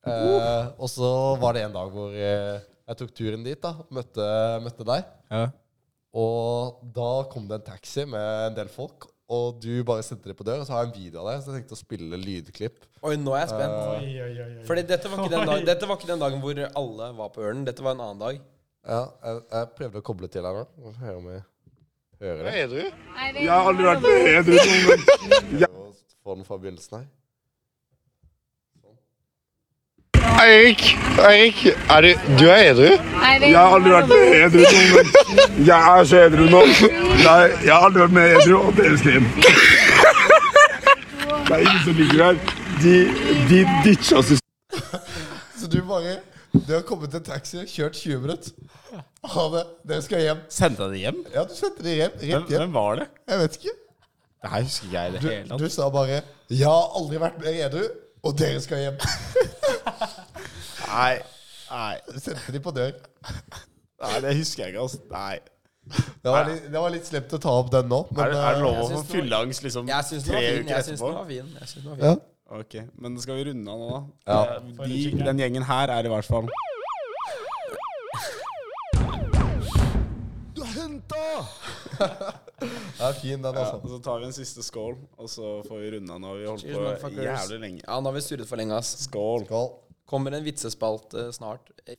Speaker 4: Eh, og så var det en dag hvor eh, jeg tok turen dit, da. Møtte, møtte deg.
Speaker 3: ja.
Speaker 4: Og da kom det en taxi med en del folk, og du bare sendte det på dør. Og så har jeg en video av deg, så jeg tenkte å spille lydklipp.
Speaker 6: Oi, nå er jeg spent.
Speaker 5: Oi,
Speaker 4: Eh.
Speaker 5: oi, oi, oi.
Speaker 6: Fordi dette var, ikke den
Speaker 5: Oi.
Speaker 6: dag, dette var ikke den dagen hvor alle var på Ørnen. Dette var en annen dag.
Speaker 4: Ja, jeg, jeg prøvde å koble til her nå. Vi får høre om vi hører det.
Speaker 7: Jeg har aldri vært
Speaker 4: Og Få den fra begynnelsen her.
Speaker 7: Eirik, Eirik, er du, du er edru? Jeg har aldri vært mer edru noen gang. Jeg er så edru nå. Nei, jeg har aldri vært mer edru, og det elsker jeg. Det er ingen som ligger her. De, de ditcha oss i
Speaker 4: Så du bare Du har kommet til en taxi, kjørt 20 minutter. Ha det. Dere skal hjem.
Speaker 3: Sendte jeg det hjem?
Speaker 4: Ja, du sendte dem hjem.
Speaker 3: Hvem,
Speaker 4: Rett hjem.
Speaker 3: hvem var det?
Speaker 4: Jeg vet ikke.
Speaker 3: Det her husker ikke jeg i det hele
Speaker 4: Du
Speaker 3: tatt.
Speaker 4: sa bare 'Jeg har aldri vært mer edru, og dere skal hjem'.
Speaker 3: Nei, nei,
Speaker 4: Sendte de på dør.
Speaker 3: nei, det husker jeg ikke, ass. Nei.
Speaker 4: Det var litt, det var litt slemt å ta opp den nå, men eh,
Speaker 3: Er, det- er det lov å
Speaker 6: Jeg
Speaker 3: få
Speaker 6: synes den
Speaker 3: fylleangst liksom
Speaker 6: Jeg syns den
Speaker 3: tre
Speaker 6: var fin.
Speaker 3: uker
Speaker 6: Jeg syns
Speaker 3: etterpå?
Speaker 6: den var fin. Jeg synes den var
Speaker 4: eh, ja.
Speaker 6: fin.
Speaker 3: Ok, men skal vi runde av nå, da?
Speaker 4: Ja.
Speaker 3: Eh, De, den gjengen her er i hvert fall
Speaker 4: Du er henta! Det er fin, den,
Speaker 3: ja,
Speaker 4: altså.
Speaker 3: og Så tar vi en siste skål, og så får vi runde av nå. Vi har
Speaker 6: Cheers,
Speaker 3: holdt på
Speaker 6: motherfuckers.
Speaker 3: jævlig lenge.
Speaker 6: Ja, nå har vi surret for lenge, ass.
Speaker 3: Skål.
Speaker 4: Skål.
Speaker 6: Kommer en vitsespalt eh, snart.